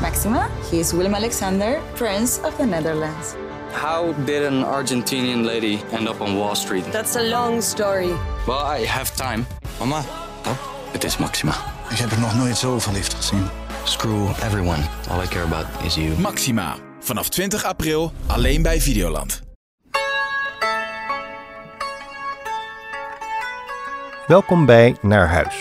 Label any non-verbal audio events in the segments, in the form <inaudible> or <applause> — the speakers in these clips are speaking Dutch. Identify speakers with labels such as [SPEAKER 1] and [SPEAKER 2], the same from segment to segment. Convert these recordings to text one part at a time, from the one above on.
[SPEAKER 1] Maxima. He is Willem Alexander, Prince of the Netherlands.
[SPEAKER 2] How did an Argentinian lady end up on Wall Street?
[SPEAKER 3] That's a long story.
[SPEAKER 2] Well, I have time.
[SPEAKER 4] Mama,
[SPEAKER 2] Het is Maxima.
[SPEAKER 5] Ik heb er nog nooit zo verliefd gezien.
[SPEAKER 2] Screw everyone. All I care about is you.
[SPEAKER 6] Maxima. Vanaf 20 april alleen bij Videoland.
[SPEAKER 7] Welkom bij Naar Huis,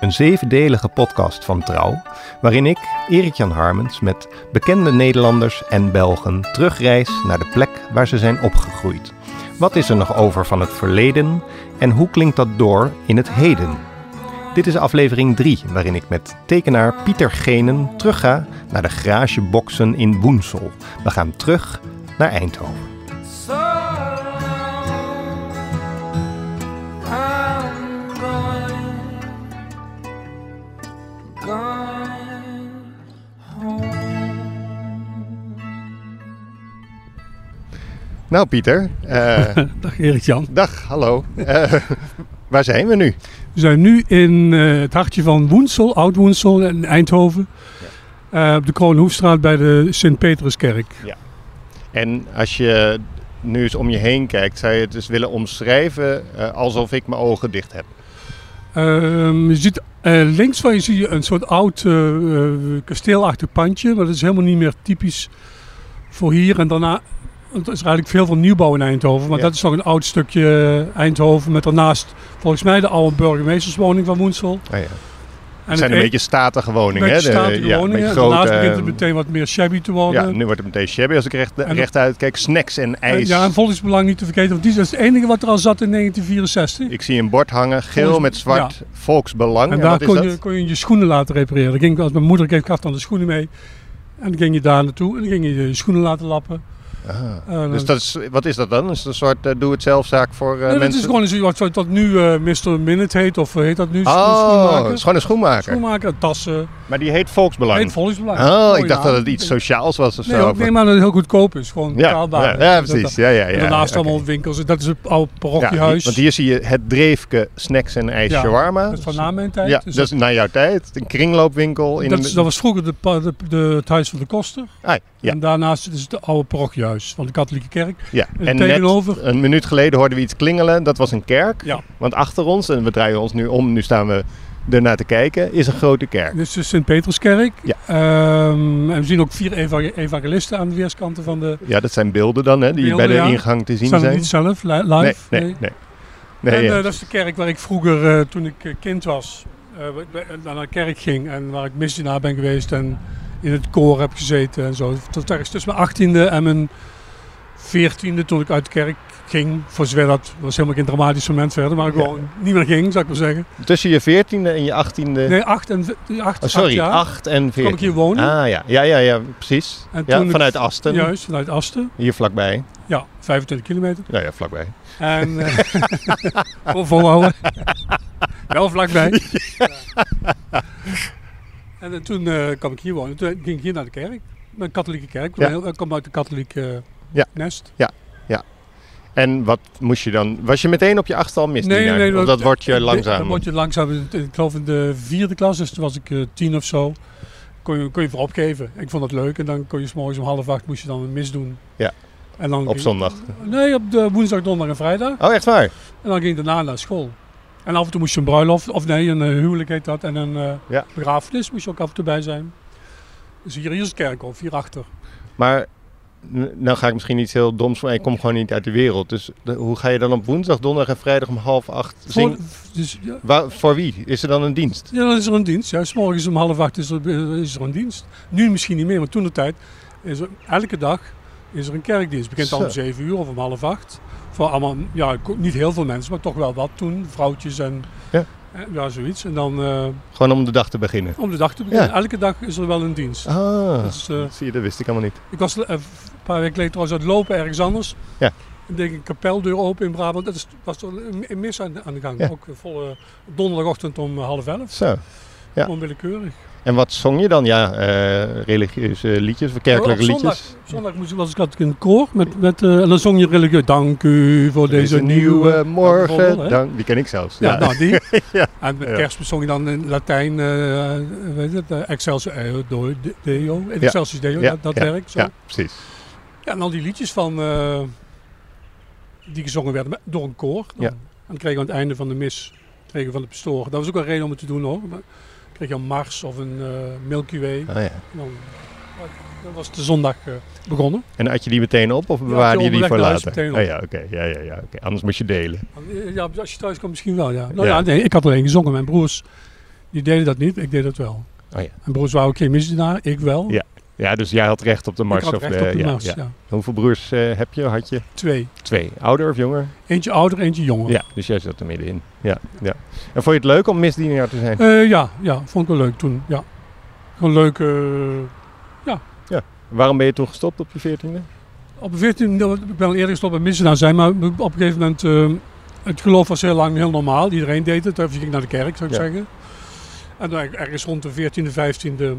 [SPEAKER 7] een zevendelige podcast van Trouw, waarin ik, Erik-Jan Harmens, met bekende Nederlanders en Belgen terugreis naar de plek waar ze zijn opgegroeid. Wat is er nog over van het verleden en hoe klinkt dat door in het heden? Dit is aflevering 3, waarin ik met tekenaar Pieter Genen terugga naar de garageboxen in Woensel. We gaan terug naar Eindhoven. Nou Pieter, <laughs> eh,
[SPEAKER 8] Dag Erik-Jan.
[SPEAKER 7] dag, hallo. Eh, waar zijn we nu?
[SPEAKER 8] We zijn nu in eh, het hartje van Woensel, Oud-Woensel en Eindhoven. Eh, op de Kroonhoefstraat bij de Sint-Petruskerk.
[SPEAKER 7] En als je nu eens om je heen kijkt, zou je het dus willen omschrijven eh, alsof ik mijn ogen dicht heb.
[SPEAKER 8] Ehm, je ziet, eh, links van je zie je een soort oud eh, eh, kasteelachtig pandje. Maar dat is helemaal niet meer typisch voor hier. En daarna want er is eigenlijk veel van nieuwbouw in Eindhoven. Maar
[SPEAKER 7] Ja.
[SPEAKER 8] dat is nog een oud stukje eh, Eindhoven. Met daarnaast volgens mij de oude burgemeesterswoning van Woensel.
[SPEAKER 7] Oh ja.
[SPEAKER 8] En
[SPEAKER 7] Het zijn een
[SPEAKER 8] e-
[SPEAKER 7] beetje statige
[SPEAKER 8] een
[SPEAKER 7] woningen.
[SPEAKER 8] beetje
[SPEAKER 7] hè? De-
[SPEAKER 8] statige
[SPEAKER 7] ja,
[SPEAKER 8] woningen.
[SPEAKER 7] beetje
[SPEAKER 8] En daarnaast
[SPEAKER 7] grote, ehm,
[SPEAKER 8] begint het meteen wat meer shabby te worden.
[SPEAKER 7] Ja, nu wordt het meteen shabby als ik recht,
[SPEAKER 8] En-
[SPEAKER 7] rechtuit kijk. Snacks en
[SPEAKER 8] En
[SPEAKER 7] ijs.
[SPEAKER 8] Ja, en volksbelang niet te vergeten, want die dat is het enige wat er al zat in 1964.
[SPEAKER 7] Ik zie een bord hangen, geel
[SPEAKER 8] Volgens-
[SPEAKER 7] met zwart, volksbelang.
[SPEAKER 8] en
[SPEAKER 7] En
[SPEAKER 8] daar
[SPEAKER 7] wat is
[SPEAKER 8] kon
[SPEAKER 7] dat?
[SPEAKER 8] je, kon je je schoenen laten repareren. Dan ging, als mijn moeder kreeg, gaf dan de schoenen mee. En dan ging je daar naartoe en dan ging je je schoenen laten lappen. En,
[SPEAKER 7] Dus
[SPEAKER 8] eh,
[SPEAKER 7] dat is, wat is dat dan? Is het een soort eh, doe-het-zelfzaak voor eh,
[SPEAKER 8] en het
[SPEAKER 7] mensen?
[SPEAKER 8] is gewoon een wat wat dat nu eh, Mr. Minute heet, of eh, heet dat nu? Schoen-
[SPEAKER 7] oh,
[SPEAKER 8] schoenmaker?
[SPEAKER 7] het is gewoon een schoenmaker.
[SPEAKER 8] Schoenmaker, tassen,
[SPEAKER 7] Maar die heet volksbelang.
[SPEAKER 8] heet volksbelang.
[SPEAKER 7] Oh,
[SPEAKER 8] Mooi
[SPEAKER 7] ik dacht
[SPEAKER 8] naam.
[SPEAKER 7] dat het iets sociaals was of
[SPEAKER 8] Nee,
[SPEAKER 7] zo.
[SPEAKER 8] ook, nee, maar dat het heel goedkoop is. Gewoon
[SPEAKER 7] ja, ja,
[SPEAKER 8] betaalbaar.
[SPEAKER 7] ja, precies. Ja, ja, ja,
[SPEAKER 8] en daarnaast
[SPEAKER 7] oké.
[SPEAKER 8] allemaal winkels. Dat is het oude
[SPEAKER 7] Ja,
[SPEAKER 8] parochiehuis.
[SPEAKER 7] Want hier zie je het dreefke snacks en ijs
[SPEAKER 8] Ja,
[SPEAKER 7] shawarma.
[SPEAKER 8] dat is van na mijn tijd.
[SPEAKER 7] Ja,
[SPEAKER 8] Dus
[SPEAKER 7] dat is naar jouw tijd. Een kringloopwinkel. In
[SPEAKER 8] dat,
[SPEAKER 7] de-
[SPEAKER 8] is- dat was vroeger de, pa- de, de- het huis van de koster.
[SPEAKER 7] Ah, ja.
[SPEAKER 8] En daarnaast is het dus de oude parochiehuis van de katholieke kerk.
[SPEAKER 7] ja.
[SPEAKER 8] en
[SPEAKER 7] En net
[SPEAKER 8] tegenover-
[SPEAKER 7] een minuut geleden hoorden we iets klingelen. Dat was een kerk.
[SPEAKER 8] Ja.
[SPEAKER 7] Want achter ons, en we draaien ons nu om, nu staan we ernaar te kijken, is een grote kerk.
[SPEAKER 8] Dit is de Sint-Peterskerk.
[SPEAKER 7] Ja.
[SPEAKER 8] Ehm, en we zien ook vier eva- evangelisten aan de weerskanten van de...
[SPEAKER 7] Ja, dat zijn beelden dan, hè, die
[SPEAKER 8] Beelden,
[SPEAKER 7] bij de
[SPEAKER 8] ja.
[SPEAKER 7] ingang te zien
[SPEAKER 8] Staan er
[SPEAKER 7] zijn.
[SPEAKER 8] niet zelf li- live?
[SPEAKER 7] nee, nee, nee. nee.
[SPEAKER 8] en
[SPEAKER 7] ja.
[SPEAKER 8] eh, dat is de kerk waar ik vroeger, eh, toen ik eh, kind was, eh, waar ik bij- naar de kerk ging. En waar ik misdienaar ben geweest en in het koor heb gezeten en zo. Tot ergens tussen mijn achttiende en mijn veertiende, toen ik uit de kerk ging. Voor zover dat was helemaal geen dramatisch moment verder, maar ik
[SPEAKER 7] Ja.
[SPEAKER 8] gewoon niet meer ging, zou ik maar zeggen.
[SPEAKER 7] Tussen je 14e en je 18e.
[SPEAKER 8] Nee, acht en v- acht,
[SPEAKER 7] Oh, sorry,
[SPEAKER 8] acht jaar.
[SPEAKER 7] 8 en 14.
[SPEAKER 8] kwam ik hier wonen.
[SPEAKER 7] Ah ja, ja, ja, ja precies.
[SPEAKER 8] En
[SPEAKER 7] Ja,
[SPEAKER 8] toen ik-
[SPEAKER 7] vanuit Asten,
[SPEAKER 8] Juist, vanuit Asten.
[SPEAKER 7] hier vlakbij.
[SPEAKER 8] Ja, 25 kilometer.
[SPEAKER 7] Nou ja, vlakbij.
[SPEAKER 8] En eh, <laughs> vol- volhouden. Wel
[SPEAKER 7] <laughs>
[SPEAKER 8] vlakbij. Ja. En eh, toen eh, kwam ik hier wonen. Toen ging ik hier naar de kerk. Een katholieke kerk.
[SPEAKER 7] Ja.
[SPEAKER 8] Ik kwam uit een katholiek eh,
[SPEAKER 7] Ja.
[SPEAKER 8] nest.
[SPEAKER 7] En wat moest je dan? Was je meteen op je achtste al misdienaar? of dat wordt je langzaam.
[SPEAKER 8] Dan word je langzaam. Ik geloof in de vierde klas, dus toen was ik eh, tien of zo. Kon je, kon je voor opgeven. Ik vond dat leuk. En dan kon je s'morgens om half acht moest je dan een mis doen.
[SPEAKER 7] Ja.
[SPEAKER 8] En dan
[SPEAKER 7] op
[SPEAKER 8] ging-
[SPEAKER 7] zondag.
[SPEAKER 8] Nee, op de woensdag, donderdag en vrijdag.
[SPEAKER 7] Oh, echt waar?
[SPEAKER 8] En dan ging ik daarna naar school. En af en toe moest je een bruiloft, of nee, een eh, huwelijk heet dat. En een eh,
[SPEAKER 7] Ja.
[SPEAKER 8] begrafenis moest je ook af en toe bij zijn. Dus hier, hier is het kerkhof, hierachter.
[SPEAKER 7] Maar n- nou ga ik misschien iets heel doms van. Ik kom gewoon niet uit de wereld. Dus de- hoe ga je dan op woensdag, donderdag en vrijdag om half acht zingen?
[SPEAKER 8] Voor, dus, ja,
[SPEAKER 7] Waar- voor wie? Is er dan een dienst?
[SPEAKER 8] ja, dan is er een dienst. Ja. 's morgens om half acht is er, eh, is er een dienst. Nu misschien niet meer, maar toen de tijd is er elke dag is er een kerkdienst. Het begint al om
[SPEAKER 7] Zo.
[SPEAKER 8] zeven uur of om half acht. Voor allemaal, ja, ko- niet heel veel mensen, maar toch wel wat toen. Vrouwtjes en
[SPEAKER 7] Ja.
[SPEAKER 8] eh, ja, zoiets. En dan eh,
[SPEAKER 7] Gewoon om de dag te beginnen.
[SPEAKER 8] om de dag te beginnen.
[SPEAKER 7] Ja.
[SPEAKER 8] Elke dag is er wel een dienst.
[SPEAKER 7] Ah,
[SPEAKER 8] Dus, eh,
[SPEAKER 7] zie je, dat wist ik allemaal niet.
[SPEAKER 8] Ik was eh, een paar weken geleden trouwens aan het lopen ergens anders.
[SPEAKER 7] Ja.
[SPEAKER 8] En deed ik een kapeldeur open in Brabant. Dat is, was er een een mis aan, aan de gang.
[SPEAKER 7] Ja.
[SPEAKER 8] Ook volle donderdagochtend om eh, half elf.
[SPEAKER 7] Zo. Ja.
[SPEAKER 8] Gewoon willekeurig.
[SPEAKER 7] En wat zong je dan? Ja, eh, religieuze liedjes, of kerkelijke
[SPEAKER 8] Oh, op zondag-
[SPEAKER 7] liedjes.
[SPEAKER 8] Zondag, moest ik, was ik altijd in een koor. Met, met, eh, en dan zong je religieus. Dank u voor deze, nieuwe... Ja,
[SPEAKER 7] morgen.
[SPEAKER 8] bijvoorbeeld, hè?
[SPEAKER 7] dan, die ken ik zelfs.
[SPEAKER 8] Ja, nou die.
[SPEAKER 7] <laughs> Ja.
[SPEAKER 8] En met
[SPEAKER 7] Ja.
[SPEAKER 8] kerstmis zong je dan in Latijn, eh weet je het, eh, Excelsior Eo Doi De- Deo, in Excelsior Deo,
[SPEAKER 7] Ja,
[SPEAKER 8] dat, dat
[SPEAKER 7] ja,
[SPEAKER 8] werkt zo.
[SPEAKER 7] ja,
[SPEAKER 8] Ja.
[SPEAKER 7] precies.
[SPEAKER 8] en al die liedjes van, eh, die gezongen werden met- door een koor. Dan.
[SPEAKER 7] Ja.
[SPEAKER 8] En dan kregen we aan het einde van de mis, kregen we van de pastoor, dat was ook een reden om het te doen hoor. Maar kreeg je een Mars of een eh, Milky Way.
[SPEAKER 7] Oh, ja.
[SPEAKER 8] Dan, dan was de zondag eh, begonnen.
[SPEAKER 7] En had je die meteen op of
[SPEAKER 8] had
[SPEAKER 7] bewaarde
[SPEAKER 8] je
[SPEAKER 7] je die
[SPEAKER 8] onderweg
[SPEAKER 7] voor
[SPEAKER 8] naar huis
[SPEAKER 7] later?
[SPEAKER 8] meteen op.
[SPEAKER 7] Oh ja, oké. Ja, ja, ja, oké. Anders moest je delen.
[SPEAKER 8] eh, Ja, als je thuis komt misschien wel, ja. Nou
[SPEAKER 7] Ja.
[SPEAKER 8] ja, nee, ik had alleen gezongen. Mijn broers, die deden dat niet, ik deed dat wel.
[SPEAKER 7] Oh ja.
[SPEAKER 8] Mijn broers waren ook geen misdienaar, ik wel.
[SPEAKER 7] Ja, Ja, dus jij had recht op de mars.
[SPEAKER 8] ik had
[SPEAKER 7] of
[SPEAKER 8] recht
[SPEAKER 7] de-
[SPEAKER 8] op de
[SPEAKER 7] ja,
[SPEAKER 8] mars,
[SPEAKER 7] ja.
[SPEAKER 8] ja.
[SPEAKER 7] Hoeveel broers eh, heb je? Had je?
[SPEAKER 8] Twee.
[SPEAKER 7] Twee. Ouder of jonger?
[SPEAKER 8] Eentje ouder, eentje jonger.
[SPEAKER 7] Ja, dus jij zat er middenin. Ja, ja. En vond je het leuk om misdienaar te zijn?
[SPEAKER 8] Eh, ja, ja, vond ik wel leuk toen. Ja. Gewoon leuk. eh,
[SPEAKER 7] Waarom ben je toen gestopt op je veertiende?
[SPEAKER 8] op een 14, dat- ik ben al eerder gestopt met misdienaar zijn, maar op een gegeven moment, eh, het geloof was heel lang heel normaal. Iedereen deed het, of je ging naar de kerk, zou ik
[SPEAKER 7] Ja.
[SPEAKER 8] zeggen. En dan ergens rond de 14e, 15e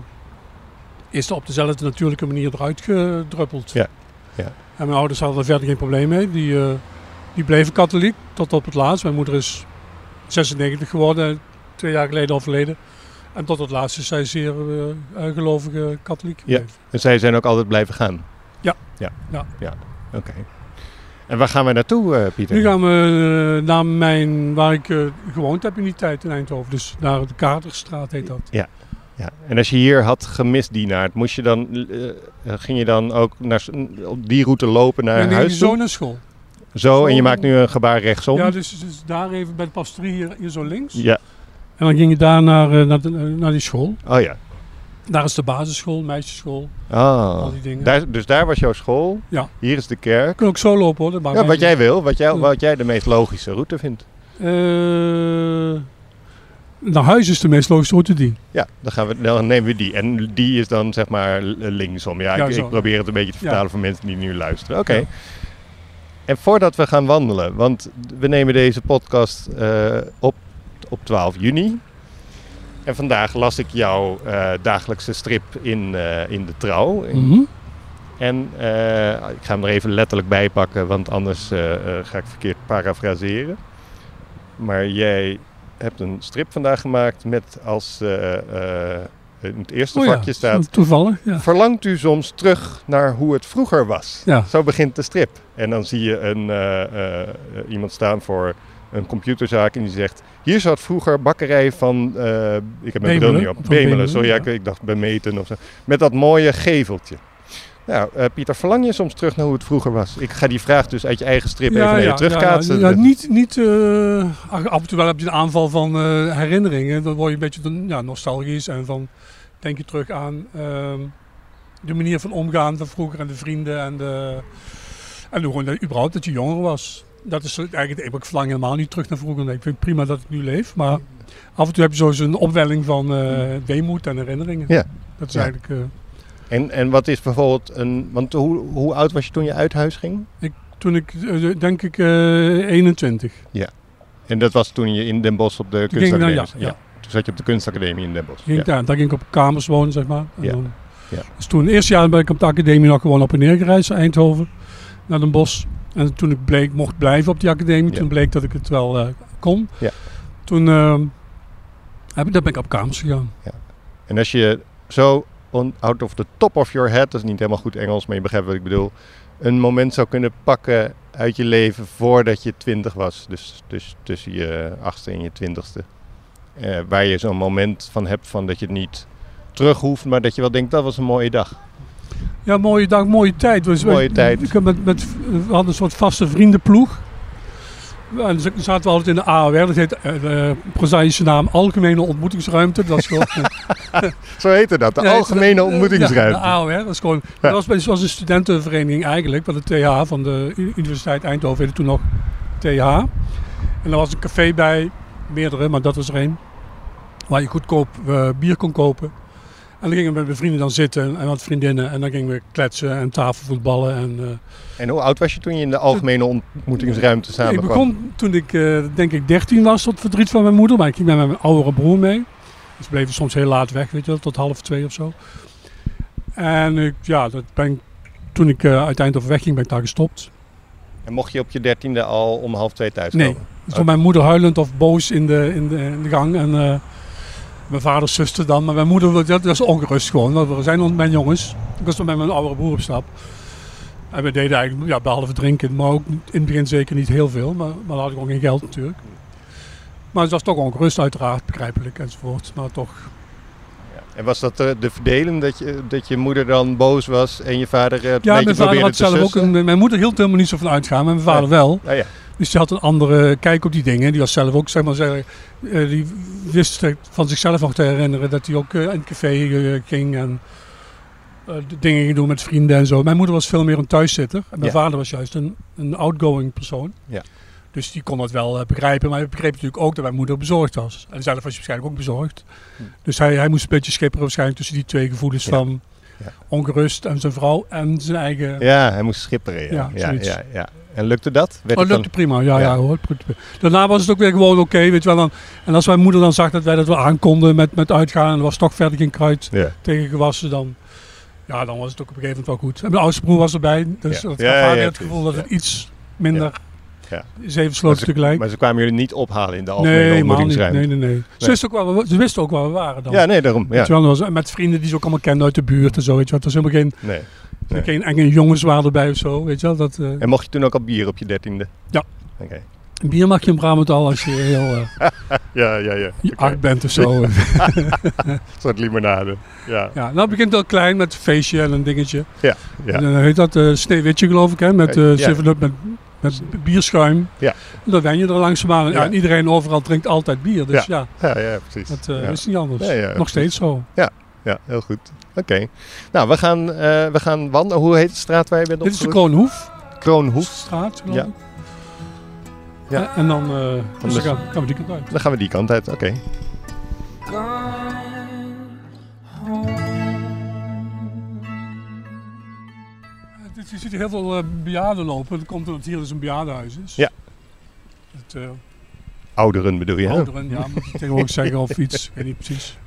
[SPEAKER 8] is dat op dezelfde natuurlijke manier eruit gedruppeld.
[SPEAKER 7] Ja. Ja.
[SPEAKER 8] En mijn ouders hadden er verder geen probleem mee. Die, eh, die bleven katholiek tot op het laatst. Mijn moeder is 96 geworden, twee jaar geleden overleden. En tot het laatst is zij zeer eh, eh, gelovige katholiek
[SPEAKER 7] Ja.
[SPEAKER 8] gebleven.
[SPEAKER 7] En zij zijn ook altijd blijven gaan?
[SPEAKER 8] Ja.
[SPEAKER 7] Ja.
[SPEAKER 8] Ja.
[SPEAKER 7] Oké. En waar gaan we naartoe, eh, Pieter?
[SPEAKER 8] Nu gaan we eh, naar mijn, waar ik eh, gewoond heb in die tijd in Eindhoven. Dus naar de Katerstraat heet dat.
[SPEAKER 7] Ja. En als je hier had gemisdienaard, moest je dan, eh, ging je dan ook naar, s- op die route lopen naar
[SPEAKER 8] en dan ging
[SPEAKER 7] Eh, huis
[SPEAKER 8] je
[SPEAKER 7] toe?
[SPEAKER 8] zo naar school.
[SPEAKER 7] Zo, en je
[SPEAKER 8] Zo-
[SPEAKER 7] maakt nu een gebaar rechtsom.
[SPEAKER 8] Ja, dus, dus daar even bij de pastorie hier, hier zo links.
[SPEAKER 7] Ja.
[SPEAKER 8] En dan ging je daar naar, eh, naar, de- eh, naar die school.
[SPEAKER 7] Oh ja.
[SPEAKER 8] Daar is de basisschool, meisjesschool, al
[SPEAKER 7] Oh.
[SPEAKER 8] die dingen.
[SPEAKER 7] Daar, dus daar was jouw school.
[SPEAKER 8] Ja.
[SPEAKER 7] Hier is de kerk.
[SPEAKER 8] Je kunt ook zo lopen hoor. dat maakt
[SPEAKER 7] Ja,
[SPEAKER 8] mij
[SPEAKER 7] wat
[SPEAKER 8] niet
[SPEAKER 7] jij wil, wat jij,
[SPEAKER 8] Ja.
[SPEAKER 7] wat jij de meest logische route vindt.
[SPEAKER 8] uit. Eh, naar huis is de meest logische route die.
[SPEAKER 7] Ja, dan, gaan we, dan nemen we die. En die is dan zeg maar l- linksom. Ja,
[SPEAKER 8] Ja,
[SPEAKER 7] ik,
[SPEAKER 8] zo.
[SPEAKER 7] ik probeer het een beetje te
[SPEAKER 8] Ja.
[SPEAKER 7] vertalen voor mensen die nu luisteren. Oké.
[SPEAKER 8] Ja.
[SPEAKER 7] En voordat we gaan wandelen, want we nemen deze podcast eh, op op 12 juni. En vandaag las ik jouw eh, dagelijkse strip in, eh, in de trouw.
[SPEAKER 8] Mhm.
[SPEAKER 7] En eh, ik ga hem er even letterlijk bij pakken, want anders eh, eh, ga ik verkeerd parafraseren. Maar jij hebt een strip vandaag gemaakt met als eh, eh, in het eerste
[SPEAKER 8] Oh ja,
[SPEAKER 7] vakje staat...
[SPEAKER 8] Toevallig, ja.
[SPEAKER 7] Verlangt u soms terug naar hoe het vroeger was?
[SPEAKER 8] Ja.
[SPEAKER 7] Zo begint de strip. En dan zie je een, eh, eh, eh, iemand staan voor een computerzaak en die zegt... Hier zat vroeger bakkerij van... eh, ik heb mijn bril
[SPEAKER 8] Bemelen,
[SPEAKER 7] niet op.
[SPEAKER 8] van
[SPEAKER 7] Bemelen,
[SPEAKER 8] Bemelen,
[SPEAKER 7] sorry. Ja.
[SPEAKER 8] ja.
[SPEAKER 7] Ik, ik dacht bij meten of zo. Met dat mooie geveltje. Nou, eh, Pieter, verlang je soms terug naar hoe het vroeger was? Ik ga die vraag dus uit je eigen strip even naar je terugkaatsen.
[SPEAKER 8] Ja, ja, niet, niet eh, ach, af en toe wel heb je een aanval van eh, herinneringen. Dan word je een beetje dan, ja, nostalgisch en van denk je terug aan ehm, de manier van omgaan van vroeger en de vrienden en de, en hoe gewoon dat, überhaupt dat je jonger was. Dat is eigenlijk het enige. ik verlang helemaal niet terug naar vroeger. Ik vind het prima dat ik nu leef, maar af en toe heb je zo eens een opwelling van eh, weemoed en herinneringen.
[SPEAKER 7] Mm. Ja.
[SPEAKER 8] Dat is
[SPEAKER 7] Ja.
[SPEAKER 8] eigenlijk. eh,
[SPEAKER 7] En, en wat is bijvoorbeeld een... Want hoe, hoe oud was je toen je uit huis ging?
[SPEAKER 8] toen ik eh, denk ik eh 21.
[SPEAKER 7] En dat was toen je in Den Bosch op de
[SPEAKER 8] Toen ging ik naar
[SPEAKER 7] kunstacademie
[SPEAKER 8] ja,
[SPEAKER 7] zat.
[SPEAKER 8] ja.
[SPEAKER 7] Toen zat je op de kunstacademie in Den Bosch.
[SPEAKER 8] Ging
[SPEAKER 7] Ja.
[SPEAKER 8] ik daar, daar ging ik op kamers wonen, zeg maar. En
[SPEAKER 7] Ja.
[SPEAKER 8] Dan,
[SPEAKER 7] Ja.
[SPEAKER 8] Dus toen, het eerste jaar ben ik op de academie nog gewoon op en neer gereisd, naar Eindhoven, naar Den Bosch. En toen ik bleek, mocht blijven op die academie,
[SPEAKER 7] Ja.
[SPEAKER 8] toen bleek dat ik het wel eh, kon.
[SPEAKER 7] Ja.
[SPEAKER 8] Toen ehm, heb ik, daar ben ik op kamers gegaan.
[SPEAKER 7] En als je zo on, out of the top of your head, dat is niet helemaal goed Engels, maar je begrijpt wat ik bedoel, een moment zou kunnen pakken uit je leven voordat je twintig was, dus, dus tussen je achtste en je twintigste, eh, waar je zo'n moment van hebt van dat je het niet terug hoeft, maar dat je wel denkt dat was een mooie dag.
[SPEAKER 8] Ja, mooie dag, mooie tijd. Dus
[SPEAKER 7] Mooie
[SPEAKER 8] ik-
[SPEAKER 7] tijd.
[SPEAKER 8] Ik heb met, met, we hadden een soort vaste vriendenploeg. En dus zaten we altijd in de AOR, dat heet eh, de prozaïsche naam Algemene Ontmoetingsruimte.
[SPEAKER 7] <laughs>
[SPEAKER 8] Dat is gewoon
[SPEAKER 7] Zo heette dat, de
[SPEAKER 8] Ja,
[SPEAKER 7] algemene
[SPEAKER 8] eh,
[SPEAKER 7] ontmoetingsruimte.
[SPEAKER 8] Ja, de AOR, dat is gewoon... Dat was, bij- het was een studentenvereniging eigenlijk, van de TH van de U- Universiteit Eindhoven, heette toen nog TH. En daar was een café bij, meerdere, maar dat was er één, waar je goedkoop eh, bier kon kopen. En dan gingen we met mijn vrienden dan zitten en wat vriendinnen en dan gingen we kletsen en tafelvoetballen en... eh,
[SPEAKER 7] En hoe oud was je toen je in de algemene ontmoetingsruimte
[SPEAKER 8] ik
[SPEAKER 7] samenkwam?
[SPEAKER 8] begon toen ik eh, denk ik 13 was, tot verdriet van mijn moeder. Maar ik ging met mijn oudere broer mee. Dus we bleven soms heel laat weg, weet je wel, tot half twee of zo. En ik, ja, dat ben, ik- toen ik eh uit Eindhoven wegging, ben ik daar gestopt.
[SPEAKER 7] En mocht je op je dertiende al om half twee thuis
[SPEAKER 8] Nee.
[SPEAKER 7] komen?
[SPEAKER 8] Er stond mijn moeder huilend of boos in de, in de, in de gang. En eh, mijn vaders zuster dan. Maar mijn moeder, dat, dat was ongerust gewoon. Want we zijn onder mijn jongens. Ik was toen met mijn oudere broer op stap. En we deden eigenlijk, ja, behalve drinken, maar ook in het begin zeker niet heel veel. Maar, maar dan had ik ook geen geld natuurlijk. Maar het was toch ongerust uiteraard, begrijpelijk enzovoort. Maar toch,
[SPEAKER 7] En was dat eh, de, de verdeling dat je, dat je moeder dan boos was en je vader eh, het beetje
[SPEAKER 8] Ja, mijn vader
[SPEAKER 7] probeerde
[SPEAKER 8] had
[SPEAKER 7] te
[SPEAKER 8] zelf ook
[SPEAKER 7] sussen?
[SPEAKER 8] een. Mijn moeder hield er helemaal niet zo van uitgaan, maar mijn vader
[SPEAKER 7] Nee.
[SPEAKER 8] wel.
[SPEAKER 7] Ah, ja.
[SPEAKER 8] Dus die had een andere kijk op die dingen. Die was zelf ook, zeg maar, zeg- eh, die wist eh, van zichzelf nog te herinneren dat hij ook eh, in het café eh, ging en eh, d- dingen ging doen met vrienden en zo. Mijn moeder was veel meer een thuiszitter en mijn
[SPEAKER 7] Ja.
[SPEAKER 8] vader was juist een, een outgoing persoon.
[SPEAKER 7] Ja.
[SPEAKER 8] Dus die kon dat wel eh, begrijpen, maar hij begreep natuurlijk ook dat mijn moeder bezorgd was. En zelf was hij waarschijnlijk ook bezorgd. Dus hij, hij moest een beetje schipperen waarschijnlijk tussen die twee gevoelens
[SPEAKER 7] Hm. Ja.
[SPEAKER 8] van
[SPEAKER 7] Ja.
[SPEAKER 8] ongerust en zijn vrouw en zijn eigen...
[SPEAKER 7] ja, hij moest schipperen. Ja,
[SPEAKER 8] Ja,
[SPEAKER 7] ja, ja,
[SPEAKER 8] zoiets.
[SPEAKER 7] ja, En lukte dat? Werd
[SPEAKER 8] Oh,
[SPEAKER 7] het
[SPEAKER 8] lukte
[SPEAKER 7] dan-
[SPEAKER 8] prima. Ja, ja.
[SPEAKER 7] Ja.
[SPEAKER 8] hoor. Daarna was het ook weer gewoon oké. weet je wel. Dan, en als mijn moeder dan zag dat wij dat wel aankonden met, met uitgaan... en er was toch verder geen kruid
[SPEAKER 7] Ja.
[SPEAKER 8] tegen gewassen... dan, ja, dan was het ook op een gegeven moment wel goed. En mijn oudste broer was erbij. Dus
[SPEAKER 7] Ja.
[SPEAKER 8] dat
[SPEAKER 7] Ja,
[SPEAKER 8] gaf haar
[SPEAKER 7] ja,
[SPEAKER 8] weer het
[SPEAKER 7] precies.
[SPEAKER 8] gevoel dat
[SPEAKER 7] Ja.
[SPEAKER 8] het iets minder...
[SPEAKER 7] Ja.
[SPEAKER 8] Zeven
[SPEAKER 7] Maar
[SPEAKER 8] sloten
[SPEAKER 7] ze-
[SPEAKER 8] tegelijk.
[SPEAKER 7] Maar ze kwamen jullie niet ophalen in de algemene
[SPEAKER 8] Nee, man. niet. Nee,
[SPEAKER 7] ontmoetingsruimte.
[SPEAKER 8] nee, nee. Ze,
[SPEAKER 7] Nee.
[SPEAKER 8] wisten ook waar we, ze wisten ook waar we waren dan.
[SPEAKER 7] Ja, nee, daarom. Ja.
[SPEAKER 8] Weet je wel, er was- en met vrienden die ze ook allemaal kenden uit de buurt en zo. Weet je wel. Het was helemaal geen,
[SPEAKER 7] Nee. Nee.
[SPEAKER 8] geen enge jongens waren erbij of zo. Weet je wel. Dat, eh,
[SPEAKER 7] En mocht je toen ook al bier op je dertiende?
[SPEAKER 8] Ja.
[SPEAKER 7] Oké.
[SPEAKER 8] bier mag je in Brabant al als je heel... eh,
[SPEAKER 7] Ja, ja, <laughs> eh, ja.
[SPEAKER 8] je
[SPEAKER 7] Oké.
[SPEAKER 8] art bent of
[SPEAKER 7] <laughs>
[SPEAKER 8] zo.
[SPEAKER 7] Een soort limonade. Ja,
[SPEAKER 8] ja, nou het begint wel klein met een feestje en een dingetje.
[SPEAKER 7] ja,
[SPEAKER 8] En
[SPEAKER 7] ja.
[SPEAKER 8] dan heet dat eh sneeuwwitje geloof ik, hè? Met
[SPEAKER 7] Ja.
[SPEAKER 8] eh 7 up met, met bierschuim.
[SPEAKER 7] Ja.
[SPEAKER 8] En dan wen je er langzaamaan. aan. Ja,
[SPEAKER 7] Ja.
[SPEAKER 8] en iedereen overal drinkt altijd bier. Dus ja,
[SPEAKER 7] ja, ja precies.
[SPEAKER 8] dat eh,
[SPEAKER 7] ja.
[SPEAKER 8] is niet anders.
[SPEAKER 7] Ja, ja,
[SPEAKER 8] Nog
[SPEAKER 7] precies.
[SPEAKER 8] steeds zo.
[SPEAKER 7] ja, heel goed. Oké. Nou, we gaan, eh, we gaan wandelen. Hoe heet de straat waar je bent
[SPEAKER 8] Dit is de
[SPEAKER 7] opgegroeid?
[SPEAKER 8] Kroonhoefstraat,
[SPEAKER 7] Kroonhoef.
[SPEAKER 8] geloof
[SPEAKER 7] Ja.
[SPEAKER 8] ik.
[SPEAKER 7] Ja.
[SPEAKER 8] En- En dan, eh, dus
[SPEAKER 7] dus-
[SPEAKER 8] dan gaan, gaan we die kant uit.
[SPEAKER 7] Dan gaan we die kant uit. Oké.
[SPEAKER 8] Eh, dit- Je ziet hier heel veel eh, bejaarden lopen. Dat komt omdat hier dus een bejaardenhuis is.
[SPEAKER 7] Ja.
[SPEAKER 8] Het, eh,
[SPEAKER 7] Ouderen bedoel je? hè?
[SPEAKER 8] Ouderen, ja, moet je tegenwoordig zeggen of iets. Ik weet niet precies.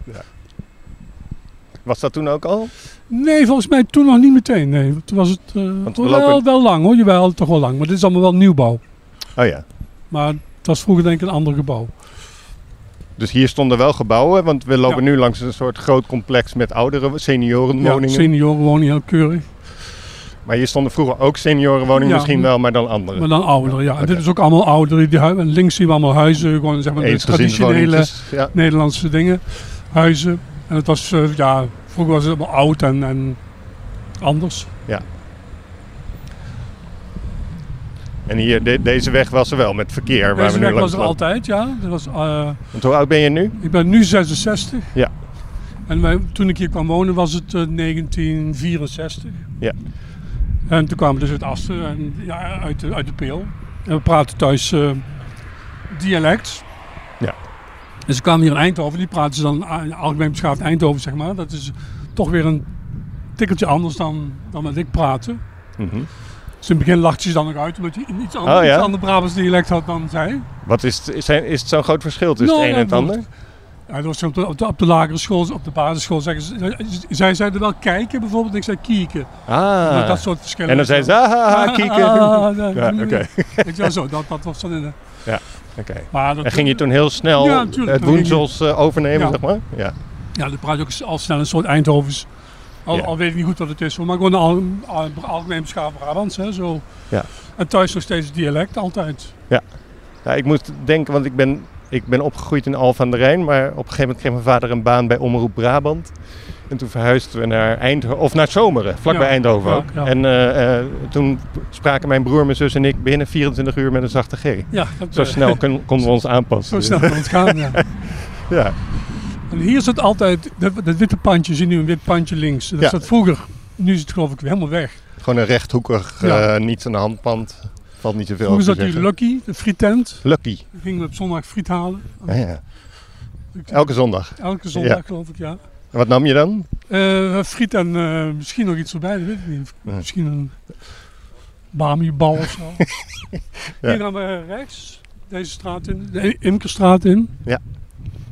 [SPEAKER 7] Was dat toen ook al?
[SPEAKER 8] Nee, volgens mij toen nog niet meteen. Nee, toen was het eh,
[SPEAKER 7] Want we
[SPEAKER 8] wel,
[SPEAKER 7] lopen-
[SPEAKER 8] wel lang hoor. Jawel, toch wel lang. Maar dit is allemaal wel nieuwbouw.
[SPEAKER 7] Oh ja.
[SPEAKER 8] Maar het was vroeger denk ik een ander gebouw.
[SPEAKER 7] Dus hier stonden wel gebouwen, want we lopen
[SPEAKER 8] Ja.
[SPEAKER 7] nu langs een soort groot complex met oudere seniorenwoningen.
[SPEAKER 8] Ja, seniorenwoningen, heel keurig.
[SPEAKER 7] Maar hier stonden vroeger ook seniorenwoningen
[SPEAKER 8] Ja.
[SPEAKER 7] misschien wel, maar dan andere.
[SPEAKER 8] Maar dan ouderen, ja. En dit
[SPEAKER 7] Oké.
[SPEAKER 8] is ook allemaal ouderen. Die hui- en links zien we allemaal huizen. Gewoon zeg maar de traditionele
[SPEAKER 7] Eensgezinswoningjes, Ja.
[SPEAKER 8] Nederlandse dingen. Huizen. En het was, eh, ja, vroeger was het allemaal oud en, en anders.
[SPEAKER 7] En hier, de- deze weg was er wel met verkeer. waar we
[SPEAKER 8] Deze
[SPEAKER 7] nu
[SPEAKER 8] weg
[SPEAKER 7] langs
[SPEAKER 8] was er
[SPEAKER 7] lopen.
[SPEAKER 8] altijd, ja. Dat was... eh,
[SPEAKER 7] Want hoe oud ben je nu?
[SPEAKER 8] Ik ben nu 66.
[SPEAKER 7] Ja.
[SPEAKER 8] En wij, toen ik hier kwam wonen was het eh, 1964.
[SPEAKER 7] Ja.
[SPEAKER 8] En toen kwamen we dus uit Asten, en, ja, uit, de, uit de Peel. En we praten thuis eh, dialect.
[SPEAKER 7] Ja.
[SPEAKER 8] En ze kwamen hier in Eindhoven, die praten ze dan a- algemeen beschaafd Eindhoven, zeg maar. Dat is toch weer een tikkeltje anders dan, dan met ik praten.
[SPEAKER 7] Mhm.
[SPEAKER 8] Dus in het begin lachte ze dan nog uit, omdat je een iets ander,
[SPEAKER 7] Oh, ja?
[SPEAKER 8] iets ander Brabants dialect had dan zij.
[SPEAKER 7] Wat is, het, zijn, is het zo'n groot verschil tussen
[SPEAKER 8] Nou,
[SPEAKER 7] het een
[SPEAKER 8] ja,
[SPEAKER 7] en het
[SPEAKER 8] bedoel-
[SPEAKER 7] ander?
[SPEAKER 8] Ja, dat was op, de, op, de, op de lagere school, op de basisschool zeggen ze, zij zeiden wel kijken bijvoorbeeld, en ik zei kieken.
[SPEAKER 7] Ah.
[SPEAKER 8] Dat soort verschillen.
[SPEAKER 7] en dan
[SPEAKER 8] zei
[SPEAKER 7] zeiden ze, ah, ah, ah, kieken.
[SPEAKER 8] ah,
[SPEAKER 7] Ja, oké.
[SPEAKER 8] Weet je wel zo, dat, dat was dan in de...
[SPEAKER 7] Oké.
[SPEAKER 8] Maar dat,
[SPEAKER 7] En ging je toen heel snel
[SPEAKER 8] Ja, natuurlijk.
[SPEAKER 7] het woensels eh, overnemen,
[SPEAKER 8] Ja.
[SPEAKER 7] zeg maar? Ja.
[SPEAKER 8] Ja, dan praat je ook al snel een soort Eindhovens. Al,
[SPEAKER 7] Ja.
[SPEAKER 8] al weet ik niet goed wat het is, hoor, maar gewoon al, al, algemeen beschaafd Brabants, hè, zo.
[SPEAKER 7] Ja.
[SPEAKER 8] En thuis nog steeds dialect, altijd.
[SPEAKER 7] ja. Ik moest denken, want ik ben, ik ben opgegroeid in Alphen aan de Rijn. Maar op een gegeven moment kreeg mijn vader een baan bij Omroep Brabant. En toen verhuisden we naar Eindhoven, of naar Zomeren, vlakbij
[SPEAKER 8] Ja.
[SPEAKER 7] Eindhoven
[SPEAKER 8] Ja,
[SPEAKER 7] ook.
[SPEAKER 8] ja.
[SPEAKER 7] En eh, eh, toen spraken mijn broer, mijn zus en ik binnen 24 uur met een zachte G.
[SPEAKER 8] Ja, dat,
[SPEAKER 7] Zo
[SPEAKER 8] eh,
[SPEAKER 7] snel kon- konden we ons
[SPEAKER 8] <laughs> Zo
[SPEAKER 7] aanpassen. dus.
[SPEAKER 8] snel kan het gaan, ja.
[SPEAKER 7] Ja.
[SPEAKER 8] En hier zit altijd, dat, dat witte pandje, zie je nu een wit pandje links. Dat
[SPEAKER 7] Ja.
[SPEAKER 8] zat vroeger, nu is het geloof ik helemaal weg.
[SPEAKER 7] Gewoon een rechthoekig,
[SPEAKER 8] Ja.
[SPEAKER 7] eh, niets aan de hand pand. Valt niet zoveel
[SPEAKER 8] Vroeger
[SPEAKER 7] over
[SPEAKER 8] zat
[SPEAKER 7] te
[SPEAKER 8] die
[SPEAKER 7] zeggen.
[SPEAKER 8] Lucky, de frietent.
[SPEAKER 7] Lucky.
[SPEAKER 8] Daar gingen we op zondag friet halen.
[SPEAKER 7] Ja, ja. Elke zondag.
[SPEAKER 8] Elke zondag
[SPEAKER 7] Ja.
[SPEAKER 8] geloof ik, ja.
[SPEAKER 7] En wat nam je dan?
[SPEAKER 8] Eh, friet en eh, misschien nog iets erbij, dat weet ik niet.
[SPEAKER 7] Nee.
[SPEAKER 8] Misschien een bami-bal
[SPEAKER 7] <laughs>
[SPEAKER 8] of zo.
[SPEAKER 7] Ja.
[SPEAKER 8] Hier gaan we rechts, deze straat E-, in, de Imkerstraat in.
[SPEAKER 7] Ja.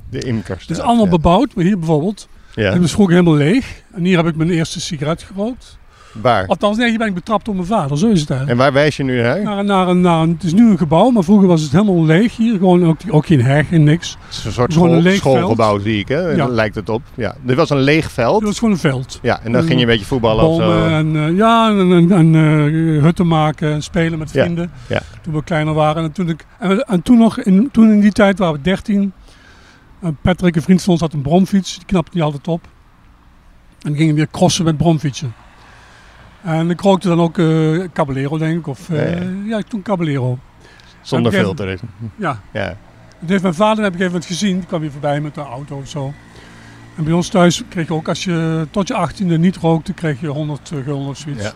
[SPEAKER 7] De imkers.
[SPEAKER 8] Het is allemaal bebouwd, maar hier bijvoorbeeld.
[SPEAKER 7] Ja.
[SPEAKER 8] Het is vroeger helemaal leeg. En hier heb ik mijn eerste sigaret gerookt.
[SPEAKER 7] Waar?
[SPEAKER 8] Althans, nee, hier ben ik betrapt door mijn vader. Zo is het eigenlijk.
[SPEAKER 7] En waar wijs je nu naar?
[SPEAKER 8] Naar, een- naar, een- naar een- het is nu een gebouw, maar vroeger was het helemaal leeg hier. Gewoon ook, ook geen heg en niks.
[SPEAKER 7] Het is een soort
[SPEAKER 8] gewoon een
[SPEAKER 7] school-
[SPEAKER 8] leeg
[SPEAKER 7] schoolgebouw, zie ik. Hè?
[SPEAKER 8] Ja.
[SPEAKER 7] Lijkt het op. Ja. Dit was een leeg
[SPEAKER 8] Het
[SPEAKER 7] veld.
[SPEAKER 8] was gewoon een veld.
[SPEAKER 7] Ja, en dan ging je een beetje voetballen of zo.
[SPEAKER 8] Bomen en, eh, ja, en, en, en, eh, hutten maken en spelen met
[SPEAKER 7] Ja,
[SPEAKER 8] vrienden.
[SPEAKER 7] ja.
[SPEAKER 8] Toen we kleiner waren. En toen, ik, en, en toen, nog in, toen in die tijd waren we 13. En Patrick, een vriend van ons, had een bromfiets. Die knapte niet altijd op. En gingen weer crossen met bromfietsen. En ik rookte dan ook eh Caballero, denk ik. Of, eh,
[SPEAKER 7] Ja,
[SPEAKER 8] ja. toen Caballero.
[SPEAKER 7] Zonder
[SPEAKER 8] En op een
[SPEAKER 7] filter.
[SPEAKER 8] Ja.
[SPEAKER 7] Ja.
[SPEAKER 8] Dat heeft mijn vader op een gegeven moment gezien. Die kwam weer voorbij met de auto of zo. En bij ons thuis kreeg je ook, als je tot je 18e niet rookte, kreeg je 100 gulden of zoiets.
[SPEAKER 7] Ja.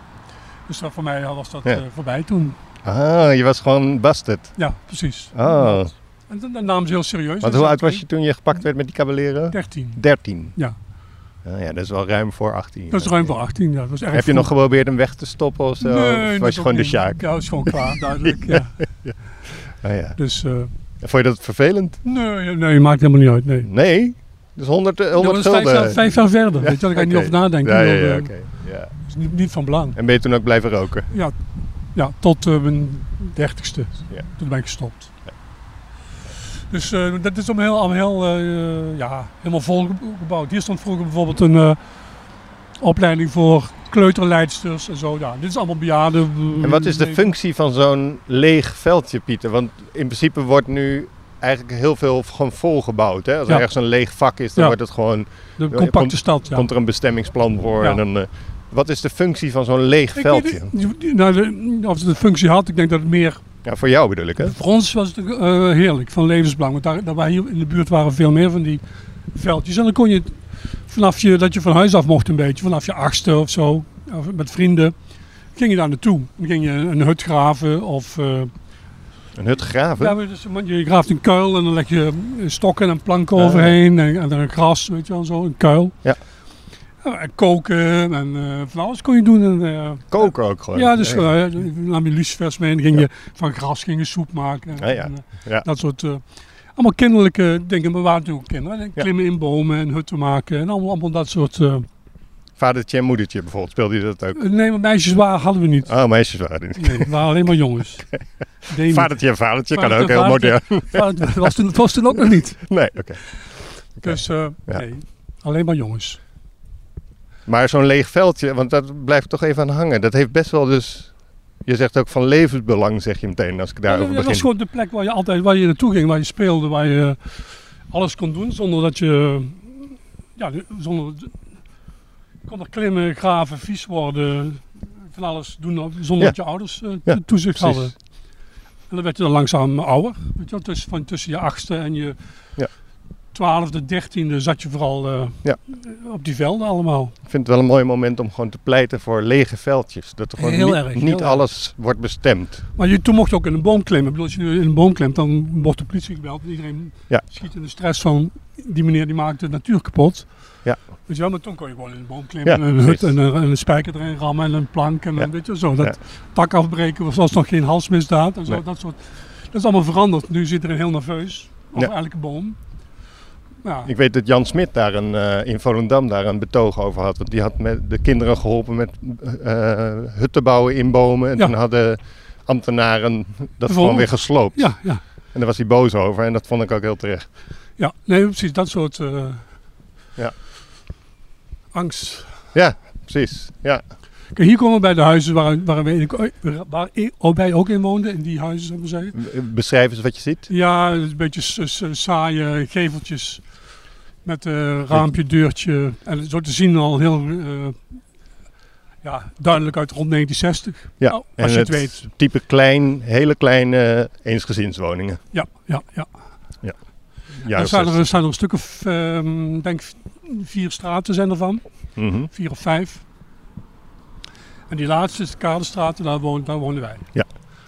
[SPEAKER 8] Dus dat voor mij was dat
[SPEAKER 7] Ja.
[SPEAKER 8] eh, voorbij toen.
[SPEAKER 7] Ah, je was gewoon busted.
[SPEAKER 8] Ja, precies.
[SPEAKER 7] Oh.
[SPEAKER 8] En dat, dat namen ze heel serieus.
[SPEAKER 7] Want
[SPEAKER 8] Dus
[SPEAKER 7] hoe
[SPEAKER 8] dat
[SPEAKER 7] oud was je toen je gepakt werd met die kabeleren?
[SPEAKER 8] 13.
[SPEAKER 7] 13.
[SPEAKER 8] Ja.
[SPEAKER 7] Ah, ja, dat is wel ruim voor 18.
[SPEAKER 8] Dat is ruim voor 18. Ja. Dat was erg
[SPEAKER 7] Heb je
[SPEAKER 8] vroeg.
[SPEAKER 7] nog geprobeerd hem weg te stoppen of zo?
[SPEAKER 8] Nee,
[SPEAKER 7] of was
[SPEAKER 8] dat
[SPEAKER 7] je
[SPEAKER 8] ook
[SPEAKER 7] gewoon de
[SPEAKER 8] niet.
[SPEAKER 7] sjaak?
[SPEAKER 8] Ja, dat
[SPEAKER 7] <laughs>
[SPEAKER 8] is gewoon klaar, duidelijk. ja.
[SPEAKER 7] Ah, ja.
[SPEAKER 8] Dus eh,
[SPEAKER 7] Vond je dat vervelend?
[SPEAKER 8] nee, nee, maakt helemaal niet uit. Nee.
[SPEAKER 7] Nee. Dus 100, eh,
[SPEAKER 8] Dat
[SPEAKER 7] 100
[SPEAKER 8] was vijf jaar,
[SPEAKER 7] gulden.
[SPEAKER 8] vijf jaar verder.
[SPEAKER 7] Ja,
[SPEAKER 8] Weet je, daar ga ik niet
[SPEAKER 7] oké.
[SPEAKER 8] over nadenken.
[SPEAKER 7] Ja, ja,
[SPEAKER 8] Dat,
[SPEAKER 7] ja,
[SPEAKER 8] eh,
[SPEAKER 7] oké. ja.
[SPEAKER 8] is niet, niet van belang.
[SPEAKER 7] En ben je toen ook blijven roken?
[SPEAKER 8] Ja, ja tot eh, mijn dertigste.
[SPEAKER 7] Ja.
[SPEAKER 8] Toen ben ik gestopt. Dus eh, dat is om heel, om heel eh, ja, helemaal vol ge- gebouwd. Hier stond vroeger bijvoorbeeld een eh, opleiding voor kleuterleidsters en zo. Ja, dit is allemaal bejaarden. eh,
[SPEAKER 7] En wat is de
[SPEAKER 8] Mm.
[SPEAKER 7] functie van zo'n leeg veldje, Pieter? Want in principe wordt nu eigenlijk heel veel gewoon volgebouwd. Hè? Als er
[SPEAKER 8] Ja.
[SPEAKER 7] ergens een leeg vak is, dan
[SPEAKER 8] Ja.
[SPEAKER 7] wordt het gewoon,
[SPEAKER 8] De
[SPEAKER 7] Komt-
[SPEAKER 8] compacte stad, ja.
[SPEAKER 7] komt er een bestemmingsplan voor.
[SPEAKER 8] Ja.
[SPEAKER 7] En dan, eh, wat is de functie van zo'n leeg
[SPEAKER 8] Ik weet
[SPEAKER 7] veldje?
[SPEAKER 8] niet, die- nou, de- of het een functie had, ik denk dat het meer...
[SPEAKER 7] Ja, voor jou bedoel ik, hè?
[SPEAKER 8] Voor ons was het eh, heerlijk, van levensbelang. Want daar, daar waren hier in de buurt waren veel meer van die veldjes. En dan kon je, vanaf je, dat je van huis af mocht een beetje, vanaf je achtste of zo, of met vrienden, ging je daar naartoe. Dan ging je een hut graven of... eh,
[SPEAKER 7] Een hut graven.
[SPEAKER 8] ja, maar dus, man, je graaft een kuil en dan leg je eh, stokken en planken overheen en, en dan gras, weet je wel, zo, een kuil.
[SPEAKER 7] Ja.
[SPEAKER 8] Ja, en eh, koken en eh, van alles kon je doen. En, eh,
[SPEAKER 7] Koken ook gewoon.
[SPEAKER 8] ja, dus
[SPEAKER 7] Ja.
[SPEAKER 8] gewoon, hè, dan nam je lucifers mee en dan ging je van gras ging je soep maken. En,
[SPEAKER 7] Ja, ja.
[SPEAKER 8] en, eh,
[SPEAKER 7] Ja.
[SPEAKER 8] Dat soort, eh, allemaal kinderlijke dingen, maar we waren natuurlijk ook kinderen. En
[SPEAKER 7] Ja.
[SPEAKER 8] Klimmen in bomen en hutten maken en allemaal, allemaal dat soort... eh,
[SPEAKER 7] Vadertje en moedertje bijvoorbeeld, speelde je dat ook?
[SPEAKER 8] nee, maar meisjes waren, hadden we niet.
[SPEAKER 7] Oh, meisjes waren er niet.
[SPEAKER 8] Nee, we waren alleen maar
[SPEAKER 7] <laughs>
[SPEAKER 8] jongens. Demi.
[SPEAKER 7] Vadertje en vadertje kan ook
[SPEAKER 8] Vadertje en
[SPEAKER 7] heel modern.
[SPEAKER 8] vadertje. Vader- Dat was toen, dat was toen ook nog
[SPEAKER 7] <laughs>
[SPEAKER 8] niet.
[SPEAKER 7] Nee, oké.
[SPEAKER 8] Dus eh,
[SPEAKER 7] Ja.
[SPEAKER 8] nee, alleen maar jongens.
[SPEAKER 7] Maar zo'n leeg veldje, want dat blijft toch even aan hangen. Dat heeft best wel dus... Je zegt ook van levensbelang, zeg je meteen, als ik daarover
[SPEAKER 8] dat was
[SPEAKER 7] begin.
[SPEAKER 8] gewoon de plek waar je altijd waar je naartoe ging, waar je speelde, waar je eh, alles kon doen zonder dat je. Ja, zonder. Je kon er klimmen, graven, vies worden, van alles doen zonder
[SPEAKER 7] Ja.
[SPEAKER 8] dat je ouders eh,
[SPEAKER 7] Ja,
[SPEAKER 8] toezicht
[SPEAKER 7] precies.
[SPEAKER 8] hadden. En dan werd je dan langzaam ouder. Weet je wel, tussen, van tussen je achtste en je
[SPEAKER 7] Ja.
[SPEAKER 8] twaalfde, dertiende zat je vooral eh,
[SPEAKER 7] Ja.
[SPEAKER 8] op die velden allemaal.
[SPEAKER 7] Ik vind het wel een mooi moment om gewoon te pleiten voor lege veldjes. Dat er gewoon
[SPEAKER 8] Heel
[SPEAKER 7] niet,
[SPEAKER 8] erg,
[SPEAKER 7] niet
[SPEAKER 8] heel erg.
[SPEAKER 7] alles wordt bestemd.
[SPEAKER 8] Maar je, toen mocht je ook in een boom klimmen. Ik bedoel, als je nu in een boom klimt, dan wordt de politie gebeld. En iedereen
[SPEAKER 7] Ja.
[SPEAKER 8] schiet in de stress van die meneer die maakt de natuur kapot.
[SPEAKER 7] Ja.
[SPEAKER 8] Weet je wel, maar toen kon je gewoon in een boom klimmen.
[SPEAKER 7] Ja,
[SPEAKER 8] en een hut
[SPEAKER 7] precies.
[SPEAKER 8] en een, en een spijker erin rammen en een plank. En
[SPEAKER 7] Ja.
[SPEAKER 8] een, weet je, zo. Dat tak afbreken was, was nog geen halsmisdaad. En zo,
[SPEAKER 7] Nee.
[SPEAKER 8] dat, soort, dat is allemaal veranderd. Nu zit iedereen heel nerveus over
[SPEAKER 7] Ja.
[SPEAKER 8] elke boom. Ja,
[SPEAKER 7] Ik weet dat Jan Smit daar een, eh, in Volendam daar een betoog over had. Want die had met de kinderen geholpen met eh, hutten bouwen in bomen. En
[SPEAKER 8] Ja.
[SPEAKER 7] toen hadden ambtenaren dat gewoon weer gesloopt.
[SPEAKER 8] ja, ja.
[SPEAKER 7] En daar was hij boos over. En dat vond ik ook heel terecht.
[SPEAKER 8] ja. Nee, precies. Dat soort eh,
[SPEAKER 7] Ja.
[SPEAKER 8] angst.
[SPEAKER 7] Ja, precies. Ja.
[SPEAKER 8] Kijk, hier komen we bij de huizen waar, waar, wij, waar ik- ook wij ook in woonden, in die huizen, zou ik maar zeggen.
[SPEAKER 7] Beschrijf eens wat je ziet.
[SPEAKER 8] Ja, het is een beetje s- s- saaie geveltjes met eh, raampje, deurtje. En zo te zien al heel eh, ja, duidelijk uit rond 1960.
[SPEAKER 7] Ja,
[SPEAKER 8] Nou,
[SPEAKER 7] en
[SPEAKER 8] als je het,
[SPEAKER 7] het-
[SPEAKER 8] weet.
[SPEAKER 7] Type klein, hele kleine eensgezinswoningen.
[SPEAKER 8] Ja, ja, ja.
[SPEAKER 7] Ja,
[SPEAKER 8] er, zijn er, er zijn er een stuk of, ehm, denk ik, vier straten zijn ervan.
[SPEAKER 7] Mhm.
[SPEAKER 8] vier of vijf. En die laatste is de Kaderstraat, en daar, woon, daar wonen wij.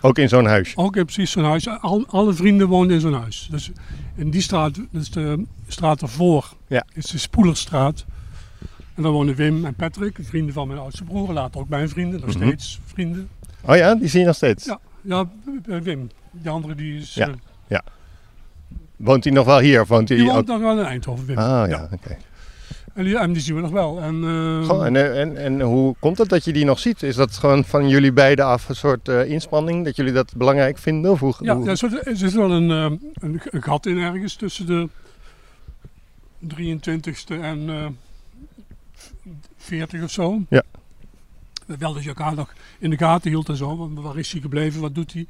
[SPEAKER 7] Ook in zo'n huisje.
[SPEAKER 8] Ook in precies zo'n huis. Al, alle vrienden woonden in zo'n huis. Dus in die straat, dus de straat ervoor,
[SPEAKER 7] Ja.
[SPEAKER 8] is de Spoelerstraat. En daar wonen Wim en Patrick, vrienden van mijn oudste broer. Later ook mijn vrienden, nog
[SPEAKER 7] Mhm.
[SPEAKER 8] steeds vrienden.
[SPEAKER 7] Oh ja, die zie je nog steeds.
[SPEAKER 8] Ja, ja, eh, Wim. De andere die is...
[SPEAKER 7] Ja,
[SPEAKER 8] eh,
[SPEAKER 7] ja. Woont hij nog wel hier? of Woont hij
[SPEAKER 8] Die woont
[SPEAKER 7] ook-
[SPEAKER 8] nog wel in Eindhoven, Wim.
[SPEAKER 7] Ah
[SPEAKER 8] Ja.
[SPEAKER 7] ja, oké.
[SPEAKER 8] En die, en die zien we nog wel. En, eh,
[SPEAKER 7] Goh, en, eh, en, en hoe komt het dat je die nog ziet? Is dat gewoon van jullie beiden af een soort eh, inspanning? Dat jullie dat belangrijk vinden? Of hoe,
[SPEAKER 8] ja, dus-
[SPEAKER 7] hoe-
[SPEAKER 8] er zit, er zit wel een, eh, een, g- een gat in ergens tussen de 23ste en eh, v- 40 of zo.
[SPEAKER 7] Ja.
[SPEAKER 8] Wel dat je elkaar nog in de gaten hield en zo. Want waar is hij gebleven? Wat doet hij?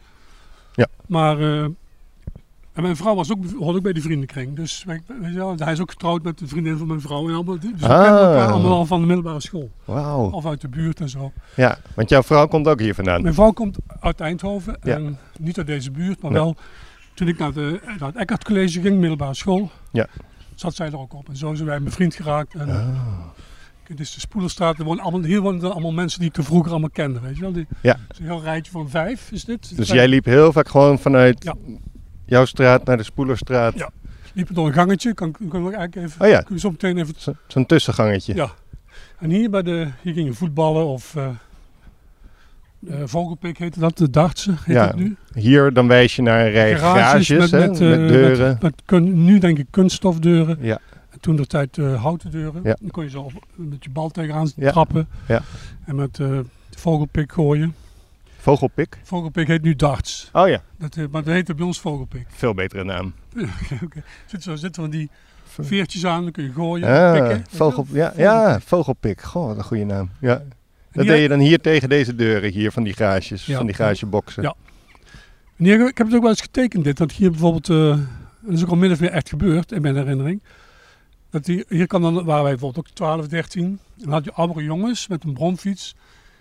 [SPEAKER 7] Ja.
[SPEAKER 8] Maar eh, en mijn vrouw was ook, hoort ook bij de vriendenkring. Dus wij- wij- ja, hij is ook getrouwd met de vriendin van mijn vrouw. En allemaal, dus we
[SPEAKER 7] Ah.
[SPEAKER 8] kennen elkaar allemaal al van de middelbare school.
[SPEAKER 7] Wauw.
[SPEAKER 8] Of uit de buurt en zo.
[SPEAKER 7] Ja, want jouw vrouw komt ook hier vandaan.
[SPEAKER 8] Mijn vrouw komt uit Eindhoven.
[SPEAKER 7] Ja.
[SPEAKER 8] En niet uit deze buurt, maar
[SPEAKER 7] Nee.
[SPEAKER 8] wel toen ik naar, de, naar het Eckhart College ging, middelbare school,
[SPEAKER 7] Ja.
[SPEAKER 8] zat zij er ook op. En zo zijn wij bevriend geraakt. En,
[SPEAKER 7] Ah.
[SPEAKER 8] Dit is de Spoelerstraat. Er wonen allemaal, hier wonen dan allemaal mensen die ik er vroeger allemaal kende. Weet je wel? Die,
[SPEAKER 7] Ja.
[SPEAKER 8] het is Een heel rijtje van vijf is dit.
[SPEAKER 7] Dus
[SPEAKER 8] Wij
[SPEAKER 7] jij liep heel vaak gewoon vanuit
[SPEAKER 8] Ja.
[SPEAKER 7] jouw straat naar de Spoelerstraat.
[SPEAKER 8] Ja. liepen door een gangetje. Kan, ik- kan ik eigenlijk even,
[SPEAKER 7] Oh ja.
[SPEAKER 8] kun je zo meteen even...
[SPEAKER 7] Zo- Zo'n tussengangetje.
[SPEAKER 8] Ja. En hier, bij de, hier ging je voetballen of... eh eh, Vogelpik heette dat, de Dartse heet
[SPEAKER 7] Ja.
[SPEAKER 8] dat nu.
[SPEAKER 7] Hier dan wijs je naar een rij garages,
[SPEAKER 8] met,
[SPEAKER 7] hè,
[SPEAKER 8] met, eh, met-
[SPEAKER 7] deuren.
[SPEAKER 8] met kun- nu denk ik kunststofdeuren.
[SPEAKER 7] Ja.
[SPEAKER 8] En toen de tijd eh, houten deuren.
[SPEAKER 7] Ja.
[SPEAKER 8] Dan kon je zo op- met je bal tegenaan
[SPEAKER 7] Ja.
[SPEAKER 8] trappen.
[SPEAKER 7] Ja.
[SPEAKER 8] En met eh, vogelpik gooien.
[SPEAKER 7] Vogelpik.
[SPEAKER 8] Vogelpik heet nu darts.
[SPEAKER 7] Oh ja,
[SPEAKER 8] Dat, eh, maar dat heette bij ons vogelpik. <laughs>
[SPEAKER 7] veel betere naam.
[SPEAKER 8] Oké. Zit zo zitten van die veertjes aan, dan kun je gooien.
[SPEAKER 7] Ah,
[SPEAKER 8] pikken.
[SPEAKER 7] vogel, ja, ja, vogelpik. Goh, wat een goede naam. Ja.
[SPEAKER 8] En
[SPEAKER 7] Dat
[SPEAKER 8] hier-
[SPEAKER 7] deed je dan hier tegen deze deuren, hier van die garages,
[SPEAKER 8] Ja.
[SPEAKER 7] van die garageboxen.
[SPEAKER 8] Ja. En hier- ik heb het ook wel eens getekend dit, dat hier bijvoorbeeld, eh, dat is ook al min of meer echt gebeurd in mijn herinnering. Dat die, hier kan dan, waren wij bijvoorbeeld ook 12, 13. En dan had je andere jongens met een bromfiets.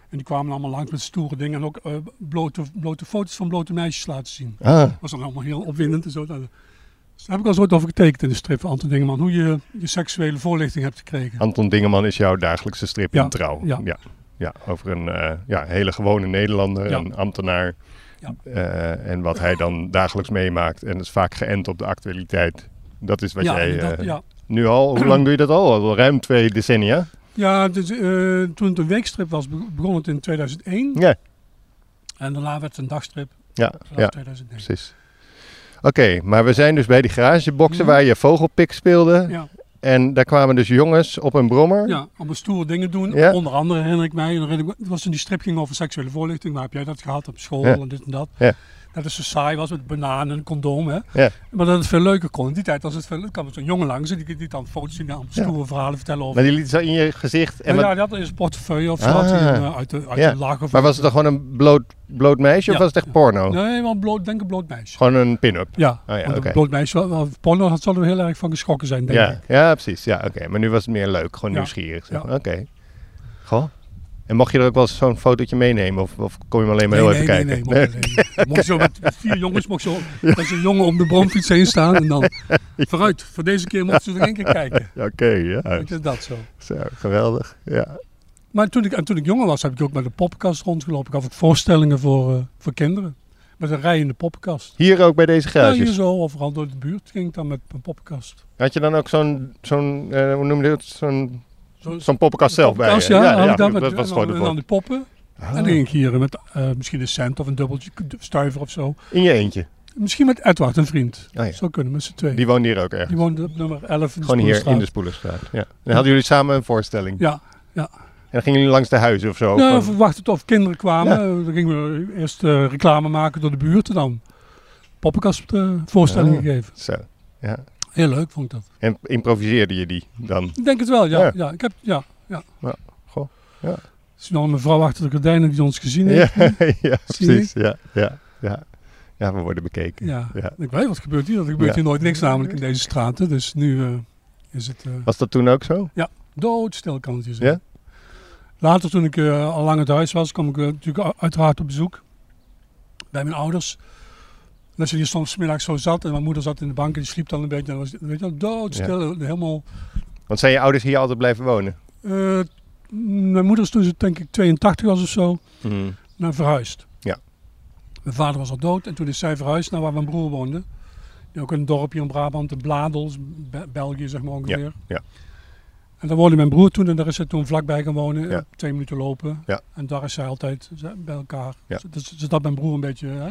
[SPEAKER 8] En die kwamen allemaal langs met stoere dingen. En ook eh, blote, blote foto's van blote meisjes laten zien.
[SPEAKER 7] Ah,
[SPEAKER 8] Dat was dan allemaal heel opwindend en zo. Dat- Dus daar heb ik al eens ooit over getekend in de strip van Anton Dingeman. Hoe je je seksuele voorlichting hebt gekregen.
[SPEAKER 7] Anton Dingeman is jouw dagelijkse strip
[SPEAKER 8] Ja,
[SPEAKER 7] in trouw.
[SPEAKER 8] ja.
[SPEAKER 7] Ja, Ja, over een eh, ja, hele gewone Nederlander,
[SPEAKER 8] Ja.
[SPEAKER 7] een ambtenaar.
[SPEAKER 8] Ja.
[SPEAKER 7] eh, en wat hij dan <laughs> dagelijks meemaakt. En dat is vaak geënt op de actualiteit. Dat is wat jij
[SPEAKER 8] dat-
[SPEAKER 7] eh,
[SPEAKER 8] ja.
[SPEAKER 7] nu al, hoe lang doe je dat al? Al ruim twee decennia.
[SPEAKER 8] ja dus, eh, toen het een weekstrip was, be- begon het in 2001.
[SPEAKER 7] Ja,
[SPEAKER 8] En daarna werd het een dagstrip
[SPEAKER 7] ja,
[SPEAKER 8] vanaf
[SPEAKER 7] ja
[SPEAKER 8] 2009.
[SPEAKER 7] precies. Oké, maar we zijn dus bij die garageboxen waar je vogelpik speelde.
[SPEAKER 8] Ja,
[SPEAKER 7] En daar kwamen dus jongens op een brommer.
[SPEAKER 8] ja, allemaal stoere dingen doen.
[SPEAKER 7] Ja.
[SPEAKER 8] Onder andere herinner ik mij, en dan herinner ik me- het was toen die strip ging over seksuele voorlichting. Waar heb jij dat gehad op school
[SPEAKER 7] Ja.
[SPEAKER 8] en dit en dat.
[SPEAKER 7] Ja.
[SPEAKER 8] Dat het zo saai was met bananen en condoom. Hè.
[SPEAKER 7] Ja.
[SPEAKER 8] Maar dat het veel leuker kon. In die tijd was het veel, kwam er zo'n jongen langs en die, die dan foto's zien en allemaal
[SPEAKER 7] Ja.
[SPEAKER 8] stoere verhalen vertellen
[SPEAKER 7] Maar
[SPEAKER 8] over.
[SPEAKER 7] die liet ze in je gezicht. En
[SPEAKER 8] Nou
[SPEAKER 7] wat-
[SPEAKER 8] ja, dat is een portefeuille of zo.
[SPEAKER 7] Ah.
[SPEAKER 8] had hij een, eh, uit de, uit
[SPEAKER 7] Ja.
[SPEAKER 8] de lach of
[SPEAKER 7] maar was het dan gewoon een bloot, bloot meisje of
[SPEAKER 8] Ja.
[SPEAKER 7] was het echt porno?
[SPEAKER 8] Nee, wel een bloot, denk een bloot meisje.
[SPEAKER 7] Gewoon een pin-up.
[SPEAKER 8] Ja,
[SPEAKER 7] Oh ja,
[SPEAKER 8] want een
[SPEAKER 7] oké.
[SPEAKER 8] bloot meisje, wel- wel- porno had zal er heel erg van geschrokken zijn, denk
[SPEAKER 7] Ja,
[SPEAKER 8] ik.
[SPEAKER 7] ja, precies. Ja, oké. Maar nu was het meer leuk, gewoon
[SPEAKER 8] Ja.
[SPEAKER 7] nieuwsgierig.
[SPEAKER 8] Ja.
[SPEAKER 7] Oké. Goh. En mocht je er ook wel eens zo'n fotootje meenemen? Of, of kom je maar alleen maar heel even kijken?
[SPEAKER 8] Nee, nee, nee, mocht niet. Dan Mocht je zo met met vier jongens, mocht zo met zo'n jongen om de bromfiets heen staan en
[SPEAKER 7] <laughs>
[SPEAKER 8] dan vooruit. Voor deze keer mochten ze er één keer kijken.
[SPEAKER 7] Oké, ja.
[SPEAKER 8] Ik is dat zo.
[SPEAKER 7] Zo, geweldig. Ja.
[SPEAKER 8] Maar toen ik, en toen ik jonger was, heb ik ook met de poppenkast rondgelopen. Ik gaf ook voorstellingen voor, eh, voor kinderen. Met een rij in de poppenkast.
[SPEAKER 7] Hier ook bij deze
[SPEAKER 8] Ja,
[SPEAKER 7] garages.
[SPEAKER 8] hier zo, overal door de buurt ging ik dan met mijn poppenkast.
[SPEAKER 7] Had je dan ook zo'n, zo'n eh, hoe noem je dat? Zo'n,
[SPEAKER 8] Zo-
[SPEAKER 7] zo'n poppenkast zelf bij je?
[SPEAKER 8] Poppenkast, ja, had ik dan met-
[SPEAKER 7] dat
[SPEAKER 8] en
[SPEAKER 7] was
[SPEAKER 8] dan-
[SPEAKER 7] gewoon Ah. de
[SPEAKER 8] En dan
[SPEAKER 7] vorm.
[SPEAKER 8] de poppen. En dan ging ik hier met eh, misschien een cent of een dubbeltje, stuiver of zo.
[SPEAKER 7] Ah. In je eentje.
[SPEAKER 8] Misschien met Edward, een vriend.
[SPEAKER 7] Oh ja.
[SPEAKER 8] Zo kunnen we met z'n tweeën.
[SPEAKER 7] Die woonde hier ook ergens.
[SPEAKER 8] Die woonde op nummer 11 in de
[SPEAKER 7] Gewoon hier in
[SPEAKER 8] Spoelstraat.
[SPEAKER 7] de Spoelenstraat. Ja. En dan hadden jullie samen een voorstelling.
[SPEAKER 8] Ja, ja.
[SPEAKER 7] En dan gingen jullie langs de huizen of zo?
[SPEAKER 8] Nou,
[SPEAKER 7] Van-
[SPEAKER 8] we wachten of kinderen kwamen. Dan gingen we eerst eh, reclame maken door de buurt en dan poppenkast eh, voorstellingen
[SPEAKER 7] Ah.
[SPEAKER 8] geven.
[SPEAKER 7] Zo. Ja.
[SPEAKER 8] Heel leuk vond ik dat.
[SPEAKER 7] En improviseerde je die dan?
[SPEAKER 8] Ik denk het wel, ja.
[SPEAKER 7] Ja.
[SPEAKER 8] ja. ik heb, ja, ja.
[SPEAKER 7] Ja, goh, ja.
[SPEAKER 8] Er is nog een mevrouw achter de gordijnen die ons gezien
[SPEAKER 7] Ja, <laughs>
[SPEAKER 8] heeft.
[SPEAKER 7] ja
[SPEAKER 8] Zie je?
[SPEAKER 7] precies. Ja, ja, ja. ja, we worden bekeken.
[SPEAKER 8] Ja.
[SPEAKER 7] Ja.
[SPEAKER 8] Ik weet wat gebeurt hier. Er gebeurt
[SPEAKER 7] Ja.
[SPEAKER 8] hier nooit niks namelijk in deze straten. Dus nu eh, is het eh
[SPEAKER 7] Was dat toen ook zo?
[SPEAKER 8] doodstil kan het hier zijn. Later toen ik eh, al lang uit huis was, kwam ik eh, natuurlijk u- uiteraard op bezoek bij mijn ouders. En als je hier soms 's middags zo zat en mijn moeder zat in de bank en die sliep dan een beetje, dan was het weet je, wel, doodstil. Helemaal,
[SPEAKER 7] Want zijn je ouders hier altijd blijven wonen?
[SPEAKER 8] eh, mijn moeder is toen ze denk ik 82 was of zo, naar verhuisd.
[SPEAKER 7] Mhm. Ja.
[SPEAKER 8] Mijn vader was al dood en toen is zij verhuisd naar waar mijn broer woonde. Die ook in een dorpje in Brabant, in Bladels, Be- België zeg maar ongeveer.
[SPEAKER 7] ja.
[SPEAKER 8] En daar woonde mijn broer toen en daar is hij toen vlakbij gaan wonen,
[SPEAKER 7] Ja.
[SPEAKER 8] twee minuten lopen.
[SPEAKER 7] Ja.
[SPEAKER 8] En daar is zij altijd ze- bij elkaar.
[SPEAKER 7] Ja.
[SPEAKER 8] Dus, dus dat mijn broer een beetje... Hè?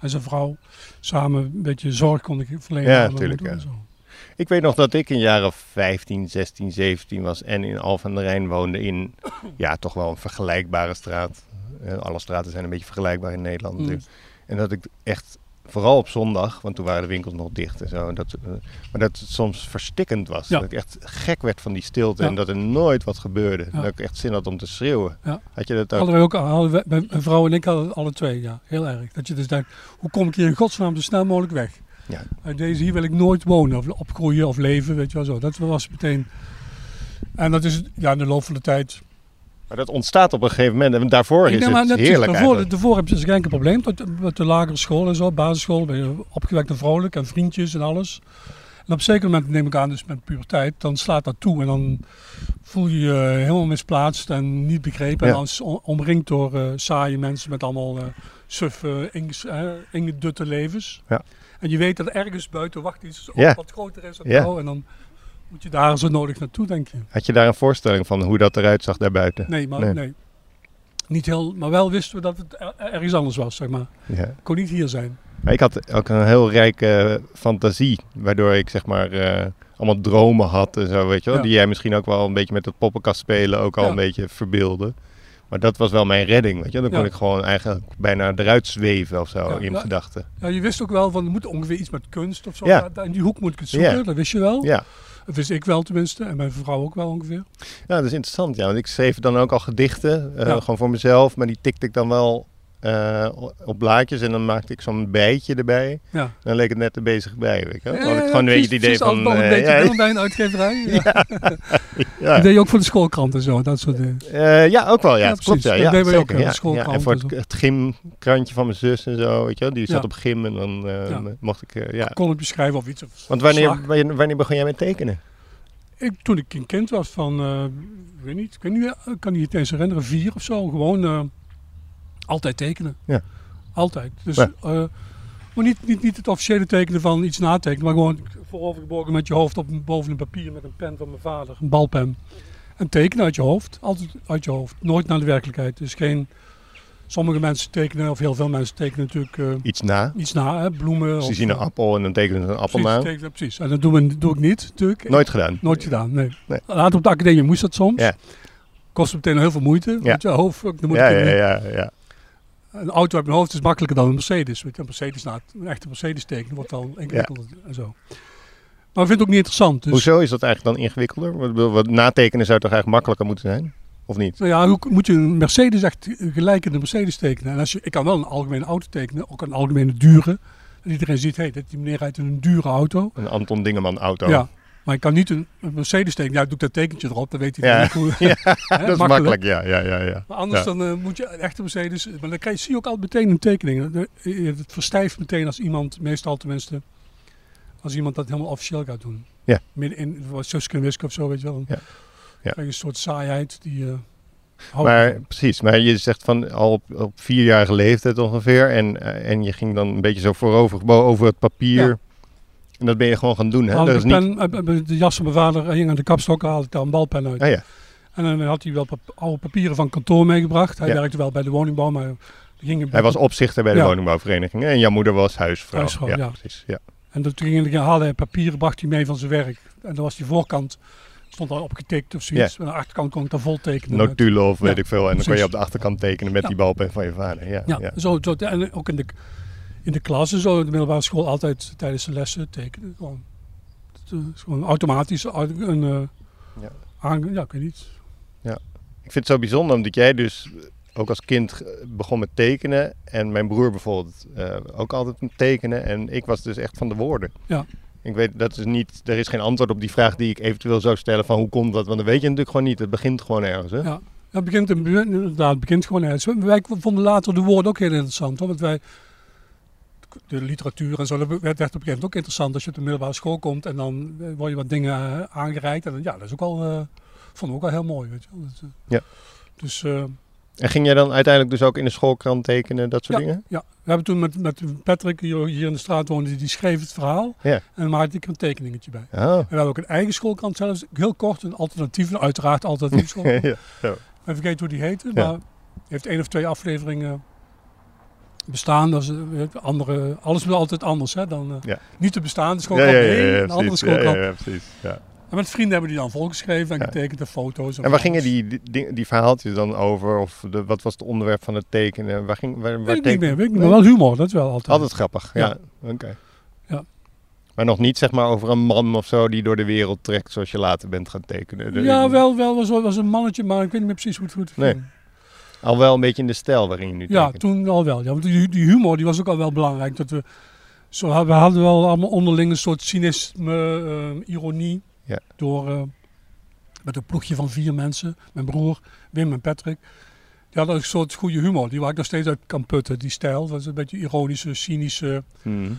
[SPEAKER 8] en zijn vrouw samen een beetje zorg konden ge- verlenen.
[SPEAKER 7] Ja,
[SPEAKER 8] aan mijn
[SPEAKER 7] tuurlijk,
[SPEAKER 8] moeder en
[SPEAKER 7] ja.
[SPEAKER 8] zo.
[SPEAKER 7] Ik weet nog dat ik een jaar of 15, 16, 17 was en in Alphen aan de Rijn woonde in ja, toch wel een vergelijkbare straat. Eh, Alle straten zijn een beetje vergelijkbaar in Nederland
[SPEAKER 8] Mm.
[SPEAKER 7] natuurlijk. En dat ik echt, vooral op zondag, want toen waren de winkels nog dicht en zo. en Dat, eh, maar dat het soms verstikkend was.
[SPEAKER 8] Ja.
[SPEAKER 7] Dat ik echt gek werd van die stilte
[SPEAKER 8] Ja.
[SPEAKER 7] en dat er nooit wat gebeurde.
[SPEAKER 8] Ja.
[SPEAKER 7] Dat ik echt zin had om te schreeuwen.
[SPEAKER 8] Ja.
[SPEAKER 7] Had je dat ook?
[SPEAKER 8] Hadden wij ook, hadden wij- mijn mijn vrouw en ik hadden het alle twee, ja. Heel erg. Dat je dus denkt, hoe kom ik hier in godsnaam zo snel mogelijk weg?
[SPEAKER 7] Ja.
[SPEAKER 8] Uit deze hier wil ik nooit wonen of opgroeien of leven, weet je wel zo. Dat was meteen... En dat is ja, in de loop van de tijd...
[SPEAKER 7] Maar dat ontstaat op een gegeven moment en daarvoor is
[SPEAKER 8] denk, maar
[SPEAKER 7] het
[SPEAKER 8] net-
[SPEAKER 7] heerlijk
[SPEAKER 8] daarvoor,
[SPEAKER 7] eigenlijk.
[SPEAKER 8] daarvoor heb je dus geen enkel probleem. Tot, met de lagere school en zo, basisschool, ben je opgewekt en vrolijk en vriendjes en alles. En op een zeker moment neem ik aan, dus met puberteit, dan slaat dat toe. En dan voel je je helemaal misplaatst en niet begrepen.
[SPEAKER 7] Ja.
[SPEAKER 8] En dan is o- omringd door eh, saaie mensen met allemaal eh suffe, inges- eh, ingedutte levens.
[SPEAKER 7] Ja.
[SPEAKER 8] En je weet dat ergens buiten wacht iets op
[SPEAKER 7] Ja.
[SPEAKER 8] wat groter is dan
[SPEAKER 7] Ja.
[SPEAKER 8] jou. En dan moet je daar zo nodig naartoe, denk je.
[SPEAKER 7] Had je daar een voorstelling van hoe dat eruit zag daarbuiten?
[SPEAKER 8] Nee, maar
[SPEAKER 7] Nee.
[SPEAKER 8] nee. Niet heel, maar wel wisten we dat het er- ergens anders was, zeg maar.
[SPEAKER 7] Ja.
[SPEAKER 8] Kon niet hier zijn.
[SPEAKER 7] Maar ik had ook een heel rijke fantasie, waardoor ik zeg maar eh, allemaal dromen had en zo, weet je wel.
[SPEAKER 8] Ja.
[SPEAKER 7] Die jij misschien ook wel een beetje met het poppenkast spelen ook al
[SPEAKER 8] Ja.
[SPEAKER 7] een beetje verbeelde. Maar dat was wel mijn redding, weet je. wel. Dan kon ik
[SPEAKER 8] Ja.
[SPEAKER 7] gewoon eigenlijk bijna eruit zweven of zo
[SPEAKER 8] Ja, nou,
[SPEAKER 7] in mijn
[SPEAKER 8] ja.
[SPEAKER 7] gedachten.
[SPEAKER 8] Ja, je wist ook wel van, er moet ongeveer iets met kunst of zo.
[SPEAKER 7] Ja.
[SPEAKER 8] Ja. daar- In die hoek moet ik het zoeken,
[SPEAKER 7] Ja.
[SPEAKER 8] dat wist je wel.
[SPEAKER 7] Ja.
[SPEAKER 8] Dat wist ik wel tenminste, en mijn vrouw ook wel ongeveer.
[SPEAKER 7] ja, dat is interessant. Ja, want ik schreef dan ook al gedichten, eh,
[SPEAKER 8] Ja.
[SPEAKER 7] gewoon voor mezelf. Maar die tikte ik dan wel eh, op blaadjes en dan maakte ik zo'n bijtje erbij.
[SPEAKER 8] Ja.
[SPEAKER 7] Dan leek het net er bezig bij, weet je wel. Dan had ik
[SPEAKER 8] Eh,
[SPEAKER 7] gewoon een
[SPEAKER 8] precies-
[SPEAKER 7] beetje het idee
[SPEAKER 8] precies
[SPEAKER 7] van...
[SPEAKER 8] als het al een
[SPEAKER 7] eh,
[SPEAKER 8] beetje
[SPEAKER 7] ja,
[SPEAKER 8] wil bij een uitgeverij. Ja.
[SPEAKER 7] <laughs>
[SPEAKER 8] <laughs>
[SPEAKER 7] ja.
[SPEAKER 8] Dat deed je ook voor de schoolkrant en zo, dat soort dingen.
[SPEAKER 7] Eh, ja, ook wel. Ja,
[SPEAKER 8] Ja,
[SPEAKER 7] dat klopt.
[SPEAKER 8] precies.
[SPEAKER 7] Ja,
[SPEAKER 8] Dat
[SPEAKER 7] ja,
[SPEAKER 8] deden wij ook,
[SPEAKER 7] zeker,
[SPEAKER 8] hè,
[SPEAKER 7] ja,
[SPEAKER 8] de schoolkrant
[SPEAKER 7] ja. En voor
[SPEAKER 8] en
[SPEAKER 7] het,
[SPEAKER 8] zo.
[SPEAKER 7] het gymkrantje van mijn zus en zo, weet je wel. Die zat
[SPEAKER 8] Ja.
[SPEAKER 7] op gym en dan eh,
[SPEAKER 8] Ja.
[SPEAKER 7] mocht ik, eh, ja.
[SPEAKER 8] Kolompjes schrijven of iets. Of
[SPEAKER 7] Want wanneer,
[SPEAKER 8] verslag.
[SPEAKER 7] wanneer, wanneer begon jij met tekenen?
[SPEAKER 8] Ik, toen ik een kind was van, eh, ik weet niet, ik weet niet, meer, ik kan niet het eens herinneren, vier of zo. Gewoon eh, altijd tekenen.
[SPEAKER 7] Ja.
[SPEAKER 8] Altijd. Dus,
[SPEAKER 7] Ja.
[SPEAKER 8] eh, maar niet, niet, niet het officiële tekenen van iets natekenen, maar gewoon voorovergebogen met je hoofd op, een- boven een papier met een pen van mijn vader, een balpen. En tekenen uit je hoofd, altijd uit je hoofd, nooit naar de werkelijkheid. Dus geen, sommige mensen tekenen, of heel veel mensen tekenen natuurlijk eh,
[SPEAKER 7] Iets na.
[SPEAKER 8] iets na, hè, bloemen.
[SPEAKER 7] Ze
[SPEAKER 8] of, eh,
[SPEAKER 7] zien een appel en dan tekenen ze een appel
[SPEAKER 8] Precies,
[SPEAKER 7] na.
[SPEAKER 8] tekenen, precies. En dat doen we, doe ik niet natuurlijk.
[SPEAKER 7] Nooit gedaan.
[SPEAKER 8] Nooit gedaan, nee.
[SPEAKER 7] Nee.
[SPEAKER 8] Later op de academie moest dat soms.
[SPEAKER 7] Ja.
[SPEAKER 8] Kostte meteen heel veel moeite. Weet je, hoofd, fuck, dan moet
[SPEAKER 7] Ja,
[SPEAKER 8] ik
[SPEAKER 7] ja,
[SPEAKER 8] een-
[SPEAKER 7] ja, ja.
[SPEAKER 8] Een auto uit mijn hoofd is makkelijker dan een Mercedes. Weet je, een Mercedes na, een echte Mercedes tekenen wordt al ingewikkelder en zo. Maar ik vind het ook niet interessant. Dus,
[SPEAKER 7] Hoezo is dat eigenlijk dan ingewikkelder? Wat, ik bedoel, wat natekenen zou toch eigenlijk makkelijker moeten zijn? Of niet?
[SPEAKER 8] Nou ja, hoe moet je een Mercedes echt gelijk in de Mercedes tekenen? En als je, ik kan wel een algemene auto tekenen, ook een algemene dure. Dat iedereen ziet, hé, dat die meneer rijdt in een dure auto.
[SPEAKER 7] Een Anton Dingeman auto.
[SPEAKER 8] Ja, maar ik kan niet een, een Mercedes tekenen. Ja, doe ik dat tekentje erop, dan weet hij
[SPEAKER 7] Ja.
[SPEAKER 8] niet hoe.
[SPEAKER 7] <laughs> <laughs> Ja,
[SPEAKER 8] Hè,
[SPEAKER 7] dat is makkelijk. Ja, ja, ja, ja.
[SPEAKER 8] Maar anders
[SPEAKER 7] Ja.
[SPEAKER 8] dan eh, moet je een echte Mercedes. Maar dan krijg je, zie je ook al meteen een tekening. De- eh, Het verstijft meteen als iemand, meestal tenminste, als iemand dat helemaal officieel gaat doen.
[SPEAKER 7] Ja.
[SPEAKER 8] Midden in wat Suske en Wiske of zo, weet je wel. Dan
[SPEAKER 7] Ja. Ja.
[SPEAKER 8] krijg je een soort saaiheid die. eh hou ik
[SPEAKER 7] Maar
[SPEAKER 8] niet van.
[SPEAKER 7] precies, maar je zegt van al op, op vierjarige leeftijd ongeveer. En, eh, en je ging dan een beetje zo voorover gebo- over het papier.
[SPEAKER 8] Ja.
[SPEAKER 7] En dat ben je gewoon gaan doen. Hè?
[SPEAKER 8] Haalde
[SPEAKER 7] Dat
[SPEAKER 8] ik
[SPEAKER 7] is
[SPEAKER 8] de,
[SPEAKER 7] niet.
[SPEAKER 8] pen, uit- uit de jas van mijn vader hing aan de kapstok, haalde ik daar een balpen uit.
[SPEAKER 7] Ah, ja.
[SPEAKER 8] En dan had hij wel pap- oude papieren van kantoor meegebracht. Hij
[SPEAKER 7] Ja.
[SPEAKER 8] werkte wel bij de woningbouw, maar hij ging een
[SPEAKER 7] Hij was opzichter bij de
[SPEAKER 8] Ja.
[SPEAKER 7] woningbouwvereniging. En jouw moeder was huisvrouw.
[SPEAKER 8] Huisvrouw, ja.
[SPEAKER 7] precies. Ja.
[SPEAKER 8] En dat toen ging hij haalde hij papieren, bracht hij mee van zijn werk. En dan was die voorkant, stond al opgetikt of zoiets. En aan de achterkant kon ik dan vol tekenen. met-
[SPEAKER 7] Notulen of weet
[SPEAKER 8] Ja,
[SPEAKER 7] ik veel. En dan kon je
[SPEAKER 8] precies.
[SPEAKER 7] op de achterkant tekenen met
[SPEAKER 8] Ja.
[SPEAKER 7] die balpen van je vader. Ja, ja.
[SPEAKER 8] Ja, Zo, zo, en ook in de, in de klas en zo, in de middelbare school, altijd tijdens de lessen tekenen. Gewoon, het is gewoon automatisch uit- een, eh,
[SPEAKER 7] Ja.
[SPEAKER 8] aange- ja, ik weet niet.
[SPEAKER 7] Ik vind het zo bijzonder omdat jij dus ook als kind eh, begon met tekenen. En mijn broer bijvoorbeeld eh, ook altijd met tekenen. En ik was dus echt van de woorden.
[SPEAKER 8] Ja.
[SPEAKER 7] Ik weet, dat is niet, er is geen antwoord op die vraag die ik eventueel zou stellen van hoe komt dat? Want dat weet je natuurlijk gewoon niet. Het begint gewoon ergens. Hè?
[SPEAKER 8] Ja. Ja, het begint, een- inderdaad, het begint gewoon ergens. Wij vonden later de woorden ook heel interessant. Hoor, want wij, de literatuur en zo, dat werd werd op een gegeven moment ook interessant. Als je op de middelbare school komt en dan eh, word je wat dingen eh, aangereikt. En dan, ja, dat is ook al, eh vonden we ook al heel mooi. Weet je wel. Dat, eh,
[SPEAKER 7] Ja.
[SPEAKER 8] Dus eh,
[SPEAKER 7] En ging jij dan uiteindelijk dus ook in de schoolkrant tekenen, dat soort dingen?
[SPEAKER 8] ja, we hebben toen met, met Patrick, die hier in de straat woonde, die schreef het verhaal.
[SPEAKER 7] Ja.
[SPEAKER 8] En daar maakte ik een tekeningetje bij.
[SPEAKER 7] Oh.
[SPEAKER 8] En we hadden ook een eigen schoolkrant zelfs, heel kort, een alternatieve, uiteraard alternatieve schoolkrant.
[SPEAKER 7] <laughs> ja.
[SPEAKER 8] Ik vergeet hoe die heette,
[SPEAKER 7] Ja.
[SPEAKER 8] maar heeft één of twee afleveringen bestaan, dat is, eh, andere, alles wordt altijd anders hè, dan eh,
[SPEAKER 7] Ja.
[SPEAKER 8] niet te bestaan. Het is
[SPEAKER 7] Ja,
[SPEAKER 8] gewoon
[SPEAKER 7] ja, ja,
[SPEAKER 8] kamp
[SPEAKER 7] ja,
[SPEAKER 8] heen,
[SPEAKER 7] ja,
[SPEAKER 8] en andere
[SPEAKER 7] precies.
[SPEAKER 8] is
[SPEAKER 7] Ja,
[SPEAKER 8] gewoon kamp.
[SPEAKER 7] ja, ja, precies. Ja.
[SPEAKER 8] En met vrienden hebben die dan volgeschreven en getekende foto's.
[SPEAKER 7] En waar
[SPEAKER 8] alles.
[SPEAKER 7] gingen die, die, ding- die verhaaltjes dan over? Of de, wat was het onderwerp van het tekenen? Waar ging, waar, waar
[SPEAKER 8] Weet ik niet
[SPEAKER 7] teken-
[SPEAKER 8] meer, weet ik niet meer. Wel humor, dat wel altijd.
[SPEAKER 7] Altijd grappig, ja.
[SPEAKER 8] Ja.
[SPEAKER 7] Oké.
[SPEAKER 8] Ja.
[SPEAKER 7] Maar nog niet zeg maar over een man of zo die door de wereld trekt zoals je later bent gaan tekenen. De-
[SPEAKER 8] Ja, wel, wel, was, was een mannetje, maar ik weet niet meer precies hoe het goed
[SPEAKER 7] Nee.
[SPEAKER 8] ging.
[SPEAKER 7] Al wel een beetje in de stijl waarin je nu
[SPEAKER 8] Ja,
[SPEAKER 7] tekent.
[SPEAKER 8] toen al wel. Ja, want die, die humor die was ook al wel belangrijk. Dat we, zo, hadden- we hadden wel allemaal onderling een soort cynisme, eh, ironie.
[SPEAKER 7] Ja.
[SPEAKER 8] Door, eh, met een ploegje van vier mensen. Mijn broer, Wim en Patrick. Die hadden ook een soort goede humor. Die waar ik nog steeds uit kan putten, die stijl. Dat is een beetje ironische, cynische
[SPEAKER 7] Mhm.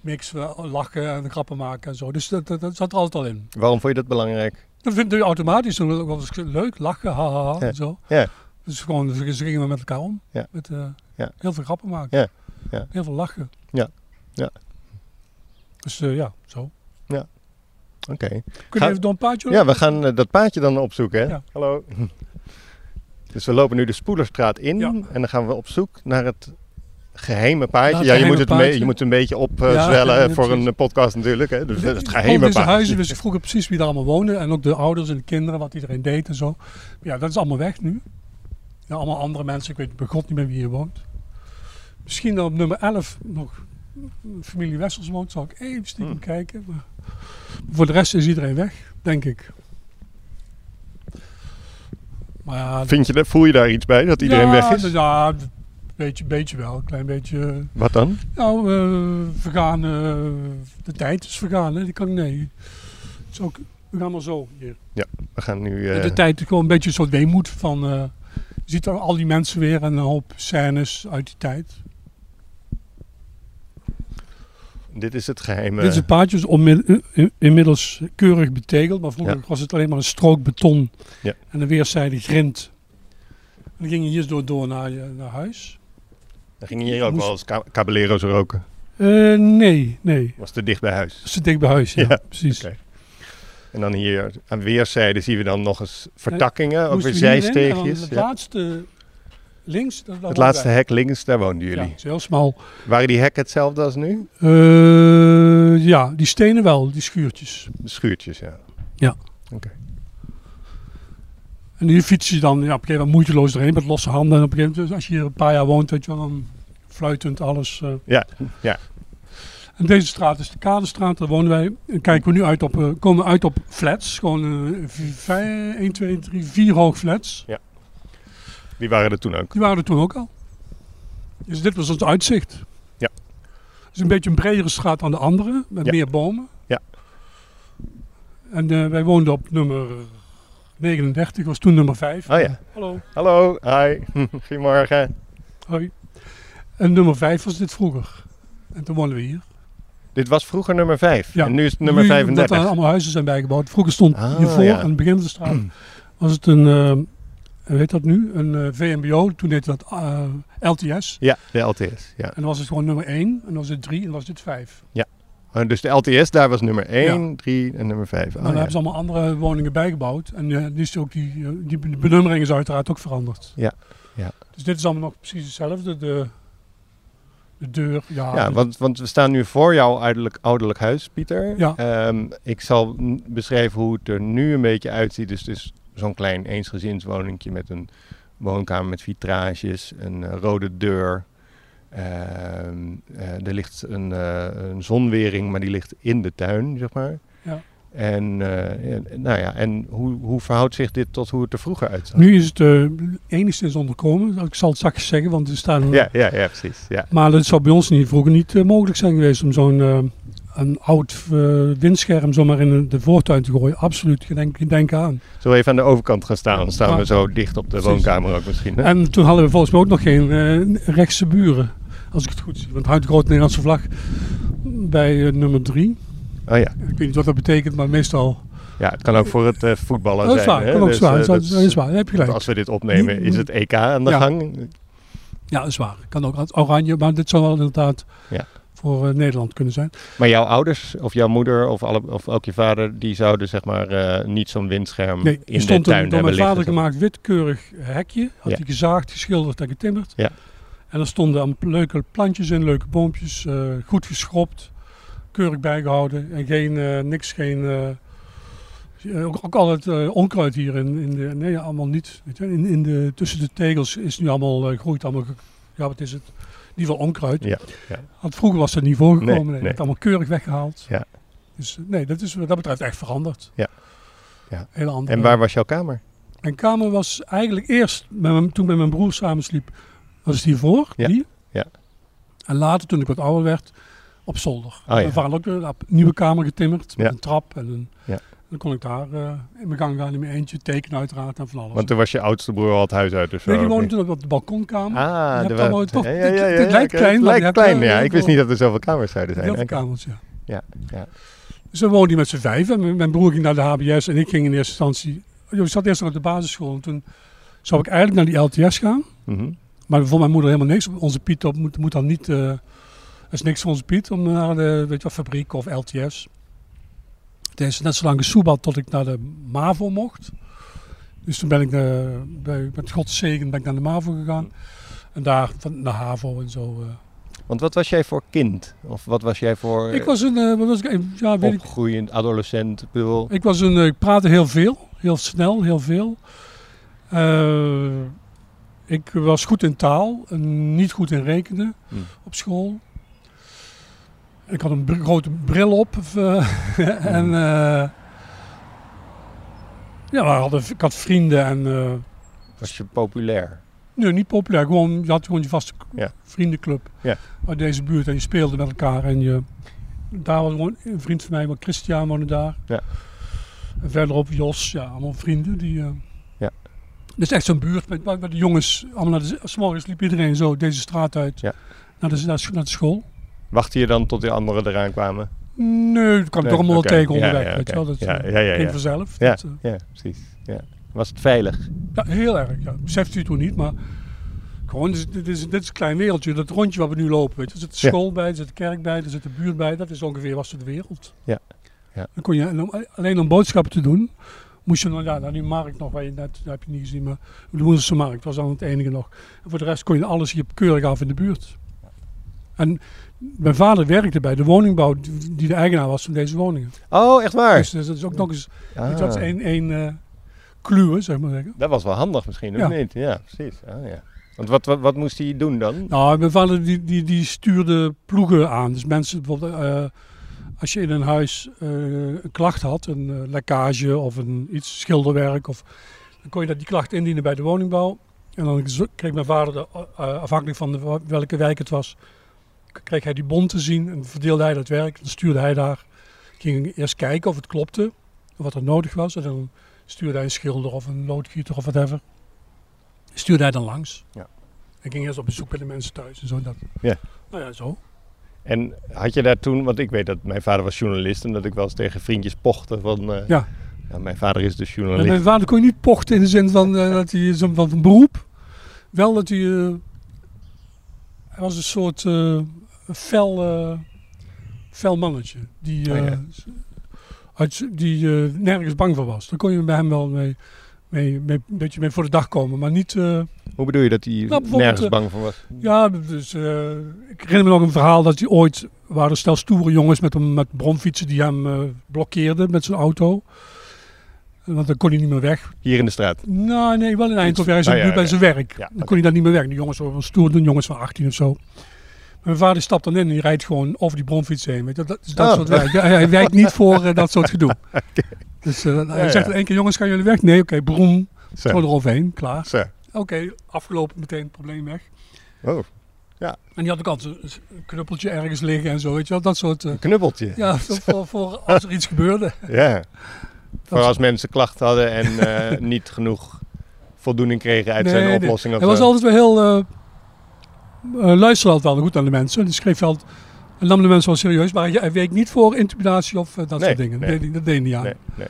[SPEAKER 8] mix. eh, Lachen en grappen maken en zo. Dus dat, dat, dat zat er altijd al in.
[SPEAKER 7] Waarom vond je dat belangrijk?
[SPEAKER 8] Dat vind je automatisch. Dat was leuk, lachen, haha, ha,
[SPEAKER 7] Ja.
[SPEAKER 8] en zo.
[SPEAKER 7] Ja.
[SPEAKER 8] Dus gewoon, ze ze gingen we met elkaar om.
[SPEAKER 7] Ja.
[SPEAKER 8] Met, eh,
[SPEAKER 7] Ja.
[SPEAKER 8] Heel veel grappen maken.
[SPEAKER 7] Ja. Ja.
[SPEAKER 8] Heel veel lachen.
[SPEAKER 7] Ja. Ja.
[SPEAKER 8] Dus eh, ja, zo.
[SPEAKER 7] Oké.
[SPEAKER 8] Kun je
[SPEAKER 7] Ga-
[SPEAKER 8] even door een paardje?
[SPEAKER 7] Ja, we gaan eh, dat paadje dan opzoeken. Hè?
[SPEAKER 8] Ja.
[SPEAKER 7] Hallo. <laughs> Dus we lopen nu de Spoelerstraat in
[SPEAKER 8] Ja.
[SPEAKER 7] en dan gaan we op zoek naar het geheime paadje.
[SPEAKER 8] Naar het
[SPEAKER 7] ja, je,
[SPEAKER 8] geheime
[SPEAKER 7] moet het een be-
[SPEAKER 8] paadje.
[SPEAKER 7] je moet een beetje
[SPEAKER 8] Ja,
[SPEAKER 7] opzwellen
[SPEAKER 8] ja, ja,
[SPEAKER 7] voor een
[SPEAKER 8] precies.
[SPEAKER 7] eh, podcast natuurlijk. Hè? Dus het
[SPEAKER 8] Al
[SPEAKER 7] geheime
[SPEAKER 8] deze
[SPEAKER 7] paadje.
[SPEAKER 8] huizen, dus ik vroeg ook precies wie daar allemaal woonde. En ook de ouders en de kinderen, wat iedereen deed en zo. Maar Ja, dat is allemaal weg nu. Ja, allemaal andere mensen. Ik weet bij god niet meer wie hier woont. Misschien dan op nummer 11 nog familie Wessels woont. Zal ik even stiekem
[SPEAKER 7] Hmm.
[SPEAKER 8] kijken. Maar voor de rest is iedereen weg, denk ik. Maar ja,
[SPEAKER 7] Vind je, dat- voel je daar iets bij dat iedereen
[SPEAKER 8] ja,
[SPEAKER 7] weg is?
[SPEAKER 8] d- Ja, een beetje, beetje wel. Een klein beetje. eh,
[SPEAKER 7] Wat dan?
[SPEAKER 8] nou, eh, vergaan. eh, de tijd is vergaan, hè? Die kan ik nee. Het is ook, we gaan maar zo. Hier.
[SPEAKER 7] We gaan nu.
[SPEAKER 8] De,
[SPEAKER 7] eh,
[SPEAKER 8] de tijd is gewoon een beetje een soort weemoed van. eh, je ziet al- al die mensen weer en een hoop scènes uit die tijd.
[SPEAKER 7] Dit is het geheime.
[SPEAKER 8] Dit is een paadje, is onmi- eh, in- inmiddels keurig betegeld. Maar vroeger
[SPEAKER 7] Ja.
[SPEAKER 8] was het alleen maar een strook beton
[SPEAKER 7] Ja.
[SPEAKER 8] en een weerszijdig grind. En dan ging je hier door, door naar, je- naar huis.
[SPEAKER 7] Dan gingen hier ook
[SPEAKER 8] moest-
[SPEAKER 7] wel eens ka- caballeros roken.
[SPEAKER 8] Eh, nee, nee.
[SPEAKER 7] Was te dicht bij huis.
[SPEAKER 8] Dat is te dik bij huis, ja.
[SPEAKER 7] Ja,
[SPEAKER 8] precies.
[SPEAKER 7] oké. En dan hier aan weerszijden zien we dan nog eens vertakkingen, ook
[SPEAKER 8] Eh, Moesten
[SPEAKER 7] weer
[SPEAKER 8] we hierin en dan
[SPEAKER 7] zijsteegjes.
[SPEAKER 8] Het
[SPEAKER 7] Ja.
[SPEAKER 8] laatste links. dat- dat
[SPEAKER 7] Het laatste
[SPEAKER 8] wij.
[SPEAKER 7] hek links, daar woonden jullie.
[SPEAKER 8] Ja, het is heel smal.
[SPEAKER 7] Waren die hekken hetzelfde als nu?
[SPEAKER 8] Eh, ja, die stenen wel, die schuurtjes.
[SPEAKER 7] De schuurtjes, ja.
[SPEAKER 8] En hier fiets je dan ja, op een gegeven moment moeiteloos erheen met losse handen. En op een gegeven moment, dus als je hier een paar jaar woont, weet je wel, dan fluitend alles. eh.
[SPEAKER 7] Ja, ja.
[SPEAKER 8] En deze straat is de Kadestraat, daar wonen wij. En kijken we nu uit op, eh, komen we uit op flats. Gewoon eh, vi- vij- 1, 2, 3, 4 hoog flats.
[SPEAKER 7] Die waren er toen ook.
[SPEAKER 8] Die waren er toen ook al. Dus dit was ons uitzicht.
[SPEAKER 7] Ja.
[SPEAKER 8] Het is een beetje een bredere straat dan de andere, met
[SPEAKER 7] Ja.
[SPEAKER 8] meer bomen.
[SPEAKER 7] Ja.
[SPEAKER 8] En eh, wij woonden op nummer 39, was toen nummer 5.
[SPEAKER 7] Oh ja.
[SPEAKER 8] Hallo.
[SPEAKER 7] Hallo, hi. <laughs> Goedemorgen.
[SPEAKER 8] Hoi. En nummer 5 was dit vroeger. En toen woonden we hier.
[SPEAKER 7] Dit was vroeger nummer 5.
[SPEAKER 8] Ja.
[SPEAKER 7] En nu is het nummer
[SPEAKER 8] Nu, Omdat
[SPEAKER 7] 35.
[SPEAKER 8] er allemaal huizen zijn bijgebouwd. Vroeger stond
[SPEAKER 7] Ah,
[SPEAKER 8] hiervoor,
[SPEAKER 7] ja. Hmm.
[SPEAKER 8] aan het begin van de straat, was het een, eh, hoe heet dat nu? Een eh, VMBO, toen heette dat eh, LTS.
[SPEAKER 7] Ja, de LTS. Ja.
[SPEAKER 8] En dan was het gewoon nummer 1, en dan was het 3, en dan was dit 5.
[SPEAKER 7] Oh, Dus de LTS, daar was nummer 1, 3 en nummer Oh 5.
[SPEAKER 8] Maar Nou, daar hebben ze allemaal andere woningen bijgebouwd. En eh, die, is ook die, eh, die be- de benummering is uiteraard ook veranderd.
[SPEAKER 7] Ja, ja.
[SPEAKER 8] Dus dit is allemaal nog precies hetzelfde. De, de deur, Ah, ja.
[SPEAKER 7] Ja, want, want we staan nu voor jouw ouderlijk, ouderlijk huis, Pieter.
[SPEAKER 8] Ja.
[SPEAKER 7] Ehm, ik zal n- beschrijven hoe het er nu een beetje uitziet. Dus het is zo'n klein eensgezinswoninkje met een woonkamer met vitrages, een eh, rode deur. Ehm, eh, er ligt een, eh, een zonwering, maar die ligt in de tuin, zeg maar.
[SPEAKER 8] Ja.
[SPEAKER 7] En, eh, en- nou ja, en hoe, hoe verhoudt zich dit tot hoe het er vroeger uitzag?
[SPEAKER 8] Nu is het eh, enigszins onderkomen. Ik zal het zachtjes zeggen, want er staan...
[SPEAKER 7] Ja, ja, ja, precies. Ja.
[SPEAKER 8] Maar dat zou bij ons niet, vroeger niet eh, mogelijk zijn geweest om zo'n eh, een oud eh, windscherm zomaar in een- de voortuin te gooien. Absoluut, geen denk, denk aan.
[SPEAKER 7] Zullen we even aan de overkant gaan staan? Dan staan
[SPEAKER 8] Ja.
[SPEAKER 7] we zo dicht op de
[SPEAKER 8] Precies.
[SPEAKER 7] woonkamer ook misschien. Hè?
[SPEAKER 8] En toen hadden we volgens mij ook nog geen eh, rechtse buren. Als ik het goed zie. Want houdt de grote Nederlandse vlag bij eh, nummer 3.
[SPEAKER 7] Oh ja.
[SPEAKER 8] Ik weet niet wat dat betekent, maar meestal. Oh,
[SPEAKER 7] Ja, het kan ook voor het eh, voetballen
[SPEAKER 8] Dat is
[SPEAKER 7] zijn.
[SPEAKER 8] waar,
[SPEAKER 7] hè?
[SPEAKER 8] kan ook
[SPEAKER 7] Dus,
[SPEAKER 8] zwaar.
[SPEAKER 7] eh,
[SPEAKER 8] dat,
[SPEAKER 7] dat
[SPEAKER 8] is,
[SPEAKER 7] is-
[SPEAKER 8] dat is waar, dat heb je
[SPEAKER 7] want
[SPEAKER 8] gelijk.
[SPEAKER 7] Als we dit opnemen, is het EK aan de
[SPEAKER 8] Ja.
[SPEAKER 7] gang.
[SPEAKER 8] Ja, dat is waar. Kan ook als oranje, maar dit zou wel inderdaad
[SPEAKER 7] Ja.
[SPEAKER 8] voor eh, Nederland kunnen zijn.
[SPEAKER 7] Maar jouw ouders of jouw moeder of, alle, of ook je vader, die zouden zeg maar eh, niet zo'n windscherm
[SPEAKER 8] Nee,
[SPEAKER 7] hm, in
[SPEAKER 8] er
[SPEAKER 7] de
[SPEAKER 8] stond
[SPEAKER 7] tuin
[SPEAKER 8] een door mijn
[SPEAKER 7] hebben
[SPEAKER 8] vader
[SPEAKER 7] liggen.
[SPEAKER 8] gemaakt witkeurig hekje. Had
[SPEAKER 7] Ja.
[SPEAKER 8] hij gezaagd, geschilderd en getimmerd.
[SPEAKER 7] Ja.
[SPEAKER 8] En En er stonden allemaal leuke plantjes in, leuke boompjes, eh, goed geschropt, keurig bijgehouden. En geen, eh, niks, geen... eh, ook, ook al het eh, onkruid hier in, in de... Nee, allemaal niet. Weet je, in, in de, tussen de tegels is nu allemaal, eh, groeit allemaal... ge- Ja, wat is het? In ieder geval onkruid.
[SPEAKER 7] Ja, ja.
[SPEAKER 8] Want vroeger was dat niet voorgekomen.
[SPEAKER 7] Nee,
[SPEAKER 8] Nee,
[SPEAKER 7] nee.
[SPEAKER 8] Het allemaal keurig weggehaald.
[SPEAKER 7] Ja.
[SPEAKER 8] Dus eh, nee, dat is wat dat betreft echt veranderd.
[SPEAKER 7] Ja. Ja.
[SPEAKER 8] Hele andere...
[SPEAKER 7] En waar was jouw kamer?
[SPEAKER 8] Mijn kamer was eigenlijk eerst, met mijn- toen ik met mijn broer samen sliep, was het hiervoor,
[SPEAKER 7] Ja,
[SPEAKER 8] die.
[SPEAKER 7] ja.
[SPEAKER 8] En later, toen ik wat ouder werd, op zolder.
[SPEAKER 7] Oh, ja.
[SPEAKER 8] Mijn vader had ook een lap- nieuwe kamer getimmerd,
[SPEAKER 7] Ja.
[SPEAKER 8] met een trap. En een,
[SPEAKER 7] Ja.
[SPEAKER 8] dan kon ik daar eh, in mijn gang gaan, in mijn eentje, tekenen uiteraard en van alles.
[SPEAKER 7] Want toen was je oudste broer al het huis uit dus.
[SPEAKER 8] Nee, die woonde toen op de balkonkamer.
[SPEAKER 7] Ah,
[SPEAKER 8] hebt
[SPEAKER 7] de
[SPEAKER 8] allemaal-
[SPEAKER 7] wa-
[SPEAKER 8] toch,
[SPEAKER 7] ja, ja,
[SPEAKER 8] dit-
[SPEAKER 7] ja,
[SPEAKER 8] dit
[SPEAKER 7] ja, ja,
[SPEAKER 8] lijkt
[SPEAKER 7] oké,
[SPEAKER 8] klein,
[SPEAKER 7] het
[SPEAKER 8] maar je
[SPEAKER 7] lijkt
[SPEAKER 8] hebt
[SPEAKER 7] klein,
[SPEAKER 8] wel
[SPEAKER 7] ja.
[SPEAKER 8] heel
[SPEAKER 7] Ik wist
[SPEAKER 8] veel-
[SPEAKER 7] niet dat er zoveel kamers zouden
[SPEAKER 8] Die
[SPEAKER 7] zijn.
[SPEAKER 8] had de
[SPEAKER 7] Oké.
[SPEAKER 8] kamers, ja.
[SPEAKER 7] Ja, ja.
[SPEAKER 8] Dus dan woonden die met z'n vijf. En mijn- mijn broer ging naar de HBS en ik ging in eerste instantie... Ik zat eerst nog op de basisschool en toen zou ik eigenlijk naar die LTS gaan.
[SPEAKER 7] Mhm.
[SPEAKER 8] Maar voor mijn moeder helemaal niks. Onze Piet op, moet, moet dan niet. eh dat is niks voor onze Piet om naar de weet je wat, fabriek of LTS. Het is net zo lang gesoebeld tot ik naar de MAVO mocht. Dus toen ben ik eh, bij, met Gods zegen ben ik naar de MAVO gegaan. En daar van, naar HAVO en zo. eh.
[SPEAKER 7] Want wat was jij voor kind? Of wat was jij voor
[SPEAKER 8] Ik was een. eh, wat was ik? Ja, weet ik,
[SPEAKER 7] opgroeiend adolescent? Ik bedoel,
[SPEAKER 8] Ik was een, eh, ik praatte heel veel, heel snel, heel veel. Eh, ik was goed in taal, en niet goed in rekenen
[SPEAKER 7] Hmm.
[SPEAKER 8] op school. Ik had een br- grote bril op of, eh, <laughs> en eh, ja, we hadden, ik had vrienden en eh,
[SPEAKER 7] was je populair?
[SPEAKER 8] nee, niet populair. Gewoon, je had gewoon je vaste k-
[SPEAKER 7] Ja.
[SPEAKER 8] vriendenclub
[SPEAKER 7] Ja.
[SPEAKER 8] uit deze buurt en je speelde met elkaar. En je, daar was gewoon een vriend van mij, maar Christian woonde daar.
[SPEAKER 7] Ja.
[SPEAKER 8] En verderop Jos, ja, allemaal vrienden. Die, eh,
[SPEAKER 7] Ja.
[SPEAKER 8] Het is echt zo'n buurt met, waar waar de jongens, allemaal naar de, s morgens liep iedereen zo deze straat uit
[SPEAKER 7] Ja.
[SPEAKER 8] naar, de, naar, naar de school.
[SPEAKER 7] Wachtte je dan tot de anderen eraan kwamen?
[SPEAKER 8] Nee, dat kan ik
[SPEAKER 7] Nee,
[SPEAKER 8] toch allemaal
[SPEAKER 7] oké.
[SPEAKER 8] wel
[SPEAKER 7] Ja,
[SPEAKER 8] tegen onderweg,
[SPEAKER 7] ja,
[SPEAKER 8] weet je
[SPEAKER 7] oké.
[SPEAKER 8] wel. Dat
[SPEAKER 7] Ja,
[SPEAKER 8] eh,
[SPEAKER 7] ja, ja,
[SPEAKER 8] ging
[SPEAKER 7] ja.
[SPEAKER 8] vanzelf.
[SPEAKER 7] Ja.
[SPEAKER 8] Dat, eh,
[SPEAKER 7] Ja, precies. Ja. Was het veilig?
[SPEAKER 8] Ja, heel erg. Ja. Beseft u het toen niet, maar gewoon, dit is, dit, is, dit is een klein wereldje. Dat rondje waar we nu lopen, weet je. Er zit de
[SPEAKER 7] Ja.
[SPEAKER 8] school bij, er zit de kerk bij, er zit de buurt bij. Dat is ongeveer was het wereld.
[SPEAKER 7] Ja. Ja.
[SPEAKER 8] Dan kon je, en om- alleen om boodschappen te doen, moest je dan ja, naar die markt nog, waar je net, dat heb je niet gezien, maar de Woendense markt was dan het enige nog. En voor de rest kon je alles hier keurig af in de buurt. En mijn vader werkte bij de woningbouw die die de eigenaar was van deze woningen.
[SPEAKER 7] Oh, echt waar?
[SPEAKER 8] Dus, dat is ook nog eens,
[SPEAKER 7] Ah,
[SPEAKER 8] weet je, dat is één, één eh, kluwe, zeg maar zeggen.
[SPEAKER 7] dat was wel handig misschien, of
[SPEAKER 8] Ja.
[SPEAKER 7] niet? Ja, precies. Ah, ja. Want wat, wat, wat moest hij doen dan?
[SPEAKER 8] Nou, mijn vader die, die, die stuurde ploegen aan. Dus mensen bijvoorbeeld, eh, als je in een huis eh, een klacht had, een eh, lekkage of een, iets schilderwerk, of, dan kon je dat, die klacht indienen bij de woningbouw. En dan zo- kreeg mijn vader, de, eh, afhankelijk van de wa- welke wijk het was, k- kreeg hij die bon te zien en verdeelde hij dat werk. Dan stuurde hij daar, ging eerst kijken of het klopte, wat er nodig was. En dan stuurde hij een schilder of een loodgieter of whatever. Stuurde hij dan langs. Ik ging eerst op bezoek bij de mensen thuis en zo. Dat.
[SPEAKER 7] Ja.
[SPEAKER 8] Nou ja, zo.
[SPEAKER 7] En had je daar toen, want ik weet dat mijn vader was journalist en dat ik wel eens tegen vriendjes pochte van. eh,
[SPEAKER 8] Ja.
[SPEAKER 7] nou, mijn vader is dus
[SPEAKER 8] En
[SPEAKER 7] journalist.
[SPEAKER 8] mijn vader kon je niet pochten in de zin van eh, dat hij zo, van een beroep. Wel dat hij. eh, hij was een soort eh, fel, eh, fel mannetje. Die,
[SPEAKER 7] Oh ja.
[SPEAKER 8] eh, uit, die eh, nergens bang voor was. Daar kon je bij hem wel mee, mee, mee, een beetje mee voor de dag komen. Maar niet. eh,
[SPEAKER 7] Hoe bedoel je dat hij
[SPEAKER 8] bijvoorbeeld,
[SPEAKER 7] nergens
[SPEAKER 8] eh,
[SPEAKER 7] bang voor was?
[SPEAKER 8] Ja, dus, eh, ik herinner me nog een verhaal dat hij ooit waren er stel stoere jongens met, hem, met bromfietsen die hem eh, blokkeerden met zijn auto. En Want dan kon hij niet meer weg.
[SPEAKER 7] Hier in de straat.
[SPEAKER 8] Nou, nee, wel in Eindhoven. Hij is
[SPEAKER 7] Oh,
[SPEAKER 8] nu
[SPEAKER 7] ja,
[SPEAKER 8] bij
[SPEAKER 7] ja.
[SPEAKER 8] zijn werk.
[SPEAKER 7] Ja,
[SPEAKER 8] dan kon hij daar niet meer weg. De jongens waren wel stoer doen, jongens van 18 of zo. Maar mijn vader stapt dan in en die rijdt gewoon over die bromfiets heen. Weet je, dat dat, is dat
[SPEAKER 7] Oh.
[SPEAKER 8] soort werk. Ja, hij werkt niet voor eh, dat soort
[SPEAKER 7] <laughs>
[SPEAKER 8] gedoe. Dus eh, hij
[SPEAKER 7] Ja,
[SPEAKER 8] zegt
[SPEAKER 7] ja.
[SPEAKER 8] in één keer, jongens, gaan jullie weg? Nee, oké, brom.
[SPEAKER 7] Zo.
[SPEAKER 8] Gewoon eroverheen, klaar.
[SPEAKER 7] Zo.
[SPEAKER 8] Oké, afgelopen, meteen, probleem weg.
[SPEAKER 7] Oh,
[SPEAKER 8] En die had ook altijd een knuppeltje ergens liggen en zo, weet je wel. Dat soort, eh,
[SPEAKER 7] een knuppeltje.
[SPEAKER 8] ja, <laughs> zo voor, voor als er iets gebeurde. <laughs>
[SPEAKER 7] Ja. Voor als mensen klachten hadden en eh, <laughs> niet genoeg voldoening kregen uit
[SPEAKER 8] Nee,
[SPEAKER 7] zijn
[SPEAKER 8] nee.
[SPEAKER 7] oplossing. of
[SPEAKER 8] Hij was
[SPEAKER 7] zo.
[SPEAKER 8] altijd wel heel, eh eh, luisterde altijd wel goed aan de mensen. Die schreef wel, en nam de mensen wel serieus. Maar hij, hij week niet voor intimidatie of eh, dat
[SPEAKER 7] Nee,
[SPEAKER 8] soort dingen. Dat
[SPEAKER 7] nee.
[SPEAKER 8] deed hij- Dat deed hij niet aan.
[SPEAKER 7] Nee, nee.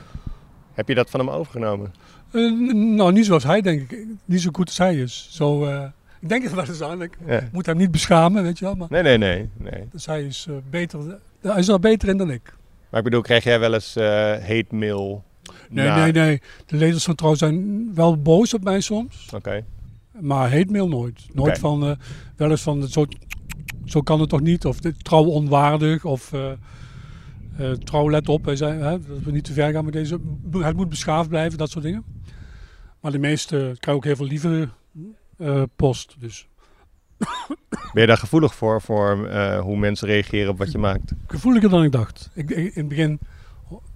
[SPEAKER 7] Heb je dat van hem overgenomen?
[SPEAKER 8] Eh, n- nou, niet zoals hij, denk ik. Niet zo goed als hij is. Zo, eh, ik denk <laughs> er wel eens aan. Ik
[SPEAKER 7] Ja.
[SPEAKER 8] moet hem niet beschamen, weet je wel. Maar
[SPEAKER 7] Nee, nee, nee, nee.
[SPEAKER 8] dus hij is eh, beter... hij is er beter in dan ik.
[SPEAKER 7] Maar ik bedoel, kreeg jij wel eens eh hate mail?
[SPEAKER 8] Nee,
[SPEAKER 7] na-
[SPEAKER 8] nee, nee. De lezers van Trouw zijn wel boos op mij soms.
[SPEAKER 7] Oké.
[SPEAKER 8] Eh, Maar heet mail nooit. Nooit
[SPEAKER 7] Oké.
[SPEAKER 8] van, eh, wel eens van, zo, zo kan het toch niet? Of dit, trouw onwaardig, of eh, eh, trouw let op, wij zijn, hè, dat we niet te ver gaan met deze. Het moet beschaafd blijven, dat soort dingen. Maar de meeste krijgen ook heel veel lieve eh, post. Dus
[SPEAKER 7] Ben je daar gevoelig voor, voor eh, hoe mensen reageren op wat je maakt?
[SPEAKER 8] gevoeliger dan ik dacht. Ik, ik- in het begin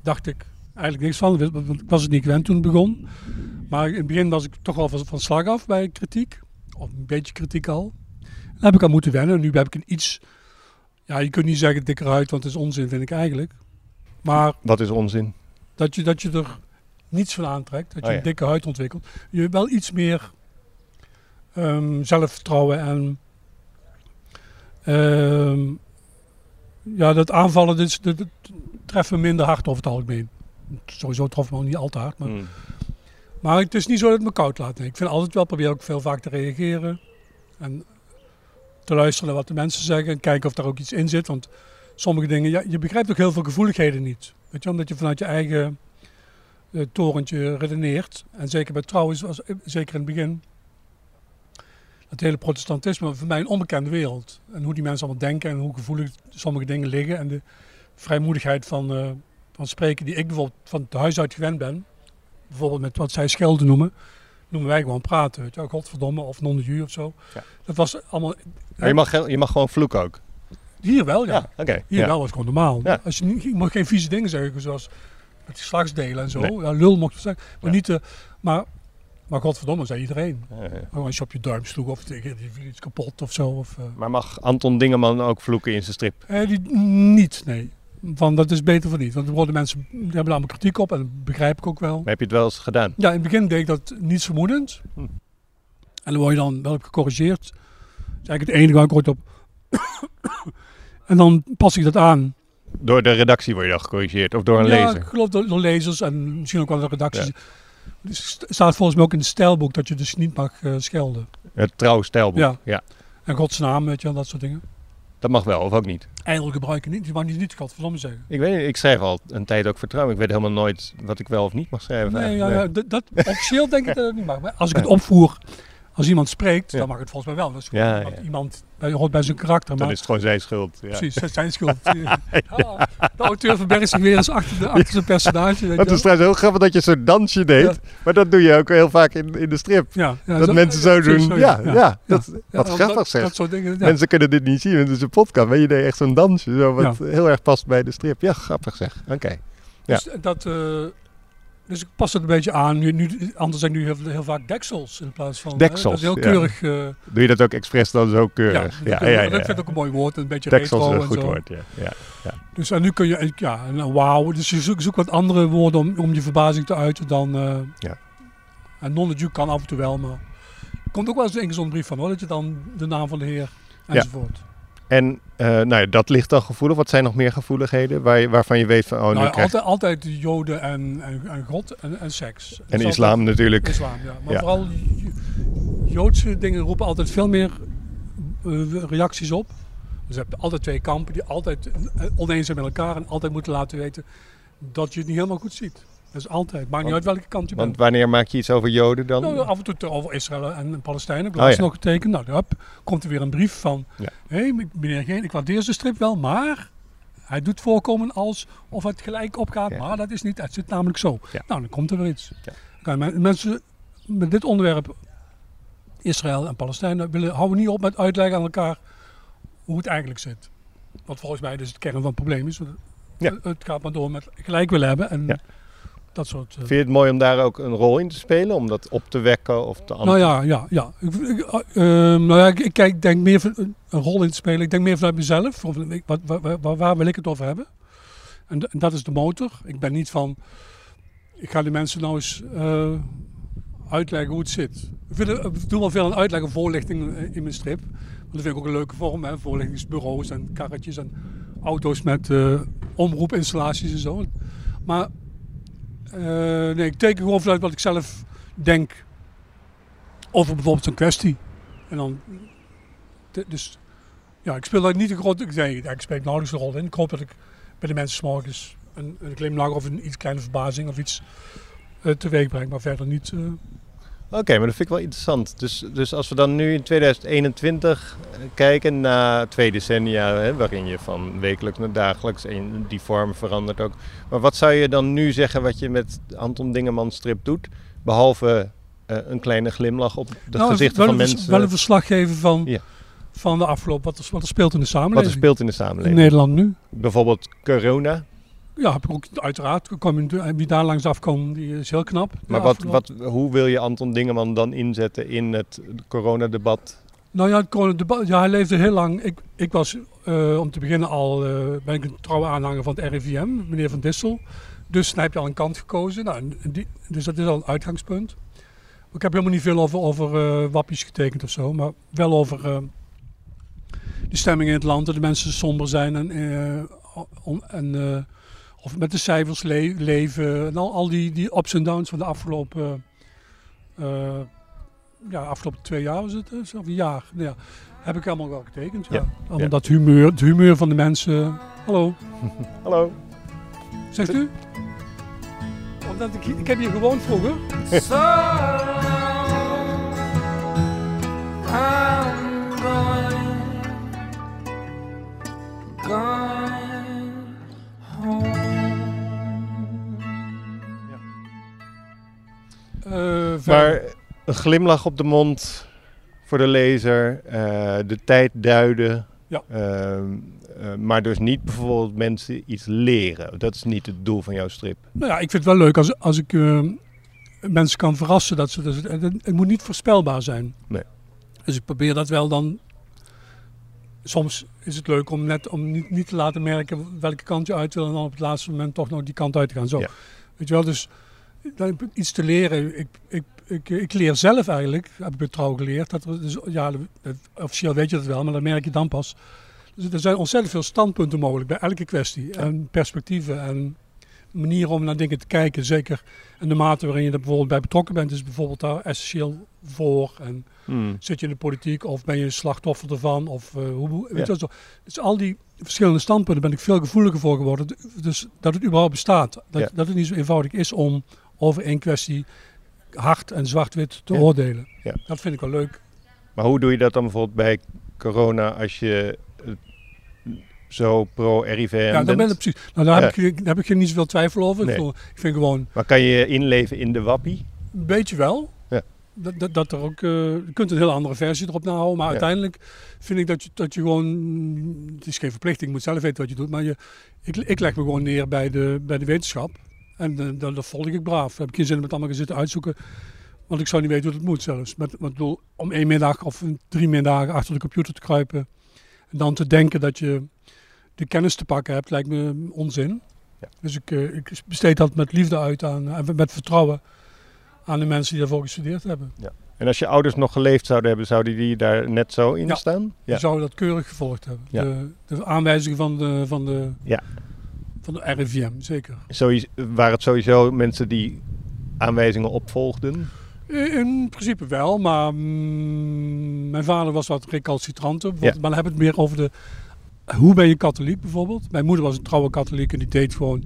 [SPEAKER 8] dacht ik eigenlijk niks van, want ik was het niet gewend toen het begon. Maar in het begin was ik toch wel van, van slag af bij kritiek, of een beetje kritiek al. Daar heb ik aan moeten wennen. Nu heb ik een iets, ja, je kunt niet zeggen dikker huid, want het is onzin, vind ik eigenlijk. Maar
[SPEAKER 7] Wat is onzin?
[SPEAKER 8] dat je, dat je er niets van aantrekt, dat je
[SPEAKER 7] Oh ja.
[SPEAKER 8] een dikke huid ontwikkelt. Je wel iets meer ehm, zelfvertrouwen en ehm, ja, dat aanvallen dit, dit, dit treffen minder hard over het algemeen. Sowieso trof me ook niet al te hard. Maar,
[SPEAKER 7] Mm.
[SPEAKER 8] maar het is niet zo dat het me koud laat. nee. Ik vind altijd wel, probeer ook veel vaak te reageren. En te luisteren naar wat de mensen zeggen. En kijken of daar ook iets in zit. Want sommige dingen, ja, je begrijpt ook heel veel gevoeligheden niet. Weet je, omdat je vanuit je eigen eh, torentje redeneert. En zeker bij trouwens, was, eh, zeker in het begin. Het hele protestantisme, voor mij een onbekende wereld. En hoe die mensen allemaal denken en hoe gevoelig sommige dingen liggen. En de vrijmoedigheid van, eh, van spreken die ik bijvoorbeeld van het huis uit gewend ben. Bijvoorbeeld met wat zij schelden noemen. Noemen wij gewoon praten. Weet je, wel, godverdomme of non de jure of zo.
[SPEAKER 7] Ja.
[SPEAKER 8] Dat was allemaal...
[SPEAKER 7] Maar je mag, ge- je mag gewoon vloeken ook?
[SPEAKER 8] Hier wel, ja.
[SPEAKER 7] oké.
[SPEAKER 8] Hier
[SPEAKER 7] ja.
[SPEAKER 8] wel was het gewoon normaal.
[SPEAKER 7] Ja.
[SPEAKER 8] Als je, niet, je mocht geen vieze dingen zeggen, zoals met geslachtsdelen en zo.
[SPEAKER 7] Nee.
[SPEAKER 8] Ja, lul mocht je zeggen. Maar,
[SPEAKER 7] Ja.
[SPEAKER 8] niet, eh, maar, maar godverdomme, zei iedereen.
[SPEAKER 7] Ja, ja.
[SPEAKER 8] Gewoon als je op je duim sloeg of tegen die viel iets kapot of zo. Of, eh.
[SPEAKER 7] Maar mag Anton Dingeman ook vloeken in zijn strip?
[SPEAKER 8] Eh, die, niet, nee. Van dat is beter van niet. Want er worden mensen, die hebben daar allemaal kritiek op en dat begrijp ik ook wel.
[SPEAKER 7] Maar heb je het wel eens gedaan?
[SPEAKER 8] Ja, in het begin deed ik dat niet vermoedend.
[SPEAKER 7] Hm.
[SPEAKER 8] En dan word je dan wel op gecorrigeerd. Dat is eigenlijk het enige waar ik ooit op. <coughs> en dan pas ik dat aan.
[SPEAKER 7] Door de redactie word je dan gecorrigeerd of door een
[SPEAKER 8] ja,
[SPEAKER 7] lezer?
[SPEAKER 8] ik geloof door, door lezers en misschien ook wel de redacties. Dus
[SPEAKER 7] Ja.
[SPEAKER 8] Het is- staat volgens mij ook in het stijlboek dat je dus niet mag eh, schelden.
[SPEAKER 7] Het trouw stijlboek. Ja.
[SPEAKER 8] Ja. En godsnaam, weet je wel, dat soort dingen.
[SPEAKER 7] Dat mag wel of ook niet?
[SPEAKER 8] Ijdel gebruiken niet, dus je mag niet, niet godverdomme zeggen.
[SPEAKER 7] Ik weet niet, ik schrijf al een tijd ook vertrouwen. Ik weet helemaal nooit wat ik wel of niet mag schrijven.
[SPEAKER 8] Nee, ja,
[SPEAKER 7] eigenlijk.
[SPEAKER 8] ja, dat, dat- officieel denk ik dat het niet mag. Maar als ik het opvoer, als iemand spreekt,
[SPEAKER 7] Ja.
[SPEAKER 8] dan mag het volgens mij wel. Dat is
[SPEAKER 7] Ja,
[SPEAKER 8] gewoon
[SPEAKER 7] ja.
[SPEAKER 8] iemand, bij, hoort bij zijn karakter.
[SPEAKER 7] Dan
[SPEAKER 8] Maar,
[SPEAKER 7] is het gewoon zijn schuld. Ja.
[SPEAKER 8] Precies, dat is zijn
[SPEAKER 7] <laughs>
[SPEAKER 8] schuld. Ja, de auteur verbergt zich weer eens achter, de, achter zijn personage. Weet je
[SPEAKER 7] Dat
[SPEAKER 8] wel.
[SPEAKER 7] is trouwens heel grappig dat je zo'n dansje deed. Maar dat doe je ook heel vaak in, in de strip.
[SPEAKER 8] ja, ja,
[SPEAKER 7] dat mensen zo doen.
[SPEAKER 8] precies,
[SPEAKER 7] Ja, ja, dat- wat
[SPEAKER 8] want
[SPEAKER 7] grappig
[SPEAKER 8] dat,
[SPEAKER 7] zeg.
[SPEAKER 8] Dat soort dingen, ja.
[SPEAKER 7] Mensen kunnen dit niet zien, want het is een podcast. Maar je deed echt zo'n dansje, zo, wat heel erg past bij de strip. Ja, grappig zeg. Oké. Ja.
[SPEAKER 8] Dus, dat, eh, dus ik pas het een beetje aan. Nu, nu, anders zijn nu heel, heel vaak deksels in plaats van... hè,
[SPEAKER 7] Deksels,
[SPEAKER 8] dat
[SPEAKER 7] ja.
[SPEAKER 8] is heel keurig. eh,
[SPEAKER 7] Doe je dat ook expres dan zo
[SPEAKER 8] ja,
[SPEAKER 7] keurig?
[SPEAKER 8] dat-
[SPEAKER 7] ja, ja.
[SPEAKER 8] Dat vind ik ook een mooi woord. Een beetje
[SPEAKER 7] Deksel is
[SPEAKER 8] retro
[SPEAKER 7] een
[SPEAKER 8] en
[SPEAKER 7] goed
[SPEAKER 8] zo.
[SPEAKER 7] woord, ja. ja.
[SPEAKER 8] Dus en nu kun je... en Ja, en dan wauw. Dus je zoekt zoekt wat andere woorden om, om je verbazing te uiten dan... eh,
[SPEAKER 7] Ja.
[SPEAKER 8] En non duke kan af en toe wel, maar... Er komt ook wel eens een zo'n brief van hoor. Dat je dan de naam van de heer enzovoort.
[SPEAKER 7] En eh, nou ja, dat ligt dan gevoelig. Wat zijn nog meer gevoeligheden waar je- waarvan je weet van... Oh, nu
[SPEAKER 8] nou, ja,
[SPEAKER 7] krijg-
[SPEAKER 8] altijd, altijd de joden en, en, en God en, en seks. Dus Dat is
[SPEAKER 7] En
[SPEAKER 8] altijd-
[SPEAKER 7] islam natuurlijk.
[SPEAKER 8] Islam, ja. Maar
[SPEAKER 7] Ja.
[SPEAKER 8] vooral J- Joodse dingen roepen altijd veel meer eh, reacties op. Dus je hebt altijd twee kampen die altijd eh, oneens zijn met elkaar en altijd moeten laten weten dat je het niet helemaal goed ziet. Dat is altijd. Maakt niet uit welke kant je
[SPEAKER 7] Want
[SPEAKER 8] bent.
[SPEAKER 7] wanneer maak je iets over Joden dan?
[SPEAKER 8] Nou, af en toe te- over Israël en Palestijnen. Ik heb
[SPEAKER 7] Oh,
[SPEAKER 8] laatst
[SPEAKER 7] ja.
[SPEAKER 8] nog getekend. Nou, daar komt er weer een brief van.
[SPEAKER 7] Ja.
[SPEAKER 8] Hé, meneer Geen, ik waardeer zijn strip wel, maar hij doet voorkomen als of het gelijk opgaat.
[SPEAKER 7] Ja.
[SPEAKER 8] Maar dat is niet. Het zit namelijk zo.
[SPEAKER 7] Ja.
[SPEAKER 8] Nou, dan komt er weer iets.
[SPEAKER 7] Ja.
[SPEAKER 8] Kijk, men- mensen met dit onderwerp, Israël en Palestijnen, willen, houden niet op met uitleggen aan elkaar hoe het eigenlijk zit. Wat volgens mij dus het kern van het probleem is. Want
[SPEAKER 7] Ja.
[SPEAKER 8] Het, het gaat maar door met gelijk willen hebben en
[SPEAKER 7] Ja.
[SPEAKER 8] dat soort... eh,
[SPEAKER 7] Vind je het mooi om daar ook een rol in te spelen? Om dat op te wekken of te
[SPEAKER 8] nou ja, ja, ja. Ik, ik, eh, ehm, nou ja, ik, ik kijk, denk meer van, een rol in te spelen. Ik denk meer vanuit mezelf. Of, ik- wat, wa- wa- waar, wil ik het over hebben? En, d- en dat is de motor. Ik ben niet van. Ik ga die mensen nou eens eh, uitleggen hoe het zit. Ik, vind, het- ik doe wel veel aan uitleggen, voorlichting eh, in mijn strip. Want dat vind ik ook een leuke vorm. Hè? Voorlichtingsbureaus en karretjes en auto's met eh, omroepinstallaties en zo. Maar eh, nee, ik teken gewoon vanuit wat ik zelf denk over bijvoorbeeld zo'n kwestie. En dan, d- dus, ja, ik speel daar niet een grote, ik, nee, ik speel nauwelijks een rol in. Ik hoop dat ik bij de mensen 's morgens een, een glimlach of een iets kleine verbazing of iets eh teweeg breng, maar verder niet. eh,
[SPEAKER 7] Oké, maar dat vind ik wel interessant. Dus, dus als we dan nu in 2021 kijken naar twee decennia, hè, waarin je van wekelijks naar dagelijks en die vorm verandert ook. Maar wat zou je dan nu zeggen wat je met Anton Dingeman strip doet, behalve eh, een kleine glimlach op de
[SPEAKER 8] Nou,
[SPEAKER 7] gezichten
[SPEAKER 8] wel
[SPEAKER 7] van
[SPEAKER 8] een vers-
[SPEAKER 7] mensen? eh,
[SPEAKER 8] Wel een verslag geven van,
[SPEAKER 7] Ja.
[SPEAKER 8] van de afgelopen, wat er, wat er speelt in de
[SPEAKER 7] wat er
[SPEAKER 8] samenleving.
[SPEAKER 7] speelt in de
[SPEAKER 8] in
[SPEAKER 7] samenleving?
[SPEAKER 8] Nederland nu.
[SPEAKER 7] Bijvoorbeeld corona.
[SPEAKER 8] Ja, heb ik ook uiteraard. Kom je, wie daar langs afkomt, die is heel knap.
[SPEAKER 7] Maar
[SPEAKER 8] Ja,
[SPEAKER 7] wat,
[SPEAKER 8] afgelopen-
[SPEAKER 7] wat, hoe wil je Anton Dingeman dan inzetten in het coronadebat?
[SPEAKER 8] Nou ja, het coronadebat- ja, hij leefde heel lang. Ik, ik was eh, om te beginnen al eh, ben ik een trouwe aanhanger van het RIVM, meneer Van Dissel. Dus dan heb je al een kant gekozen. Nou, en die, dus dat is al een uitgangspunt. Ik heb helemaal niet veel over, over eh, wappies getekend of zo, maar wel over eh, de stemming in het land, dat de mensen somber zijn en, eh, on- en eh, of met de cijfers le- leven. En al, al die, die ups en downs van de afgelopen eh, ja, afgelopen twee jaar was het, dus, of een jaar. Nou ja, heb ik allemaal wel getekend. Ja.
[SPEAKER 7] Ja,
[SPEAKER 8] Allemaal
[SPEAKER 7] ja.
[SPEAKER 8] dat humeur, het humeur van de mensen. Hallo,
[SPEAKER 7] Hallo.
[SPEAKER 8] zegt u? Omdat ik, ik heb hier gewoond vroeger. Eh, verder.
[SPEAKER 7] Maar een glimlach op de mond voor de lezer, eh, de tijd duiden.
[SPEAKER 8] Ja.
[SPEAKER 7] Ehm, eh, maar dus niet bijvoorbeeld mensen iets leren. Dat is niet het doel van jouw strip.
[SPEAKER 8] Nou ja, ik vind het wel leuk als, als ik eh, mensen kan verrassen. Dat ze, dat ze- het, het moet niet voorspelbaar zijn.
[SPEAKER 7] Nee.
[SPEAKER 8] Dus ik probeer dat wel dan. Soms is het leuk om net om niet, niet te laten merken welke kant je uit wil. En dan op het laatste moment toch nog die kant uit te gaan. Zo.
[SPEAKER 7] Ja.
[SPEAKER 8] Weet je wel, dus dan iets te leren. Ik, ik, ik, ik leer zelf eigenlijk, heb ik bij trouw geleerd. Dat er, dus, ja, dat- officieel weet je dat wel, maar dat merk je dan pas. Dus er zijn ontzettend veel standpunten mogelijk bij elke kwestie. En perspectieven en manier om naar dingen te kijken. Zeker en de mate waarin je er bijvoorbeeld bij betrokken bent, is bijvoorbeeld daar essentieel voor. En
[SPEAKER 7] Hmm.
[SPEAKER 8] zit je in de politiek of ben je een slachtoffer ervan? Of eh, hoe, hoe- weet
[SPEAKER 7] Ja.
[SPEAKER 8] je wel zo. Dus al die verschillende standpunten ben ik veel gevoeliger voor geworden. Dus dat het überhaupt bestaat. Dat,
[SPEAKER 7] Ja.
[SPEAKER 8] dat het niet zo eenvoudig is om over één kwestie hard en zwart-wit te
[SPEAKER 7] Ja.
[SPEAKER 8] oordelen.
[SPEAKER 7] Ja.
[SPEAKER 8] Dat vind ik wel leuk.
[SPEAKER 7] Maar hoe doe je dat dan bijvoorbeeld bij corona als je eh, zo pro-RIVM
[SPEAKER 8] Ja, dan ben ik
[SPEAKER 7] bent?
[SPEAKER 8] precies. Nou, daar,
[SPEAKER 7] Ja.
[SPEAKER 8] heb ik, daar heb ik geen niet zoveel twijfel over.
[SPEAKER 7] Nee.
[SPEAKER 8] Ik, bedoel, ik vind gewoon
[SPEAKER 7] Maar kan je je inleven in de wappie?
[SPEAKER 8] Een beetje wel.
[SPEAKER 7] Ja.
[SPEAKER 8] Dat, dat, dat er ook, eh, je kunt een hele andere versie erop nahouden. Maar
[SPEAKER 7] Ja.
[SPEAKER 8] uiteindelijk vind ik dat je, dat je gewoon... Het is geen verplichting, je moet zelf weten wat je doet. Maar je, ik, ik leg me gewoon neer bij de, bij de wetenschap. En eh, dat, dat volg ik braaf. Daar heb ik geen zin om het allemaal gaan zitten uitzoeken. Want ik zou niet weten hoe het moet zelfs. Met, met, bedoel, om één middag of een- drie middagen achter de computer te kruipen. En dan te denken dat je de kennis te pakken hebt, lijkt me onzin.
[SPEAKER 7] Ja.
[SPEAKER 8] Dus ik, eh, ik besteed dat met liefde uit aan, en met vertrouwen aan de mensen die daarvoor gestudeerd hebben.
[SPEAKER 7] En als je ouders nog geleefd zouden hebben, zouden die daar net zo in
[SPEAKER 8] Ja.
[SPEAKER 7] staan?
[SPEAKER 8] Die zouden dat keurig gevolgd hebben.
[SPEAKER 7] Ja.
[SPEAKER 8] De, de aanwijzingen van de, van, de,
[SPEAKER 7] Ja.
[SPEAKER 8] van de RIVM, zeker.
[SPEAKER 7] Sowieso, waren het sowieso mensen die aanwijzingen opvolgden?
[SPEAKER 8] In, in principe wel, maar mm, mijn vader was wat recalcitranter. Want-
[SPEAKER 7] Ja.
[SPEAKER 8] Maar dan heb ik het meer over de... Hoe ben je katholiek bijvoorbeeld? Mijn moeder was een trouwe katholiek en die deed gewoon...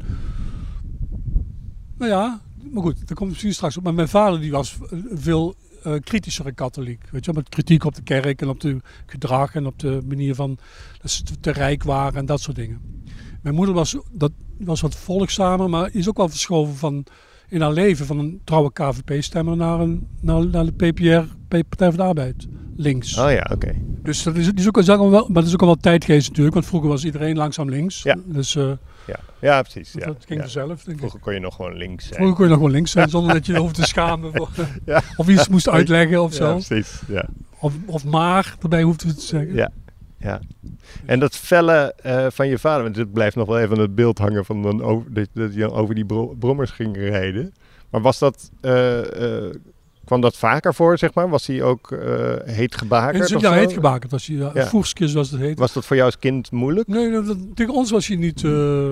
[SPEAKER 8] Nou ja, maar goed, daar komt het misschien straks op. Maar mijn vader die was een veel eh, kritischere katholiek. Weet je, wel, met kritiek op de kerk en op het gedrag en op de manier van... Dat ze te- te rijk waren en dat soort dingen. Mijn moeder was, dat, was wat volgzamer, maar is ook wel verschoven van in haar leven van een trouwe KVP-stemmer naar, een, naar, naar de PPR, P- Partij van de Arbeid, links.
[SPEAKER 7] Oh ja, oké.
[SPEAKER 8] Dus dat is, die is ook, is ook al wel, maar dat is ook al wel tijdgeest natuurlijk, want vroeger was iedereen langzaam links.
[SPEAKER 7] Ja.
[SPEAKER 8] Dus eh,
[SPEAKER 7] Ja. ja, precies. Ja.
[SPEAKER 8] dat ging
[SPEAKER 7] Ja.
[SPEAKER 8] vanzelf, denk ik.
[SPEAKER 7] Vroeger kon je nog gewoon links zijn.
[SPEAKER 8] Vroeger kon je nog wel links zijn zonder dat je je hoeft te schamen. voor-
[SPEAKER 7] <laughs> Ja.
[SPEAKER 8] Of iets moest uitleggen
[SPEAKER 7] Ja,
[SPEAKER 8] of zo.
[SPEAKER 7] precies. Ja.
[SPEAKER 8] Of, of maar, daarbij hoeft het te zeggen.
[SPEAKER 7] Ja. ja. En dat felle eh, van je vader, want het blijft nog wel even aan het beeld hangen van dan over, dat, dat je dan over die bro- brommers ging rijden. Maar was dat, eh, eh, kwam dat vaker voor, zeg maar? Was hij ook eh heet gebakerd?
[SPEAKER 8] En,
[SPEAKER 7] of
[SPEAKER 8] ja,
[SPEAKER 7] zo?
[SPEAKER 8] nou heet gebakerd was hij. Ja.
[SPEAKER 7] Ja.
[SPEAKER 8] Voerskis was het heet.
[SPEAKER 7] Was dat voor jou als kind moeilijk?
[SPEAKER 8] Nee, dat, dat- tegen ons was hij niet eh,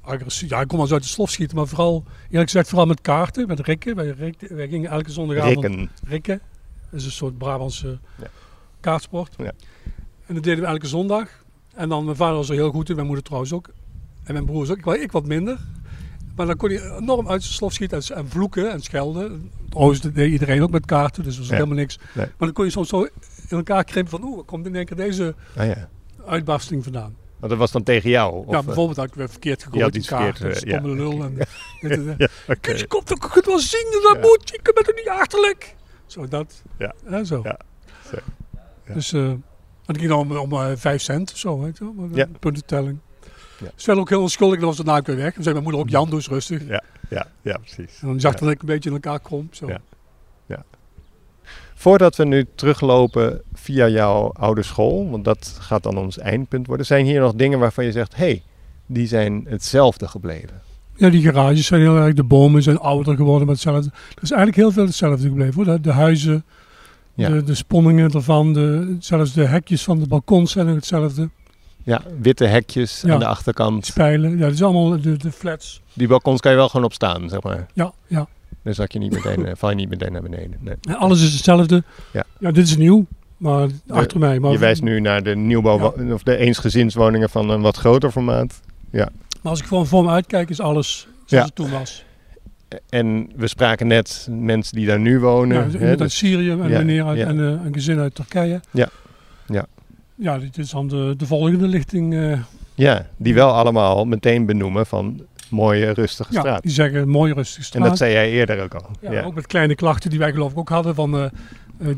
[SPEAKER 8] agressief. Ja, ik kon wel eens uit de slof schieten, maar vooral, eerlijk gezegd, vooral met kaarten, met rikken. Wij, rikken- wij gingen elke zondagavond
[SPEAKER 7] Rikken.
[SPEAKER 8] rikken. Dat is een soort Brabantse
[SPEAKER 7] Ja.
[SPEAKER 8] kaartsport.
[SPEAKER 7] Ja.
[SPEAKER 8] En dat deden we elke zondag. En dan, mijn vader was er heel goed in, mijn moeder trouwens ook. En mijn broers ook, ik, wa- ik wat minder. Maar dan kon hij enorm uit zijn slof schieten en, en vloeken en schelden. Oost dat deed iedereen ook met kaarten, dus dat was
[SPEAKER 7] Ja.
[SPEAKER 8] helemaal niks.
[SPEAKER 7] Nee.
[SPEAKER 8] Maar dan kon je soms zo in elkaar krimpen van, oeh, waar komt in één keer deze
[SPEAKER 7] Ah, ja.
[SPEAKER 8] uitbarsting vandaan?
[SPEAKER 7] Maar dat was dan tegen jou? Of,
[SPEAKER 8] ja,
[SPEAKER 7] eh,
[SPEAKER 8] bijvoorbeeld had ik weer verkeerd gegooid
[SPEAKER 7] had
[SPEAKER 8] die
[SPEAKER 7] iets
[SPEAKER 8] kaart,
[SPEAKER 7] verkeerd,
[SPEAKER 8] een
[SPEAKER 7] eh, ja,
[SPEAKER 8] stomme
[SPEAKER 7] <laughs>
[SPEAKER 8] lul. En, dit en dat.
[SPEAKER 7] ja, oké.
[SPEAKER 8] Kun je komt ook goed wel zien, dat
[SPEAKER 7] Eh, Ja.
[SPEAKER 8] moet, je bent er niet achterlijk. Zo dat,
[SPEAKER 7] Ja.
[SPEAKER 8] Hè, zo.
[SPEAKER 7] Ja. Zo. Ja.
[SPEAKER 8] Dus, eh en het ging dan om, om eh, vijf cent of zo, weet je wel, maar dan
[SPEAKER 7] Ja.
[SPEAKER 8] puntentelling.
[SPEAKER 7] Ja.
[SPEAKER 8] Dus verder ook heel onschuldig, dat was daarna ook weer weg. Dan zei mijn moeder ook, Jan, doe eens rustig.
[SPEAKER 7] Ja, ja, precies.
[SPEAKER 8] En dan zag
[SPEAKER 7] Ja.
[SPEAKER 8] dat ik een beetje in elkaar kromp. Zo.
[SPEAKER 7] Ja. Voordat we nu teruglopen via jouw oude school, want dat gaat dan ons eindpunt worden, zijn hier nog dingen waarvan je zegt: hé, hey, die zijn hetzelfde gebleven.
[SPEAKER 8] Ja, die garages zijn heel erg, de bomen zijn ouder geworden met hetzelfde. Er is eigenlijk heel veel hetzelfde gebleven hoor. De, de huizen,
[SPEAKER 7] Ja.
[SPEAKER 8] de, de spanningen ervan, de, zelfs de hekjes van de balkons zijn nog hetzelfde.
[SPEAKER 7] Ja, witte hekjes
[SPEAKER 8] Ja.
[SPEAKER 7] aan de achterkant.
[SPEAKER 8] Spijlen, ja, dat is allemaal de, de flats.
[SPEAKER 7] Die balkons kan je wel gewoon op staan, zeg maar.
[SPEAKER 8] Ja, ja.
[SPEAKER 7] Dan zak je niet
[SPEAKER 8] <laughs>
[SPEAKER 7] meteen, eh, val je niet meteen naar beneden. Nee.
[SPEAKER 8] En alles is hetzelfde.
[SPEAKER 7] Ja.
[SPEAKER 8] dit is nieuw, maar achter mij. Maar,
[SPEAKER 7] Je wijst nu naar de nieuwbouw of de eensgezinswoningen van een wat groter formaat.
[SPEAKER 8] maar als ik gewoon voor me uitkijk, is alles zoals
[SPEAKER 7] Ja.
[SPEAKER 8] het toen was.
[SPEAKER 7] En we spraken net mensen die daar nu wonen.
[SPEAKER 8] Ja,
[SPEAKER 7] hè,
[SPEAKER 8] iemand uit
[SPEAKER 7] dus-
[SPEAKER 8] Syrië en
[SPEAKER 7] ja,
[SPEAKER 8] meneer uit,
[SPEAKER 7] ja.
[SPEAKER 8] en eh, een gezin uit Turkije.
[SPEAKER 7] Ja, ja.
[SPEAKER 8] Ja, dit is dan de, de volgende lichting. eh,
[SPEAKER 7] ja, die wel allemaal meteen benoemen van mooie, rustige
[SPEAKER 8] ja,
[SPEAKER 7] straat.
[SPEAKER 8] die zeggen mooi rustig
[SPEAKER 7] En
[SPEAKER 8] straat.
[SPEAKER 7] dat zei jij eerder ook al.
[SPEAKER 8] Ja, Ook met kleine klachten die wij geloof ik ook hadden. Van eh, eh,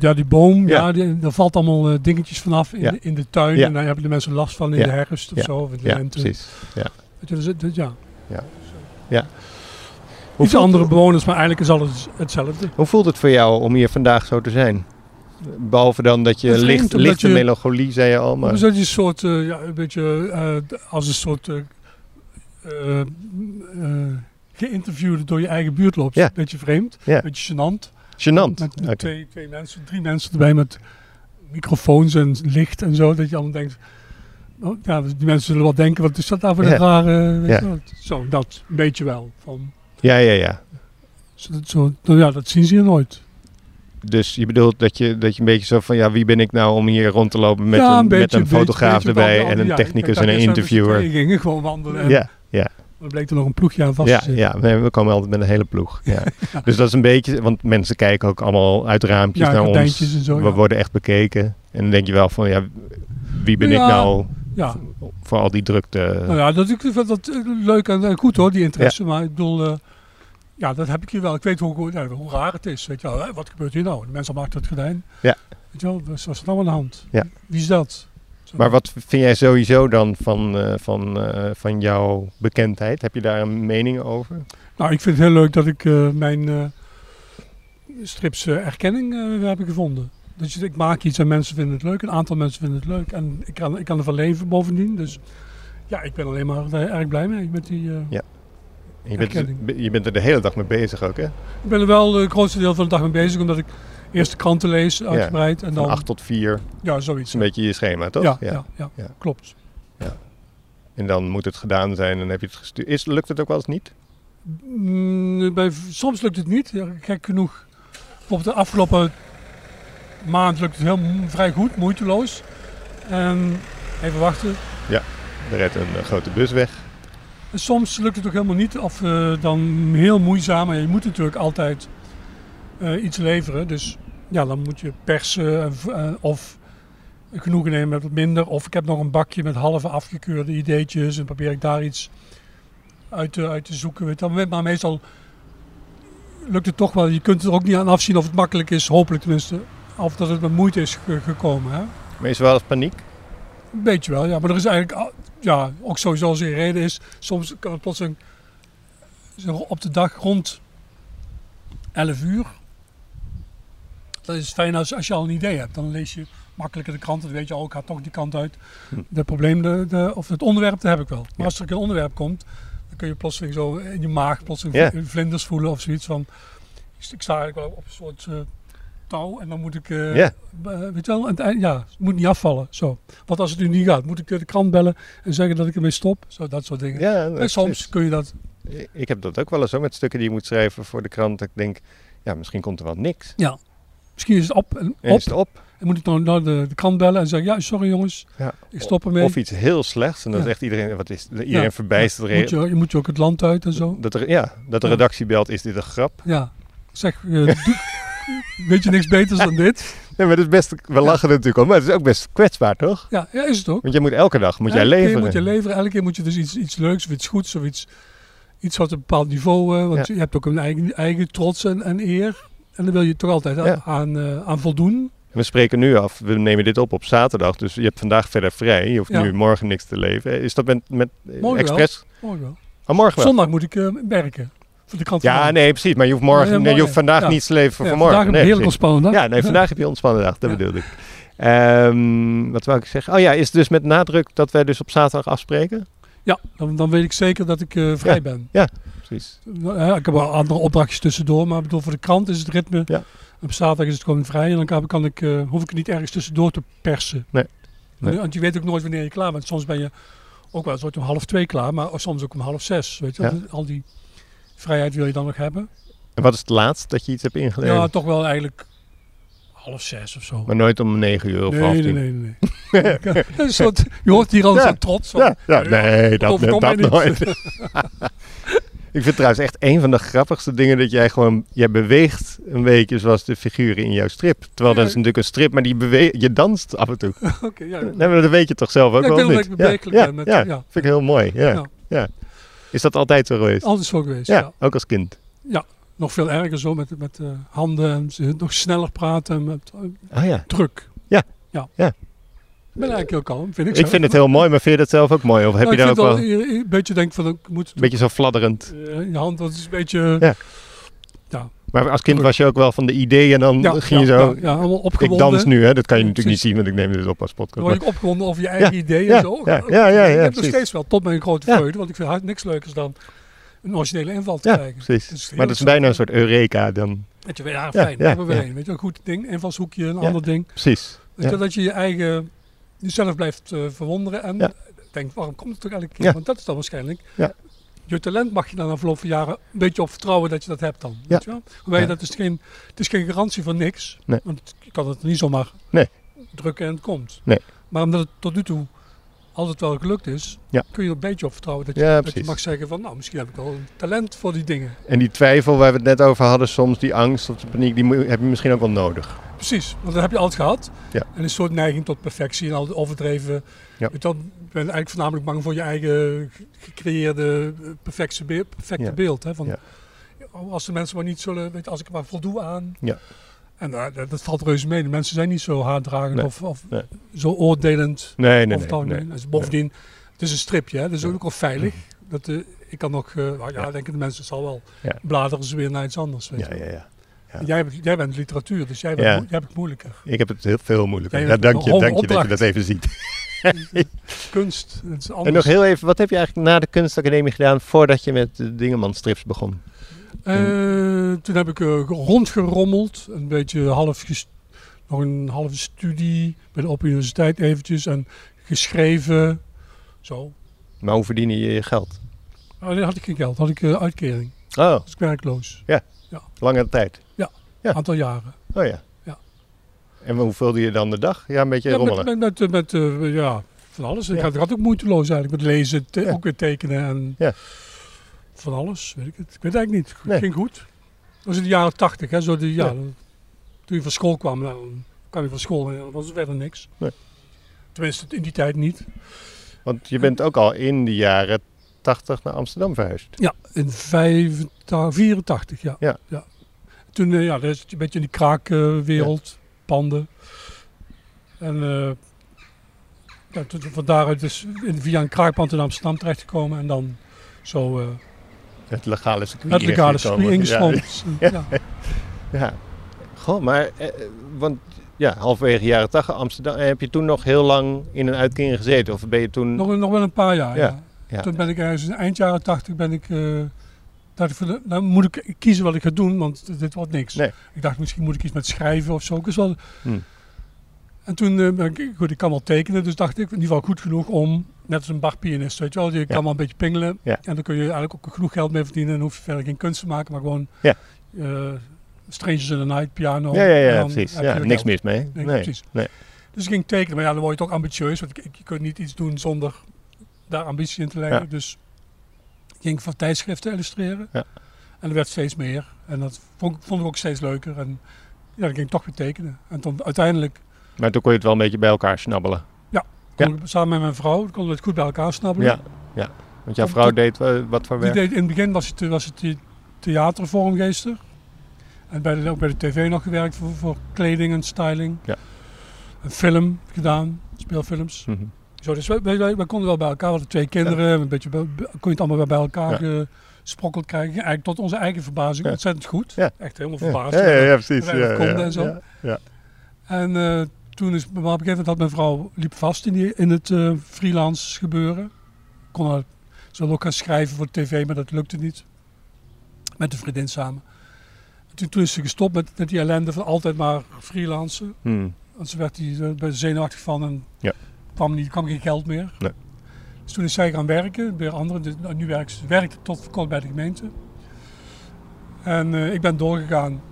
[SPEAKER 8] ja, die boom,
[SPEAKER 7] Ja.
[SPEAKER 8] ja. die- daar valt allemaal eh, dingetjes vanaf in,
[SPEAKER 7] Ja.
[SPEAKER 8] de, in de tuin.
[SPEAKER 7] Ja.
[SPEAKER 8] En daar hebben de mensen last van in
[SPEAKER 7] Ja.
[SPEAKER 8] de herfst of
[SPEAKER 7] Ja.
[SPEAKER 8] zo. Of in de
[SPEAKER 7] Ja,
[SPEAKER 8] lente.
[SPEAKER 7] precies.
[SPEAKER 8] Weet je, dus het- het- ja. Iets
[SPEAKER 7] Hoeveel-
[SPEAKER 8] andere bewoners, maar eigenlijk is alles hetzelfde.
[SPEAKER 7] Hoe voelt het voor jou om hier vandaag zo te zijn? Behalve dan dat je
[SPEAKER 8] Het vreemd,
[SPEAKER 7] licht,
[SPEAKER 8] omdat
[SPEAKER 7] lichte
[SPEAKER 8] je-
[SPEAKER 7] melancholie, zei je al. Maar...
[SPEAKER 8] Dus dat je een soort, eh, ja, een beetje eh, d- als een soort eh eh, eh, geïnterviewde door je eigen buurt loopt.
[SPEAKER 7] Ja.
[SPEAKER 8] Een beetje vreemd,
[SPEAKER 7] Ja.
[SPEAKER 8] een beetje gênant.
[SPEAKER 7] Gênant.
[SPEAKER 8] Met
[SPEAKER 7] Oké.
[SPEAKER 8] twee, twee mensen, drie mensen erbij met microfoons en licht en zo. Dat je allemaal denkt, oh, ja, die mensen zullen wel denken, wat is dat nou voor
[SPEAKER 7] Ja.
[SPEAKER 8] een rare... weet
[SPEAKER 7] Ja.
[SPEAKER 8] je wel. Zo, dat een beetje wel. Van,
[SPEAKER 7] Ja, ja, ja.
[SPEAKER 8] zo, zo, nou ja, dat zien ze hier nooit.
[SPEAKER 7] Dus je bedoelt dat je, dat je een beetje zo van, ja, wie ben ik nou om hier rond te lopen met, een, met een fotograaf
[SPEAKER 8] beetje,
[SPEAKER 7] erbij
[SPEAKER 8] want al
[SPEAKER 7] en
[SPEAKER 8] die-
[SPEAKER 7] een
[SPEAKER 8] ja,
[SPEAKER 7] technicus
[SPEAKER 8] kijk,
[SPEAKER 7] en
[SPEAKER 8] daar
[SPEAKER 7] een
[SPEAKER 8] zijn we met z'n
[SPEAKER 7] interviewer.
[SPEAKER 8] tweeën gingen gewoon wandelen. En
[SPEAKER 7] Ja,
[SPEAKER 8] Dan bleek er nog een ploegje aan vast
[SPEAKER 7] ja,
[SPEAKER 8] te zitten.
[SPEAKER 7] ja. Nee, we komen altijd met een hele ploeg.
[SPEAKER 8] <laughs>
[SPEAKER 7] Ja. Dus dat is een beetje, want mensen kijken ook allemaal uit raampjes
[SPEAKER 8] Ja,
[SPEAKER 7] naar nou, ons.
[SPEAKER 8] gordijntjes en zo,
[SPEAKER 7] we
[SPEAKER 8] ja.
[SPEAKER 7] worden echt bekeken. En dan denk je wel van, ja, wie ben ik
[SPEAKER 8] Ja.
[SPEAKER 7] nou
[SPEAKER 8] Ja,
[SPEAKER 7] voor al die drukte?
[SPEAKER 8] nou ja, dat, ik vind dat eh, leuk en eh, goed hoor, die interesse. Maar ik bedoel, eh, ja, dat heb ik hier wel. Ik weet hoe, hoe, ja, hoe raar het is. Weet je wel, Hè, wat gebeurt hier nou? De mensen allemaal achter het gordijn.
[SPEAKER 7] Ja.
[SPEAKER 8] Weet je wel, wat is er nou aan de hand?
[SPEAKER 7] Ja.
[SPEAKER 8] Wie is dat? Zo.
[SPEAKER 7] Maar wat vind jij sowieso dan van, eh, van, eh, van jouw bekendheid? Heb je daar een mening over?
[SPEAKER 8] Nou, ik vind het heel leuk dat ik eh, mijn eh, strips eh, erkenning eh, weer heb gevonden. Dat je, ik maak iets en mensen vinden het leuk. Een aantal mensen vinden het leuk. En ik kan, ik kan ervan leven bovendien. Dus ja, ik ben alleen maar eh, erg blij mee met die... eh,
[SPEAKER 7] Je bent, dus
[SPEAKER 8] Erkenning.
[SPEAKER 7] be- je bent er de hele dag mee bezig ook, hè?
[SPEAKER 8] Ik ben er wel eh, het grootste deel van de dag mee bezig, omdat ik eerst de kranten lees, uitgebreid. en
[SPEAKER 7] Van
[SPEAKER 8] dan,
[SPEAKER 7] 8 tot 4. Dat
[SPEAKER 8] ja, zoiets.
[SPEAKER 7] is een beetje je schema, toch?
[SPEAKER 8] ja, ja. Ja,
[SPEAKER 7] Ja.
[SPEAKER 8] klopt.
[SPEAKER 7] En dan moet het gedaan zijn en dan heb je het gestuurd. Is, lukt het ook wel eens niet?
[SPEAKER 8] Mm, bij, soms lukt het niet, ja, gek genoeg. Bijvoorbeeld de afgelopen maand lukt het heel, m- vrij goed, moeiteloos. En even wachten.
[SPEAKER 7] Er redt een eh, grote bus weg.
[SPEAKER 8] En soms lukt het ook helemaal niet, of eh, dan heel moeizaam. Maar je moet natuurlijk altijd eh, iets leveren. Dus ja, dan moet je persen en v- en of genoegen nemen met wat minder. Of ik heb nog een bakje met halve afgekeurde ideetjes en probeer ik daar iets uit te, uit te zoeken. Weet je wel. Maar meestal lukt het toch wel. Je kunt er ook niet aan afzien of het makkelijk is, hopelijk tenminste. Of dat het met moeite is ge- gekomen. Hè?
[SPEAKER 7] Maar is er wel eens paniek?
[SPEAKER 8] Eh, Een beetje wel, ja. Maar er is eigenlijk al- ja, ook sowieso als er een reden is. Soms kan het plots een, zo op de dag rond 11 uur. Dat is fijn als, als je al een idee hebt. Dan lees je makkelijker de krant. Dan weet je al, ik ga toch die kant uit. De probleem de, de- of het onderwerp, dat heb ik wel. Maar
[SPEAKER 7] Hm. Ja.
[SPEAKER 8] als er een onderwerp komt, dan kun je plotseling zo in je maag plotseling
[SPEAKER 7] Ja.
[SPEAKER 8] vl- vlinders voelen of zoiets van. Ik ik sta eigenlijk wel op een soort eh, touw en dan moet ik eh,
[SPEAKER 7] Ja.
[SPEAKER 8] eh, weet je wel, aan het eind- ja, het moet niet afvallen. Zo. Want als het nu niet gaat, moet ik de krant bellen en zeggen dat ik ermee stop. Zo, dat soort dingen.
[SPEAKER 7] Ja,
[SPEAKER 8] en
[SPEAKER 7] dat
[SPEAKER 8] Eh, soms kun je dat.
[SPEAKER 7] is- Ik heb dat ook wel eens hoor, met stukken die je moet schrijven voor de krant. Dat ik denk, ja, misschien komt er wel niks.
[SPEAKER 8] Misschien is het op en
[SPEAKER 7] En
[SPEAKER 8] op.
[SPEAKER 7] is het op.
[SPEAKER 8] En moet ik dan naar de, de krant bellen en zeggen: Ja, sorry jongens,
[SPEAKER 7] Ja.
[SPEAKER 8] ik stop ermee.
[SPEAKER 7] Of iets heel slechts. En dan
[SPEAKER 8] Ja.
[SPEAKER 7] zegt iedereen, wat is Iedereen verbijsterd.
[SPEAKER 8] moet je, je moet je ook het land uit en zo.
[SPEAKER 7] Dat er, ja, dat de
[SPEAKER 8] Ja.
[SPEAKER 7] redactie belt, is dit een grap?
[SPEAKER 8] Ja. Zeg, eh,
[SPEAKER 7] <laughs>
[SPEAKER 8] doe- weet je niks beters dan dit?
[SPEAKER 7] Nee, maar dat is best, we lachen er natuurlijk om, maar het is ook best kwetsbaar, toch?
[SPEAKER 8] Ja, ja is het ook.
[SPEAKER 7] Want jij moet elke dag moet jij
[SPEAKER 8] elke
[SPEAKER 7] leveren.
[SPEAKER 8] Keer moet je leveren. Elke keer moet je dus iets, iets leuks of iets goeds of iets, iets wat een bepaald niveau... eh, want
[SPEAKER 7] Ja.
[SPEAKER 8] je hebt ook een eigen, eigen trots en, en eer. En daar wil je toch altijd
[SPEAKER 7] Ja.
[SPEAKER 8] aan, eh, aan voldoen.
[SPEAKER 7] We spreken nu af, we nemen dit op op zaterdag, dus je hebt vandaag verder vrij. Je hoeft
[SPEAKER 8] Ja.
[SPEAKER 7] nu morgen niks te leveren. Is dat met, met eh,
[SPEAKER 8] Morgen
[SPEAKER 7] expres?
[SPEAKER 8] Mooi wel.
[SPEAKER 7] Oh, morgen wel.
[SPEAKER 8] Zondag moet ik eh, werken. Voor de krant van
[SPEAKER 7] Ja,
[SPEAKER 8] Morgen.
[SPEAKER 7] nee, precies. Maar je hoeft,
[SPEAKER 8] Oh, Ja, ja,
[SPEAKER 7] morgen, nee, je
[SPEAKER 8] morgen.
[SPEAKER 7] hoeft vandaag
[SPEAKER 8] Ja.
[SPEAKER 7] niets te leveren voor
[SPEAKER 8] Ja,
[SPEAKER 7] morgen.
[SPEAKER 8] Vandaag een
[SPEAKER 7] nee,
[SPEAKER 8] heerlijk
[SPEAKER 7] precies.
[SPEAKER 8] ontspannen dag.
[SPEAKER 7] Ja, nee, vandaag heb je een ontspannen dag, dat
[SPEAKER 8] Ja.
[SPEAKER 7] bedoelde ik. Ehm, wat wou ik zeggen? Oh ja, is het dus met nadruk dat wij dus op zaterdag afspreken?
[SPEAKER 8] Ja, dan, dan weet ik zeker dat ik eh, vrij
[SPEAKER 7] Ja.
[SPEAKER 8] ben.
[SPEAKER 7] Precies.
[SPEAKER 8] Eh, ik heb wel andere opdrachtjes tussendoor, maar ik bedoel, voor de krant is het ritme.
[SPEAKER 7] Ja.
[SPEAKER 8] Op zaterdag is het gewoon vrij en dan kan, kan ik, eh, hoef ik het niet ergens tussendoor te persen.
[SPEAKER 7] Nee. Nee.
[SPEAKER 8] Want je weet ook nooit wanneer je klaar bent. Soms ben je ook wel eens ooit om half twee klaar, maar soms ook om half zes. Weet je?
[SPEAKER 7] Ja.
[SPEAKER 8] wel. Al die vrijheid wil je dan nog hebben.
[SPEAKER 7] En wat is het laatst dat je iets hebt ingeleverd?
[SPEAKER 8] Ja, toch wel eigenlijk half zes of zo.
[SPEAKER 7] Maar nooit om 9 uur of
[SPEAKER 8] nee,
[SPEAKER 7] half
[SPEAKER 8] nee,
[SPEAKER 7] tien.
[SPEAKER 8] nee, nee.
[SPEAKER 7] <laughs>
[SPEAKER 8] Dat is een soort, je hoort hier al
[SPEAKER 7] Ja.
[SPEAKER 8] zo trots op.
[SPEAKER 7] Ja, ja, nee, dat,
[SPEAKER 8] overkomt
[SPEAKER 7] dat
[SPEAKER 8] mij niet. <laughs>
[SPEAKER 7] nooit. Ik vind trouwens echt een van de grappigste dingen dat jij gewoon... Jij beweegt een beetje zoals de figuren in jouw strip. Terwijl dat is natuurlijk een strip, maar die bewe je danst af en toe.
[SPEAKER 8] Oké, ja.
[SPEAKER 7] Nee, maar dat weet je toch zelf ook
[SPEAKER 8] Ja, ik
[SPEAKER 7] wel
[SPEAKER 8] weet
[SPEAKER 7] of niet?
[SPEAKER 8] dat ik
[SPEAKER 7] Ja,
[SPEAKER 8] bewegelijk
[SPEAKER 7] ja,
[SPEAKER 8] ben met-
[SPEAKER 7] ja,
[SPEAKER 8] ja.
[SPEAKER 7] vind ik heel mooi. Ja, ja.
[SPEAKER 8] Ja.
[SPEAKER 7] Is dat altijd zo geweest?
[SPEAKER 8] Altijd zo geweest,
[SPEAKER 7] ja,
[SPEAKER 8] ja.
[SPEAKER 7] ook als kind.
[SPEAKER 8] Nog veel erger zo met, met eh, handen en ze- nog sneller praten en met, eh,
[SPEAKER 7] Ah ja.
[SPEAKER 8] druk.
[SPEAKER 7] Ja.
[SPEAKER 8] ja.
[SPEAKER 7] Ja.
[SPEAKER 8] Ik ben eigenlijk heel kalm, vind ik
[SPEAKER 7] Ik vind het heel mooi, maar vind je dat zelf ook mooi? Of heb
[SPEAKER 8] Nou,
[SPEAKER 7] je daar ook wel een
[SPEAKER 8] Een beetje denk van, ik moet...
[SPEAKER 7] beetje zo fladderend?
[SPEAKER 8] eh, je hand, dat is een beetje...
[SPEAKER 7] Ja. Maar als kind was je ook wel van de idee en dan
[SPEAKER 8] ja,
[SPEAKER 7] ging je
[SPEAKER 8] ja,
[SPEAKER 7] zo...
[SPEAKER 8] ja, ja, allemaal
[SPEAKER 7] Ik
[SPEAKER 8] opgewonden.
[SPEAKER 7] dans nu, hè? dat kan je
[SPEAKER 8] Ja,
[SPEAKER 7] natuurlijk niet zien, want ik neem dit op als podcast.
[SPEAKER 8] Dan word
[SPEAKER 7] maar-
[SPEAKER 8] ik opgewonden over je eigen ideeën
[SPEAKER 7] ja,
[SPEAKER 8] en zo. Oh,
[SPEAKER 7] ja, ja, ja, ja,
[SPEAKER 8] ik heb nog
[SPEAKER 7] precies.
[SPEAKER 8] steeds wel, tot mijn grote
[SPEAKER 7] Ja.
[SPEAKER 8] vreugde, want ik vind hard niks leukers dan een originele inval te
[SPEAKER 7] Ja,
[SPEAKER 8] krijgen.
[SPEAKER 7] precies.
[SPEAKER 8] Dat is heel
[SPEAKER 7] maar dat is
[SPEAKER 8] exciting.
[SPEAKER 7] bijna een soort eureka dan.
[SPEAKER 8] Dat je weer, ja,
[SPEAKER 7] Ja,
[SPEAKER 8] fijn,
[SPEAKER 7] ja,
[SPEAKER 8] daar hebben we
[SPEAKER 7] ja.
[SPEAKER 8] een. Weet je, een goed ding, invalshoekje, een
[SPEAKER 7] Ja.
[SPEAKER 8] ander ding.
[SPEAKER 7] Precies.
[SPEAKER 8] Weet je,
[SPEAKER 7] Ja.
[SPEAKER 8] Dat je je eigen, jezelf blijft eh, verwonderen en
[SPEAKER 7] Ja.
[SPEAKER 8] denkt, waarom komt het toch elke keer?
[SPEAKER 7] Ja.
[SPEAKER 8] Want dat is dan waarschijnlijk.
[SPEAKER 7] Ja.
[SPEAKER 8] Je talent mag je dan na verloop van jaren een beetje op vertrouwen dat je dat hebt dan. Weet je wel? Hoewel
[SPEAKER 7] Ja.
[SPEAKER 8] dat is geen, het is geen garantie voor niks.
[SPEAKER 7] Nee.
[SPEAKER 8] Want je kan het niet zomaar
[SPEAKER 7] Nee.
[SPEAKER 8] drukken en het komt.
[SPEAKER 7] Nee.
[SPEAKER 8] Maar omdat het tot nu toe altijd wel gelukt is,
[SPEAKER 7] Ja.
[SPEAKER 8] kun je er een beetje op vertrouwen dat je,
[SPEAKER 7] Ja,
[SPEAKER 8] dat je
[SPEAKER 7] precies.
[SPEAKER 8] mag zeggen van, nou misschien heb ik wel een talent voor die dingen.
[SPEAKER 7] En die twijfel waar we het net over hadden, soms die angst of de paniek, die moe- heb je misschien ook wel nodig.
[SPEAKER 8] Precies, want dat heb je altijd gehad.
[SPEAKER 7] Ja.
[SPEAKER 8] En een soort neiging tot perfectie en al het overdreven.
[SPEAKER 7] Ja.
[SPEAKER 8] Weet je wel, Ik ben eigenlijk voornamelijk bang voor je eigen ge- gecreëerde eh, perfecte, be- perfecte
[SPEAKER 7] Ja.
[SPEAKER 8] beeld. Hè? Van,
[SPEAKER 7] Ja.
[SPEAKER 8] oh, Als de mensen maar niet zullen, weet, je, als ik er maar voldoe aan.
[SPEAKER 7] Ja.
[SPEAKER 8] En eh, dat, dat valt reuze mee. De mensen zijn niet zo haatdragend
[SPEAKER 7] Nee.
[SPEAKER 8] of, of
[SPEAKER 7] Nee.
[SPEAKER 8] zo oordelend.
[SPEAKER 7] Nee, nee,
[SPEAKER 8] Of het
[SPEAKER 7] nee.
[SPEAKER 8] algemeen.
[SPEAKER 7] nee.
[SPEAKER 8] Dus bovendien, het is een stripje, hè? dus ook wel veilig. Dat, eh, ik kan nog, eh, nou ja,
[SPEAKER 7] Ja.
[SPEAKER 8] denken de mensen, het zal wel
[SPEAKER 7] Ja.
[SPEAKER 8] bladeren ze weer naar iets anders. Weet
[SPEAKER 7] Ja,
[SPEAKER 8] je.
[SPEAKER 7] ja, ja. ja.
[SPEAKER 8] En Jij, hebt- jij bent literatuur, dus jij, bent
[SPEAKER 7] Ja.
[SPEAKER 8] mo- jij hebt het moeilijker.
[SPEAKER 7] Ik heb het heel veel moeilijker.
[SPEAKER 8] Ja,
[SPEAKER 7] Ja,
[SPEAKER 8] je hebt
[SPEAKER 7] dank je,
[SPEAKER 8] nog
[SPEAKER 7] dank je dat je
[SPEAKER 8] opdracht.
[SPEAKER 7] dat even
[SPEAKER 8] <laughs>
[SPEAKER 7] ziet.
[SPEAKER 8] kunst. Het is anders.
[SPEAKER 7] En nog heel even, wat heb je eigenlijk na de kunstacademie gedaan voordat je met de Dingeman strips begon?
[SPEAKER 8] Eh, toen heb ik eh, rondgerommeld. Een beetje half ges- nog een halve studie bij de Open Universiteit eventjes. En geschreven. Zo.
[SPEAKER 7] Maar hoe verdien je je geld?
[SPEAKER 8] Maar dan had ik geen geld. Had ik eh, uitkering.
[SPEAKER 7] Oh,
[SPEAKER 8] Was ik werkloos.
[SPEAKER 7] lange tijd. Ja.
[SPEAKER 8] Een aantal jaren.
[SPEAKER 7] Oh ja.
[SPEAKER 8] Ja.
[SPEAKER 7] En hoe vulde je dan de dag? Ja, een beetje
[SPEAKER 8] Ja,
[SPEAKER 7] rommelen.
[SPEAKER 8] met, met, met, eh, met, eh, ja, van alles. Ik
[SPEAKER 7] Ja.
[SPEAKER 8] had, ik had ook moeiteloos eigenlijk. Met lezen, te-
[SPEAKER 7] Ja.
[SPEAKER 8] ook weer tekenen en
[SPEAKER 7] Ja.
[SPEAKER 8] van alles. Weet ik het. Ik weet het eigenlijk niet. Het
[SPEAKER 7] Nee.
[SPEAKER 8] ging goed. Dat was in de jaren tachtig. Hè, zo die, ja,
[SPEAKER 7] Ja.
[SPEAKER 8] Toen je van school kwam, nou, dan kwam je van school en dan was er verder niks.
[SPEAKER 7] Nee.
[SPEAKER 8] Tenminste, in die tijd niet.
[SPEAKER 7] Want je bent ook al in de jaren 80 naar Amsterdam verhuisd.
[SPEAKER 8] Ja, in 85, 84, ja.
[SPEAKER 7] Ja.
[SPEAKER 8] Toen, eh, ja, dat is een beetje in die kraakwereld, panden. En eh ja, toen, van daaruit dus in- via een kraakpand in Amsterdam terechtgekomen en dan zo eh
[SPEAKER 7] Het legale circuit.
[SPEAKER 8] het legale
[SPEAKER 7] ingekomen.
[SPEAKER 8] circuit
[SPEAKER 7] Ja,
[SPEAKER 8] ingestroomd. Ja.
[SPEAKER 7] ja. Goh, maar eh, eh, want ja, halverwege jaren 80 Amsterdam. eh, Heb je toen nog heel lang in een uitkering gezeten? Of ben je toen...
[SPEAKER 8] Nog, nog wel een paar jaar, ja.
[SPEAKER 7] Ja, ja.
[SPEAKER 8] Toen ben ik ergens, eind jaren 80 ben ik... eh, dacht ik van, eh, nou moet ik kiezen wat ik ga doen, want dit wordt niks.
[SPEAKER 7] Nee.
[SPEAKER 8] Ik dacht, misschien moet ik iets met schrijven of zo. Ik was wel...
[SPEAKER 7] Hmm.
[SPEAKER 8] En toen, eh, ben ik, goed, ik kan wel tekenen, dus dacht ik, in ieder geval goed genoeg om, net als een barpianist, weet je wel, je kan wel een beetje pingelen.
[SPEAKER 7] Ja.
[SPEAKER 8] En dan kun je eigenlijk ook genoeg geld mee verdienen en hoef je verder geen kunst te maken, maar gewoon
[SPEAKER 7] Ja.
[SPEAKER 8] eh, Strangers in the Night, piano.
[SPEAKER 7] ja, ja, ja,
[SPEAKER 8] en dan
[SPEAKER 7] precies.
[SPEAKER 8] heb je
[SPEAKER 7] Ja,
[SPEAKER 8] weer
[SPEAKER 7] niks
[SPEAKER 8] geld.
[SPEAKER 7] mis mee. Nee,
[SPEAKER 8] Nee,
[SPEAKER 7] nee,
[SPEAKER 8] precies. Dus ik ging tekenen, maar ja, dan word je toch ambitieus, want ik- ik- je kunt niet iets doen zonder daar ambitie in te leggen.
[SPEAKER 7] Ja.
[SPEAKER 8] Dus ik ging van tijdschriften illustreren.
[SPEAKER 7] Ja.
[SPEAKER 8] En En er werd steeds meer. En dat vond, ik- vond ik ook steeds leuker. En ja, dan ging ik toch weer tekenen. En toen uiteindelijk
[SPEAKER 7] Maar toen kon je het wel een beetje bij elkaar snabbelen.
[SPEAKER 8] kon ik samen met mijn vrouw konden we het goed bij elkaar snabbelen.
[SPEAKER 7] Ja, ja. Want jouw vrouw deed eh, wat voor
[SPEAKER 8] Die
[SPEAKER 7] werk?
[SPEAKER 8] deed, in het begin was het, was het die theatervormgeester. En bij de, ook bij de tv nog gewerkt voor, voor kleding en styling.
[SPEAKER 7] Ja.
[SPEAKER 8] Een film gedaan, speelfilms.
[SPEAKER 7] Mhm.
[SPEAKER 8] Zo, dus wij, wij, wij- wij konden wel bij elkaar, we hadden twee kinderen, een beetje, bij- kon je het allemaal wel bij elkaar gesprokkeld krijgen. Eigenlijk tot onze eigen verbazing
[SPEAKER 7] Ja.
[SPEAKER 8] ontzettend goed.
[SPEAKER 7] Ja.
[SPEAKER 8] Echt helemaal
[SPEAKER 7] Ja.
[SPEAKER 8] verbaasd.
[SPEAKER 7] Ja, ja, ja, precies.
[SPEAKER 8] wij dat
[SPEAKER 7] Ja,
[SPEAKER 8] konden
[SPEAKER 7] ja,
[SPEAKER 8] en zo.
[SPEAKER 7] ja, ja.
[SPEAKER 8] En eh, toen is, maar op een gegeven moment had mijn vrouw liep vast in, die, in het eh, freelance gebeuren. Kon haar, ze wilde ook gaan schrijven voor tv, maar dat lukte niet. Met een vriendin samen. En toen, toen is ze gestopt met, met die ellende van altijd maar freelancen.
[SPEAKER 7] Hmm.
[SPEAKER 8] Want ze werd die eh, bij zenuwachtig van en
[SPEAKER 7] Ja.
[SPEAKER 8] kwam, niet, kwam geen geld meer.
[SPEAKER 7] Nee.
[SPEAKER 8] Dus toen is zij gaan werken, weer andere, dus nu werkt ze werkte tot voor kort bij de gemeente. En eh, ik ben doorgegaan.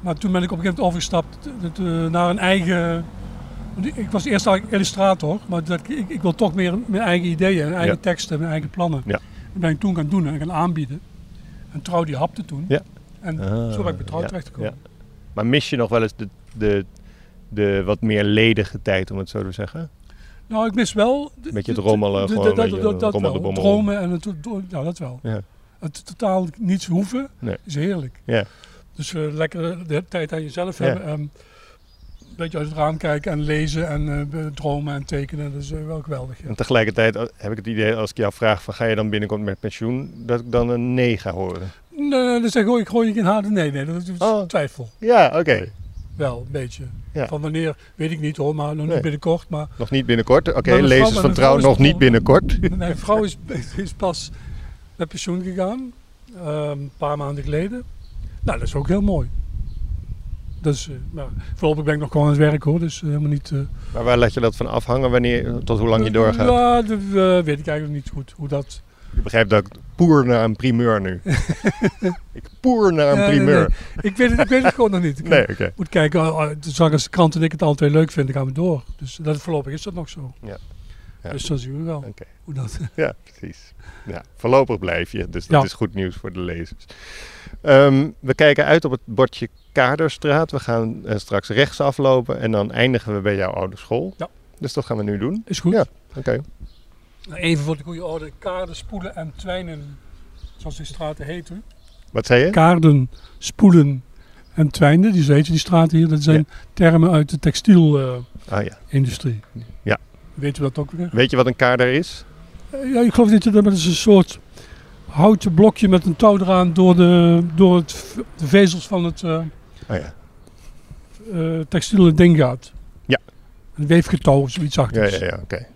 [SPEAKER 8] Maar toen ben ik op een gegeven moment overgestapt eh, eh, naar een eigen... want ik- Ik was eerst eigenlijk illustrator, maar dat, ik, ik wil toch meer mijn eigen ideeën, mijn eigen
[SPEAKER 7] Ja.
[SPEAKER 8] teksten, mijn eigen plannen.
[SPEAKER 7] Ja.
[SPEAKER 8] Dat ben ik toen gaan doen en gaan aanbieden. En trouw die hapte toen.
[SPEAKER 7] Ja.
[SPEAKER 8] En
[SPEAKER 7] Ah,
[SPEAKER 8] zo ben ik bij trouw
[SPEAKER 7] ja,
[SPEAKER 8] terechtgekomen.
[SPEAKER 7] Maar mis je nog wel eens de, de, de wat meer ledige tijd, om het zo te zeggen?
[SPEAKER 8] Nou, ik mis wel... de-
[SPEAKER 7] Beetje het
[SPEAKER 8] de-
[SPEAKER 7] rommelen,
[SPEAKER 8] de-
[SPEAKER 7] gewoon
[SPEAKER 8] de-
[SPEAKER 7] een beetje
[SPEAKER 8] dat, dat,
[SPEAKER 7] rommel de
[SPEAKER 8] wel. Het
[SPEAKER 7] bommel.
[SPEAKER 8] dromen en het... do- Ja, dat wel.
[SPEAKER 7] Ja.
[SPEAKER 8] Het totaal niets hoeven
[SPEAKER 7] Nee.
[SPEAKER 8] is heerlijk.
[SPEAKER 7] Ja.
[SPEAKER 8] Dus eh, lekker de tijd aan jezelf
[SPEAKER 7] Ja.
[SPEAKER 8] hebben. en een beetje uit het raam kijken en lezen en eh, dromen en tekenen. Dat is eh, wel geweldig. ja.
[SPEAKER 7] En tegelijkertijd eh, heb ik het idee, als ik jou vraag, van, ga je dan binnenkort met pensioen, dat ik dan een nee ga horen.
[SPEAKER 8] Nee, nee, dus dan gooi ik gooi je geen harde nee. Nee, dat is
[SPEAKER 7] Oh.
[SPEAKER 8] twijfel.
[SPEAKER 7] Ja, oké.
[SPEAKER 8] Wel, een beetje.
[SPEAKER 7] Ja.
[SPEAKER 8] Van wanneer, weet ik niet hoor, maar nog
[SPEAKER 7] Nee.
[SPEAKER 8] niet binnenkort. Maar
[SPEAKER 7] Nog niet binnenkort. Oké,
[SPEAKER 8] Maar mevrouw,
[SPEAKER 7] lezers
[SPEAKER 8] maar
[SPEAKER 7] van
[SPEAKER 8] mevrouw
[SPEAKER 7] trouw
[SPEAKER 8] is
[SPEAKER 7] nog
[SPEAKER 8] toch wel-
[SPEAKER 7] niet binnenkort. <laughs>
[SPEAKER 8] <laughs> Mijn vrouw is, is pas met pensioen gegaan, eh, een paar maanden geleden. Nou, dat is ook heel mooi. Dus, eh, maar voorlopig ben ik nog gewoon aan het werk hoor, dus eh, helemaal niet... eh,
[SPEAKER 7] Maar waar laat je dat van afhangen? Wanneer, tot hoe lang je doorgaat?
[SPEAKER 8] Ja, dat eh, weet ik eigenlijk niet goed hoe dat...
[SPEAKER 7] Je begrijpt dat ik poer naar een primeur
[SPEAKER 8] <laughs>
[SPEAKER 7] nu. ik poer naar een
[SPEAKER 8] Ja, nee,
[SPEAKER 7] primeur.
[SPEAKER 8] Ik weet het, ik weet het gewoon nog niet. Ik
[SPEAKER 7] Nee, oké.
[SPEAKER 8] moet kijken, oh, oh, dus als de krant en ik het alle twee leuk vinden, gaan we door. Dus dat, voorlopig is dat nog zo.
[SPEAKER 7] Ja. Ja.
[SPEAKER 8] Dus dan zien we wel
[SPEAKER 7] Oké.
[SPEAKER 8] hoe dat...
[SPEAKER 7] Ja, precies. Ja, voorlopig blijf je, dus dat
[SPEAKER 8] Ja.
[SPEAKER 7] is goed nieuws voor de lezers. Ehm, we kijken uit op het bordje Kaderstraat. We gaan eh, straks rechts aflopen en dan eindigen we bij jouw oude school.
[SPEAKER 8] Ja.
[SPEAKER 7] Dus dat gaan we nu doen.
[SPEAKER 8] Is goed. Nou,
[SPEAKER 7] Ja. Oké.
[SPEAKER 8] Even voor de goede orde, kaarden, spoelen en twijnen, zoals die straten heten.
[SPEAKER 7] Wat zei je?
[SPEAKER 8] kaarden, spoelen en twijnden, die, zo heten die straten hier, dat zijn termen uit de textielindustrie.
[SPEAKER 7] Ah ja. Ja.
[SPEAKER 8] Weet u dat ook weer?
[SPEAKER 7] Weet je wat een kader is?
[SPEAKER 8] Eh, Ja, ik geloof dat je dat dat is een soort houten blokje met een touw eraan door de, door het, v- de vezels van het eh
[SPEAKER 7] Ah ja.
[SPEAKER 8] eh, textiele ding gaat.
[SPEAKER 7] Ja.
[SPEAKER 8] Een weefgetouw of zoiets
[SPEAKER 7] Ja,
[SPEAKER 8] achter.
[SPEAKER 7] ja, ja. Oké.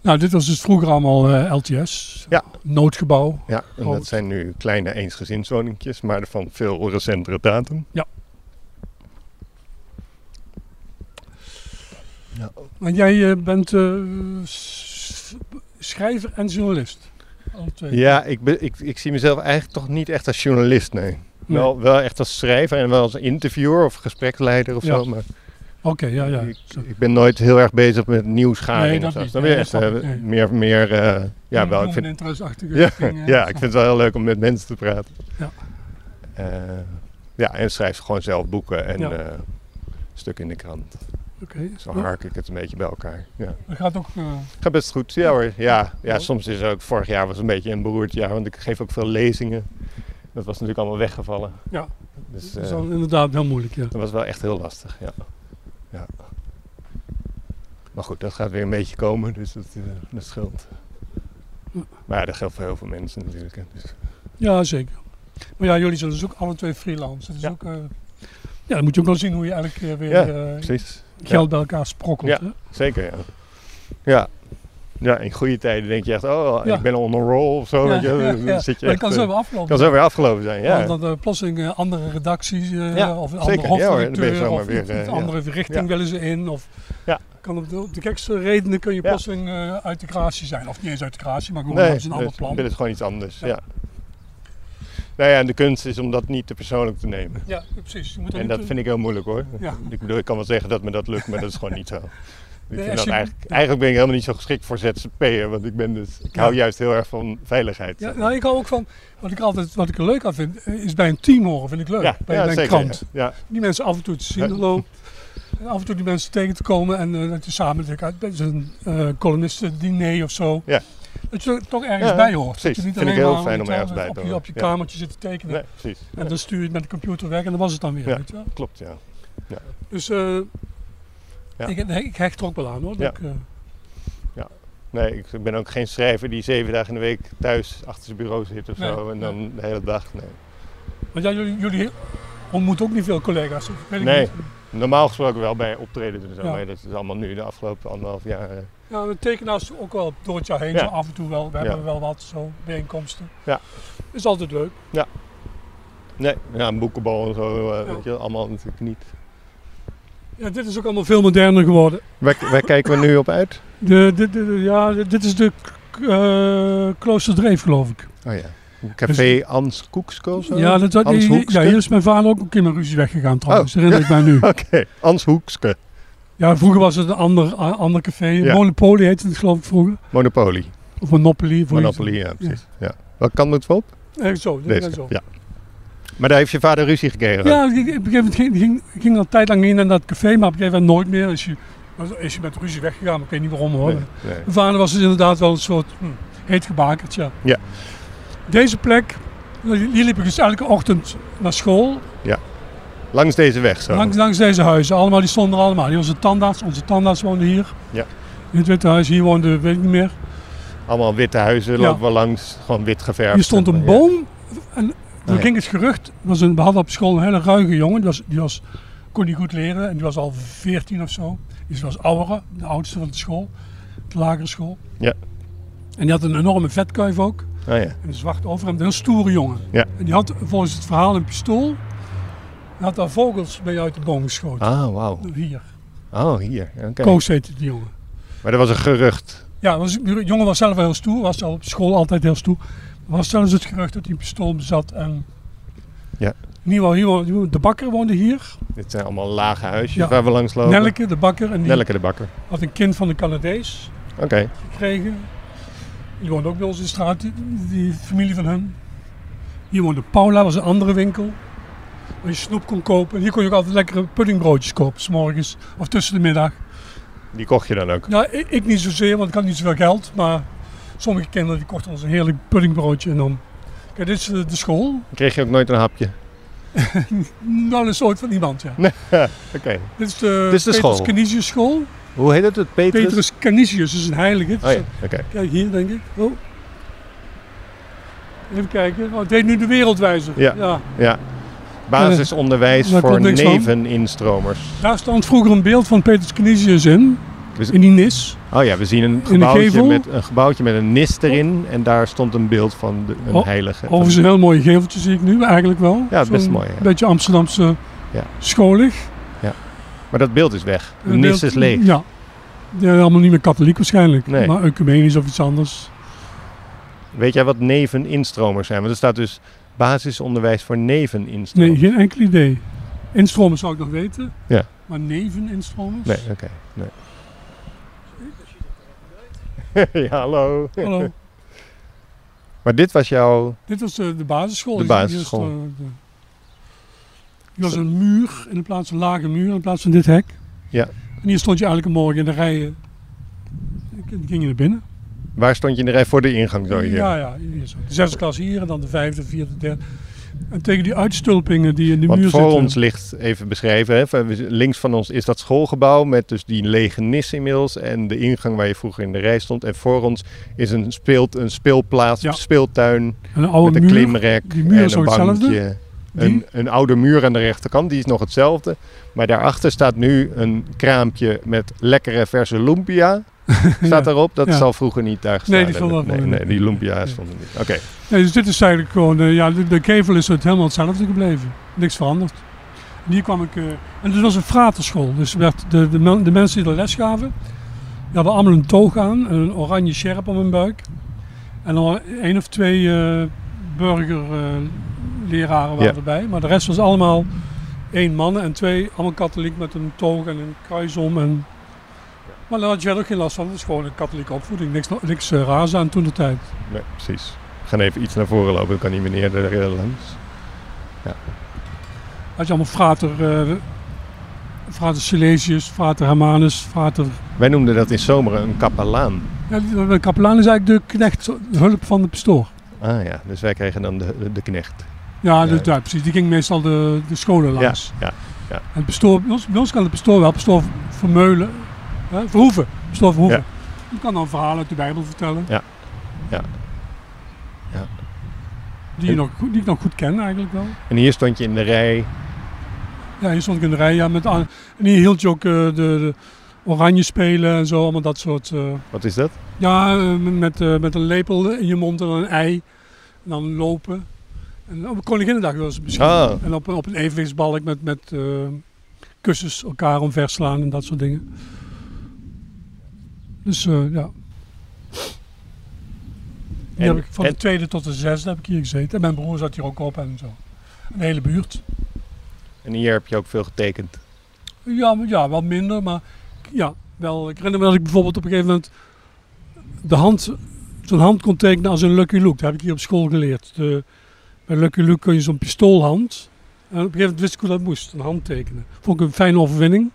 [SPEAKER 8] Nou, dit was dus vroeger allemaal eh, LTS,
[SPEAKER 7] Ja.
[SPEAKER 8] noodgebouw.
[SPEAKER 7] Ja, en
[SPEAKER 8] Groot.
[SPEAKER 7] dat zijn nu kleine eensgezinswoningjes, maar van veel recentere datum.
[SPEAKER 8] Maar jij eh, bent eh, s- schrijver en journalist. Alle twee.
[SPEAKER 7] Ja, ik, be- ik, ik zie mezelf eigenlijk toch niet echt als journalist, nee.
[SPEAKER 8] Nee.
[SPEAKER 7] Wel, wel echt als schrijver en wel als interviewer of gespreksleider of
[SPEAKER 8] Ja.
[SPEAKER 7] zo, maar
[SPEAKER 8] Oké, ja, ja.
[SPEAKER 7] ik,
[SPEAKER 8] Zo.
[SPEAKER 7] ik ben nooit heel erg bezig met nieuwsgaring
[SPEAKER 8] Nee, dat
[SPEAKER 7] of zo.
[SPEAKER 8] niet.
[SPEAKER 7] Dan
[SPEAKER 8] Nee,
[SPEAKER 7] ben je
[SPEAKER 8] dat
[SPEAKER 7] echt
[SPEAKER 8] snap
[SPEAKER 7] eh,
[SPEAKER 8] ik, nee.
[SPEAKER 7] meer, meer eh, ja, wel, ik
[SPEAKER 8] Een
[SPEAKER 7] vind,
[SPEAKER 8] interesse-achtige
[SPEAKER 7] <laughs>
[SPEAKER 8] eh,
[SPEAKER 7] ja,
[SPEAKER 8] dingen.
[SPEAKER 7] ja, ik vind het wel heel leuk om met mensen te praten.
[SPEAKER 8] Ja.
[SPEAKER 7] Eh, ja, en schrijf gewoon zelf boeken en
[SPEAKER 8] Ja.
[SPEAKER 7] eh, stuk in de krant.
[SPEAKER 8] Oké.
[SPEAKER 7] Zo hark ik het een beetje bij elkaar, ja.
[SPEAKER 8] Dat gaat ook... eh,
[SPEAKER 7] Gaat best goed, ja hoor. Ja, ja
[SPEAKER 8] Ja.
[SPEAKER 7] soms is ook, vorig jaar was een beetje een beroerd jaar, want ik geef ook veel lezingen. Dat was natuurlijk allemaal weggevallen.
[SPEAKER 8] Ja.
[SPEAKER 7] Dus
[SPEAKER 8] dat is
[SPEAKER 7] eh,
[SPEAKER 8] dan inderdaad heel moeilijk, ja.
[SPEAKER 7] dat was wel echt heel lastig, ja. ja. Maar goed, dat gaat weer een beetje komen, dus dat, eh, dat scheelt. Maar ja, dat geldt voor heel veel mensen natuurlijk. Hè. Dus,
[SPEAKER 8] Ja, zeker. Maar ja, jullie zijn dus ook alle twee freelance. Dat is
[SPEAKER 7] Ja.
[SPEAKER 8] ook... eh, ja, dan moet je ook wel zien hoe je elke keer weer
[SPEAKER 7] Ja,
[SPEAKER 8] eh,
[SPEAKER 7] precies,
[SPEAKER 8] geld bij elkaar sprokkelt.
[SPEAKER 7] Ja.
[SPEAKER 8] hè?
[SPEAKER 7] zeker ja. Ja. Ja, in goede tijden denk je echt, oh,
[SPEAKER 8] Ja.
[SPEAKER 7] ik ben on a roll of zo.
[SPEAKER 8] Ja,
[SPEAKER 7] Oh, weet je, wel.
[SPEAKER 8] ja,
[SPEAKER 7] Dan
[SPEAKER 8] ja.
[SPEAKER 7] zit je
[SPEAKER 8] Maar dat
[SPEAKER 7] echt,
[SPEAKER 8] kan
[SPEAKER 7] eh,
[SPEAKER 8] zo weer aflopen.
[SPEAKER 7] kan zo weer afgelopen zijn, ja.
[SPEAKER 8] Want dan eh, plotseling eh, andere redacties eh,
[SPEAKER 7] Ja,
[SPEAKER 8] of een
[SPEAKER 7] zeker.
[SPEAKER 8] andere
[SPEAKER 7] Ja hoor, dan ben je
[SPEAKER 8] hoofdredacteur
[SPEAKER 7] zomaar
[SPEAKER 8] of
[SPEAKER 7] weer,
[SPEAKER 8] iets-
[SPEAKER 7] eh,
[SPEAKER 8] iets
[SPEAKER 7] ja.
[SPEAKER 8] andere richting
[SPEAKER 7] Ja.
[SPEAKER 8] willen ze in. Of
[SPEAKER 7] Ja.
[SPEAKER 8] kan op de, op de gekste redenen kun je
[SPEAKER 7] Ja.
[SPEAKER 8] plotseling eh, uit de creatie zijn. Of niet eens uit de creatie, maar gewoon
[SPEAKER 7] Nee,
[SPEAKER 8] hebben ze een ander
[SPEAKER 7] dus
[SPEAKER 8] plan.
[SPEAKER 7] dit is gewoon iets anders. Ja.
[SPEAKER 8] Ja.
[SPEAKER 7] Nou ja, en de kunst is om dat niet te persoonlijk te nemen.
[SPEAKER 8] Ja, precies. Je moet er
[SPEAKER 7] En
[SPEAKER 8] niet eh,
[SPEAKER 7] dat
[SPEAKER 8] te-
[SPEAKER 7] vind ik heel moeilijk hoor.
[SPEAKER 8] Ja.
[SPEAKER 7] Ik bedoel, ik kan wel zeggen dat me dat lukt, maar dat is gewoon niet zo. Ik
[SPEAKER 8] Nee,
[SPEAKER 7] vind
[SPEAKER 8] als
[SPEAKER 7] dat
[SPEAKER 8] je-
[SPEAKER 7] eigenlijk, eigenlijk ben ik helemaal niet zo geschikt voor ZZP'er, want ik, ben dus, ik
[SPEAKER 8] Ja.
[SPEAKER 7] hou juist heel erg van veiligheid.
[SPEAKER 8] Ja, nou, ik hou ook van, wat ik altijd wat ik er leuk aan vind, eh, is bij een team horen, vind ik leuk.
[SPEAKER 7] Ja,
[SPEAKER 8] bij
[SPEAKER 7] ja,
[SPEAKER 8] bij een
[SPEAKER 7] zeker,
[SPEAKER 8] krant.
[SPEAKER 7] Ja,
[SPEAKER 8] Die mensen af en toe te zien,
[SPEAKER 7] Ja.
[SPEAKER 8] hallo. En af en toe die mensen tegen te komen en eh, dat je samen, dat je- dat is een eh columnistendiner of zo.
[SPEAKER 7] Ja.
[SPEAKER 8] Dat je er toch ergens
[SPEAKER 7] Ja,
[SPEAKER 8] bij hoort.
[SPEAKER 7] precies.
[SPEAKER 8] Dat je niet
[SPEAKER 7] Vind ik
[SPEAKER 8] alleen
[SPEAKER 7] heel
[SPEAKER 8] maar
[SPEAKER 7] fijn
[SPEAKER 8] op
[SPEAKER 7] om
[SPEAKER 8] je-
[SPEAKER 7] ergens bij te
[SPEAKER 8] op je,
[SPEAKER 7] horen.
[SPEAKER 8] op je
[SPEAKER 7] Ja.
[SPEAKER 8] kamertje zitten tekenen.
[SPEAKER 7] nee, precies.
[SPEAKER 8] En dan stuur je het met de computer weg en dan was het dan weer.
[SPEAKER 7] Ja.
[SPEAKER 8] Weet je wel?
[SPEAKER 7] Klopt, ja.
[SPEAKER 8] Dus eh,
[SPEAKER 7] Ja.
[SPEAKER 8] ik, ik hecht er ook wel aan hoor.
[SPEAKER 7] Ja.
[SPEAKER 8] Dat ik, eh,
[SPEAKER 7] Nee, ik ben ook geen schrijver die zeven dagen in de week thuis achter zijn bureau zit of
[SPEAKER 8] Nee,
[SPEAKER 7] zo en dan de hele dag. Nee.
[SPEAKER 8] want ja, jullie, jullie ontmoeten ook niet veel collega's. of Weet ik
[SPEAKER 7] Nee.
[SPEAKER 8] niet.
[SPEAKER 7] Normaal gesproken wel bij optredens en zo,
[SPEAKER 8] Ja.
[SPEAKER 7] maar dat is allemaal nu de afgelopen anderhalf jaar. eh,
[SPEAKER 8] Ja, de tekenaars ook wel door het jaar heen,
[SPEAKER 7] Ja.
[SPEAKER 8] zo af en toe wel. We
[SPEAKER 7] Ja.
[SPEAKER 8] hebben wel wat zo bijeenkomsten.
[SPEAKER 7] Ja.
[SPEAKER 8] Is altijd leuk.
[SPEAKER 7] Nee, ja, een boekenbal en zo, eh,
[SPEAKER 8] Ja.
[SPEAKER 7] weet je, allemaal natuurlijk niet.
[SPEAKER 8] Ja, dit is ook allemaal veel moderner geworden.
[SPEAKER 7] Waar, waar kijken we nu op uit?
[SPEAKER 8] De, dit- dit- ja, dit is de k- eh Kloosterdreef, geloof ik.
[SPEAKER 7] Oh ja. Café Ans Koeksko of zo?
[SPEAKER 8] Dus- Ja, dat,
[SPEAKER 7] Hans Hoekske?
[SPEAKER 8] ja, hier is mijn vader ook een keer met ruzie weggegaan trouwens,
[SPEAKER 7] Oh.
[SPEAKER 8] herinner ik mij nu.
[SPEAKER 7] <laughs> Oké, Ans Hoekske.
[SPEAKER 8] Ja, vroeger was het een ander, a- ander café.
[SPEAKER 7] Ja.
[SPEAKER 8] Monopoly heette het geloof ik vroeger.
[SPEAKER 7] Monopoly.
[SPEAKER 8] Of Monopoly. voor
[SPEAKER 7] Monopoly, ja, precies. Ja. Wat kan het op?
[SPEAKER 8] iets. Eh, zo, dit en
[SPEAKER 7] Deze.
[SPEAKER 8] zo.
[SPEAKER 7] Ja. Maar daar heeft je vader ruzie gekregen?
[SPEAKER 8] Ja, ik- ik- op een gegeven moment ging, ging, ging al een tijd lang in naar dat café, maar op een gegeven moment nooit meer. Is je, is je met ruzie weggegaan, maar ik weet niet waarom hoor.
[SPEAKER 7] Nee,
[SPEAKER 8] Mijn
[SPEAKER 7] nee.
[SPEAKER 8] vader was dus inderdaad wel een soort hm, heet gebakerd, ja.
[SPEAKER 7] Ja.
[SPEAKER 8] Deze plek, hier liep ik dus elke ochtend naar school,
[SPEAKER 7] Langs deze weg zo?
[SPEAKER 8] langs, langs deze huizen. Allemaal, die stonden er allemaal. Die onze tandarts, onze tandarts woonde hier.
[SPEAKER 7] Ja.
[SPEAKER 8] In het Witte Huis, hier woonde, weet ik niet meer.
[SPEAKER 7] Allemaal witte huizen,
[SPEAKER 8] Ja.
[SPEAKER 7] lopen we langs, gewoon wit geverfd.
[SPEAKER 8] Hier stond een
[SPEAKER 7] Ja.
[SPEAKER 8] boom. En toen
[SPEAKER 7] ja.
[SPEAKER 8] ging het gerucht. Was een, we hadden op school een hele ruige jongen. Die, was, die was, kon niet goed leren. En die was al 14 of zo. Dus die was oudere, de oudste van de school. De lagere school.
[SPEAKER 7] Ja.
[SPEAKER 8] En die had een enorme vetkuif ook.
[SPEAKER 7] Oh ja.
[SPEAKER 8] En een zwart overhemd. En een stoere jongen.
[SPEAKER 7] Ja.
[SPEAKER 8] En die had volgens het verhaal een pistool. En had daar vogels mee uit de boom geschoten.
[SPEAKER 7] Ah, wauw.
[SPEAKER 8] Hier.
[SPEAKER 7] Oh, hier. Oké.
[SPEAKER 8] Koos heette die jongen.
[SPEAKER 7] Maar dat was een gerucht.
[SPEAKER 8] Ja, was, de jongen was zelf wel heel stoer. Was al op school altijd heel stoer. Er was zelfs het gerucht dat hij een pistool bezat. En
[SPEAKER 7] Ja.
[SPEAKER 8] In ieder geval, hier wo- de bakker woonde hier.
[SPEAKER 7] Dit zijn allemaal lage huisjes
[SPEAKER 8] Ja.
[SPEAKER 7] waar we langs lopen.
[SPEAKER 8] Nelke, de bakker. En die
[SPEAKER 7] Nelke de bakker.
[SPEAKER 8] had een kind van de Canadees
[SPEAKER 7] Oké.
[SPEAKER 8] gekregen. Die woonde ook bij ons in de straat, die, die familie van hem. Hier woonde Paula, was een andere winkel. Waar je snoep kon kopen. En hier kon je ook altijd lekkere puddingbroodjes kopen, s'morgens of tussen de middag.
[SPEAKER 7] Die kocht je dan ook.
[SPEAKER 8] Ja, ik, ik niet zozeer, want ik had niet zoveel geld. Maar sommige kinderen die kochten ons een heerlijk puddingbroodje. En dan, kijk, dit is de, de school.
[SPEAKER 7] Kreeg je ook nooit een hapje?
[SPEAKER 8] Nou, een soort van iemand, ja.
[SPEAKER 7] Oké.
[SPEAKER 8] Dit is de,
[SPEAKER 7] Dit is de
[SPEAKER 8] Petrus
[SPEAKER 7] school.
[SPEAKER 8] Canisius school.
[SPEAKER 7] Hoe heet het? het Petrus?
[SPEAKER 8] Petrus Canisius is een heilige. dus
[SPEAKER 7] Oh ja, oké.
[SPEAKER 8] Kijk hier, denk ik. Oh. Even kijken. Oh, het heet nu de wereldwijzer.
[SPEAKER 7] Ja. Ja. Basisonderwijs
[SPEAKER 8] Daar
[SPEAKER 7] voor
[SPEAKER 8] komt niks van.
[SPEAKER 7] neveninstromers.
[SPEAKER 8] Daar stond vroeger een beeld van Petrus Canisius in.
[SPEAKER 7] Dus-
[SPEAKER 8] in die nis.
[SPEAKER 7] Oh ja, we zien een gebouwtje,
[SPEAKER 8] gevel?
[SPEAKER 7] met, een gebouwtje met een nis erin. En daar stond een beeld van de, een
[SPEAKER 8] Oh,
[SPEAKER 7] heilige. van-
[SPEAKER 8] Overigens een heel mooi geveltje zie ik nu eigenlijk wel.
[SPEAKER 7] Ja, best
[SPEAKER 8] Zo'n
[SPEAKER 7] mooi, ja.
[SPEAKER 8] Beetje Amsterdamse
[SPEAKER 7] Ja.
[SPEAKER 8] scholig.
[SPEAKER 7] Maar dat beeld is weg. De
[SPEAKER 8] Een
[SPEAKER 7] nis
[SPEAKER 8] deel-
[SPEAKER 7] is leeg.
[SPEAKER 8] Ja. Die zijn allemaal niet meer katholiek waarschijnlijk.
[SPEAKER 7] Nee.
[SPEAKER 8] Maar ecumenisch of iets anders.
[SPEAKER 7] Weet jij wat neveninstromers zijn? Want er staat dus basisonderwijs voor
[SPEAKER 8] Nee,
[SPEAKER 7] neveninstromers.
[SPEAKER 8] geen enkel idee. Instromen zou ik nog weten.
[SPEAKER 7] Ja.
[SPEAKER 8] Maar neveninstromers?
[SPEAKER 7] Nee, <laughs> oké. nee. ja, hallo.
[SPEAKER 8] Hallo.
[SPEAKER 7] Maar dit was jouw...
[SPEAKER 8] Dit was eh, de, de basisschool.
[SPEAKER 7] De
[SPEAKER 8] Hier is eh,
[SPEAKER 7] basisschool.
[SPEAKER 8] de- de- Hier was een muur in plaats van een lage muur in plaats van dit hek.
[SPEAKER 7] Ja.
[SPEAKER 8] En hier stond je elke morgen in de rijen. Dan ging je naar binnen.
[SPEAKER 7] Waar stond je in de rij voor de ingang? Zo hier?
[SPEAKER 8] Ja, ja. hier zo. De zesde klas hier en dan de vijfde, vierde, derde. En tegen die uitstulpingen die in de
[SPEAKER 7] Want
[SPEAKER 8] muur
[SPEAKER 7] voor
[SPEAKER 8] zitten.
[SPEAKER 7] ons ligt, even beschreven, hè, van- links van ons is dat schoolgebouw met dus die lege nis inmiddels en de ingang waar je vroeger in de rij stond. En voor ons is een, speelt, een speelplaats,
[SPEAKER 8] Ja.
[SPEAKER 7] speeltuin
[SPEAKER 8] En een oude
[SPEAKER 7] met een
[SPEAKER 8] muur.
[SPEAKER 7] klimrek
[SPEAKER 8] die muur
[SPEAKER 7] en
[SPEAKER 8] is
[SPEAKER 7] een
[SPEAKER 8] ook hetzelfde.
[SPEAKER 7] bankje.
[SPEAKER 8] Die-
[SPEAKER 7] Een, een oude muur aan de rechterkant, die is nog hetzelfde. Maar daarachter staat nu een kraampje met lekkere verse
[SPEAKER 8] <laughs>
[SPEAKER 7] lumpia. Staat daarop, dat
[SPEAKER 8] Ja.
[SPEAKER 7] zal vroeger niet daar gestaan
[SPEAKER 8] Nee, die stond
[SPEAKER 7] hebben.
[SPEAKER 8] er
[SPEAKER 7] nee,
[SPEAKER 8] wel
[SPEAKER 7] nee,
[SPEAKER 8] in.
[SPEAKER 7] die lumpia
[SPEAKER 8] Nee.
[SPEAKER 7] stond er niet. Oké,
[SPEAKER 8] Nee, dus dit is eigenlijk gewoon, eh, ja, de, de kevel is het helemaal hetzelfde gebleven. Niks veranderd. En hier kwam ik, eh, en dit was een fraterschool. Dus werd de, de, men- de mensen die de les gaven, die hadden allemaal een toog aan, en een oranje sjerp om hun buik. En dan één of twee eh, burgerleraren waren
[SPEAKER 7] Ja.
[SPEAKER 8] erbij. Maar de rest was allemaal één mannen en twee, allemaal katholiek met een toog en een kruis om. En Maar daar had je wel ook geen last van. Het is gewoon een katholieke opvoeding. Niks, niks eh, raars aan toen de tijd.
[SPEAKER 7] Nee, precies. We gaan even iets naar voren lopen, dan kan die meneer er eh, langs.
[SPEAKER 8] Had je allemaal frater, eh, frater Silesius, frater Hermanus, frater...
[SPEAKER 7] Wij noemden dat in zomer een kapelaan.
[SPEAKER 8] Ja, die- de kapelaan is eigenlijk de knecht, de hulp van de pastoor.
[SPEAKER 7] Ah ja, dus wij kregen dan de, de knecht.
[SPEAKER 8] Ja,
[SPEAKER 7] Ja.
[SPEAKER 8] dat ja, precies. Die ging meestal de, de scholen
[SPEAKER 7] Ja,
[SPEAKER 8] langs.
[SPEAKER 7] ja.
[SPEAKER 8] En het pastoor, bij, ons, bij ons kan het pastoor wel, pastoor Vermeulen, hè, Verhoeven, pastoor Verhoeven. Die kan dan verhalen uit de Bijbel vertellen.
[SPEAKER 7] Ja. Ja. Ja.
[SPEAKER 8] Die, je nog, goed- die ik nog goed ken eigenlijk wel.
[SPEAKER 7] En hier stond je in de rij.
[SPEAKER 8] Ja, hier stond ik in de rij. Ja, met, aan- en hier hield je ook eh, de, de oranje spelen en zo, allemaal dat soort... eh,
[SPEAKER 7] Wat is dat?
[SPEAKER 8] ja, eh, met, eh, met een lepel in je mond en dan een ei. En dan lopen. En op Koninginnedag was het misschien.
[SPEAKER 7] Oh.
[SPEAKER 8] En op, een- op een evenwichtsbalk met, met eh, kussens elkaar omverslaan en dat soort dingen. Dus eh, ja. Hier
[SPEAKER 7] En-
[SPEAKER 8] heb ik van
[SPEAKER 7] en-
[SPEAKER 8] de tweede tot de zesde heb ik hier gezeten. En mijn broer zat hier ook op en zo. Een hele buurt.
[SPEAKER 7] En hier heb je ook veel getekend.
[SPEAKER 8] Ja, maar- ja wat minder, maar ja, wel. Ik herinner me dat ik bijvoorbeeld op een gegeven moment de hand, zo'n hand kon tekenen als een Lucky Luke. Dat heb ik hier op school geleerd. De, bij Lucky Luke kun je zo'n pistoolhand. En op een gegeven moment wist ik hoe dat moest, een hand tekenen. Vond ik een fijne overwinning.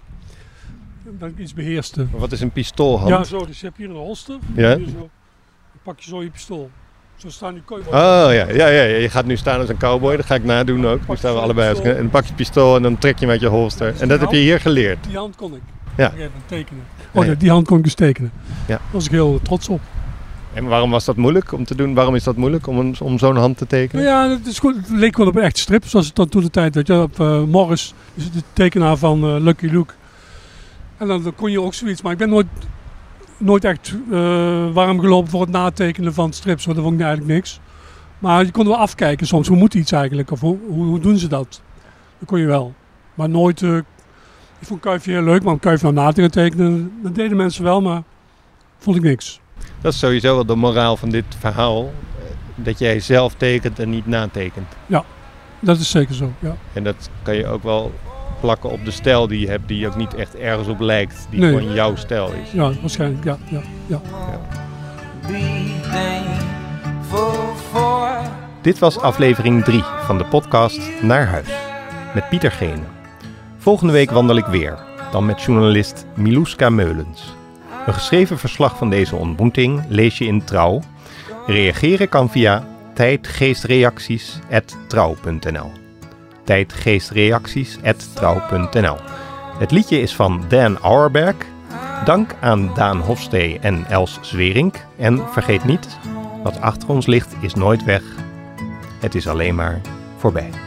[SPEAKER 8] Dat ik iets beheerste.
[SPEAKER 7] Maar wat is een pistoolhand?
[SPEAKER 8] Ja, zo, dus je hebt hier een holster.
[SPEAKER 7] Ja.
[SPEAKER 8] Hier zo. Dan pak je zo je pistool. Zo staan die kooien.
[SPEAKER 7] Oh ja, ja, ja, ja, je gaat nu staan als een cowboy, dat ga ik nadoen ook. Nu
[SPEAKER 8] pak
[SPEAKER 7] staan we
[SPEAKER 8] je
[SPEAKER 7] allebei.
[SPEAKER 8] pistool.
[SPEAKER 7] En dan pak je het pistool en dan trek je hem uit je holster. En dat heb je hier geleerd.
[SPEAKER 8] Die hand kon ik.
[SPEAKER 7] Ja.
[SPEAKER 8] Op een gegeven moment tekenen.
[SPEAKER 7] Ja,
[SPEAKER 8] Oh
[SPEAKER 7] ja.
[SPEAKER 8] ja, die hand kon ik dus tekenen.
[SPEAKER 7] Ja.
[SPEAKER 8] Daar was ik heel trots op.
[SPEAKER 7] En waarom was dat moeilijk om te doen? Waarom is dat moeilijk om, een- om zo'n hand te tekenen?
[SPEAKER 8] Nou ja, het, is goed. het leek wel op een echte strip, zoals het dan toen de tijd, weet je, op eh, Morris, dus de tekenaar van eh, Lucky Luke. En dan, dan kon je ook zoiets, maar ik ben nooit, nooit echt eh, warm gelopen voor het natekenen van strips, want dat vond ik eigenlijk niks. Maar je kon wel afkijken soms, hoe moet iets eigenlijk, of hoe, hoe, hoe doen ze dat? Dat kon je wel. Maar nooit, eh, ik vond Kuifje heel leuk, maar om Kuifje nou na te gaan tekenen, dat deden mensen wel, maar vond ik niks.
[SPEAKER 7] Dat is sowieso wel de moraal van dit verhaal. eh, Dat jij zelf tekent en niet natekent.
[SPEAKER 8] Dat is zeker zo, ja.
[SPEAKER 7] En dat kan je ook wel plakken op de stijl die je hebt, die ook niet echt ergens op lijkt. Die
[SPEAKER 8] Nee.
[SPEAKER 7] gewoon jouw stijl is.
[SPEAKER 8] Ja, waarschijnlijk, ja, ja, ja.
[SPEAKER 9] Dit was aflevering 3 van de podcast Naar Huis met Pieter Gene. Volgende week wandel ik weer, dan met journalist Miluska Meulens. Een geschreven verslag van deze ontmoeting lees je in Trouw. Reageren kan via tijdgeestreacties@trouw.nl. Tijdgeestreacties@trouw.nl. Het liedje is van Dan Auerberg. Dank aan Daan Hofstee en Els Zwerink. En vergeet niet, wat achter ons ligt is nooit weg. Het is alleen maar voorbij.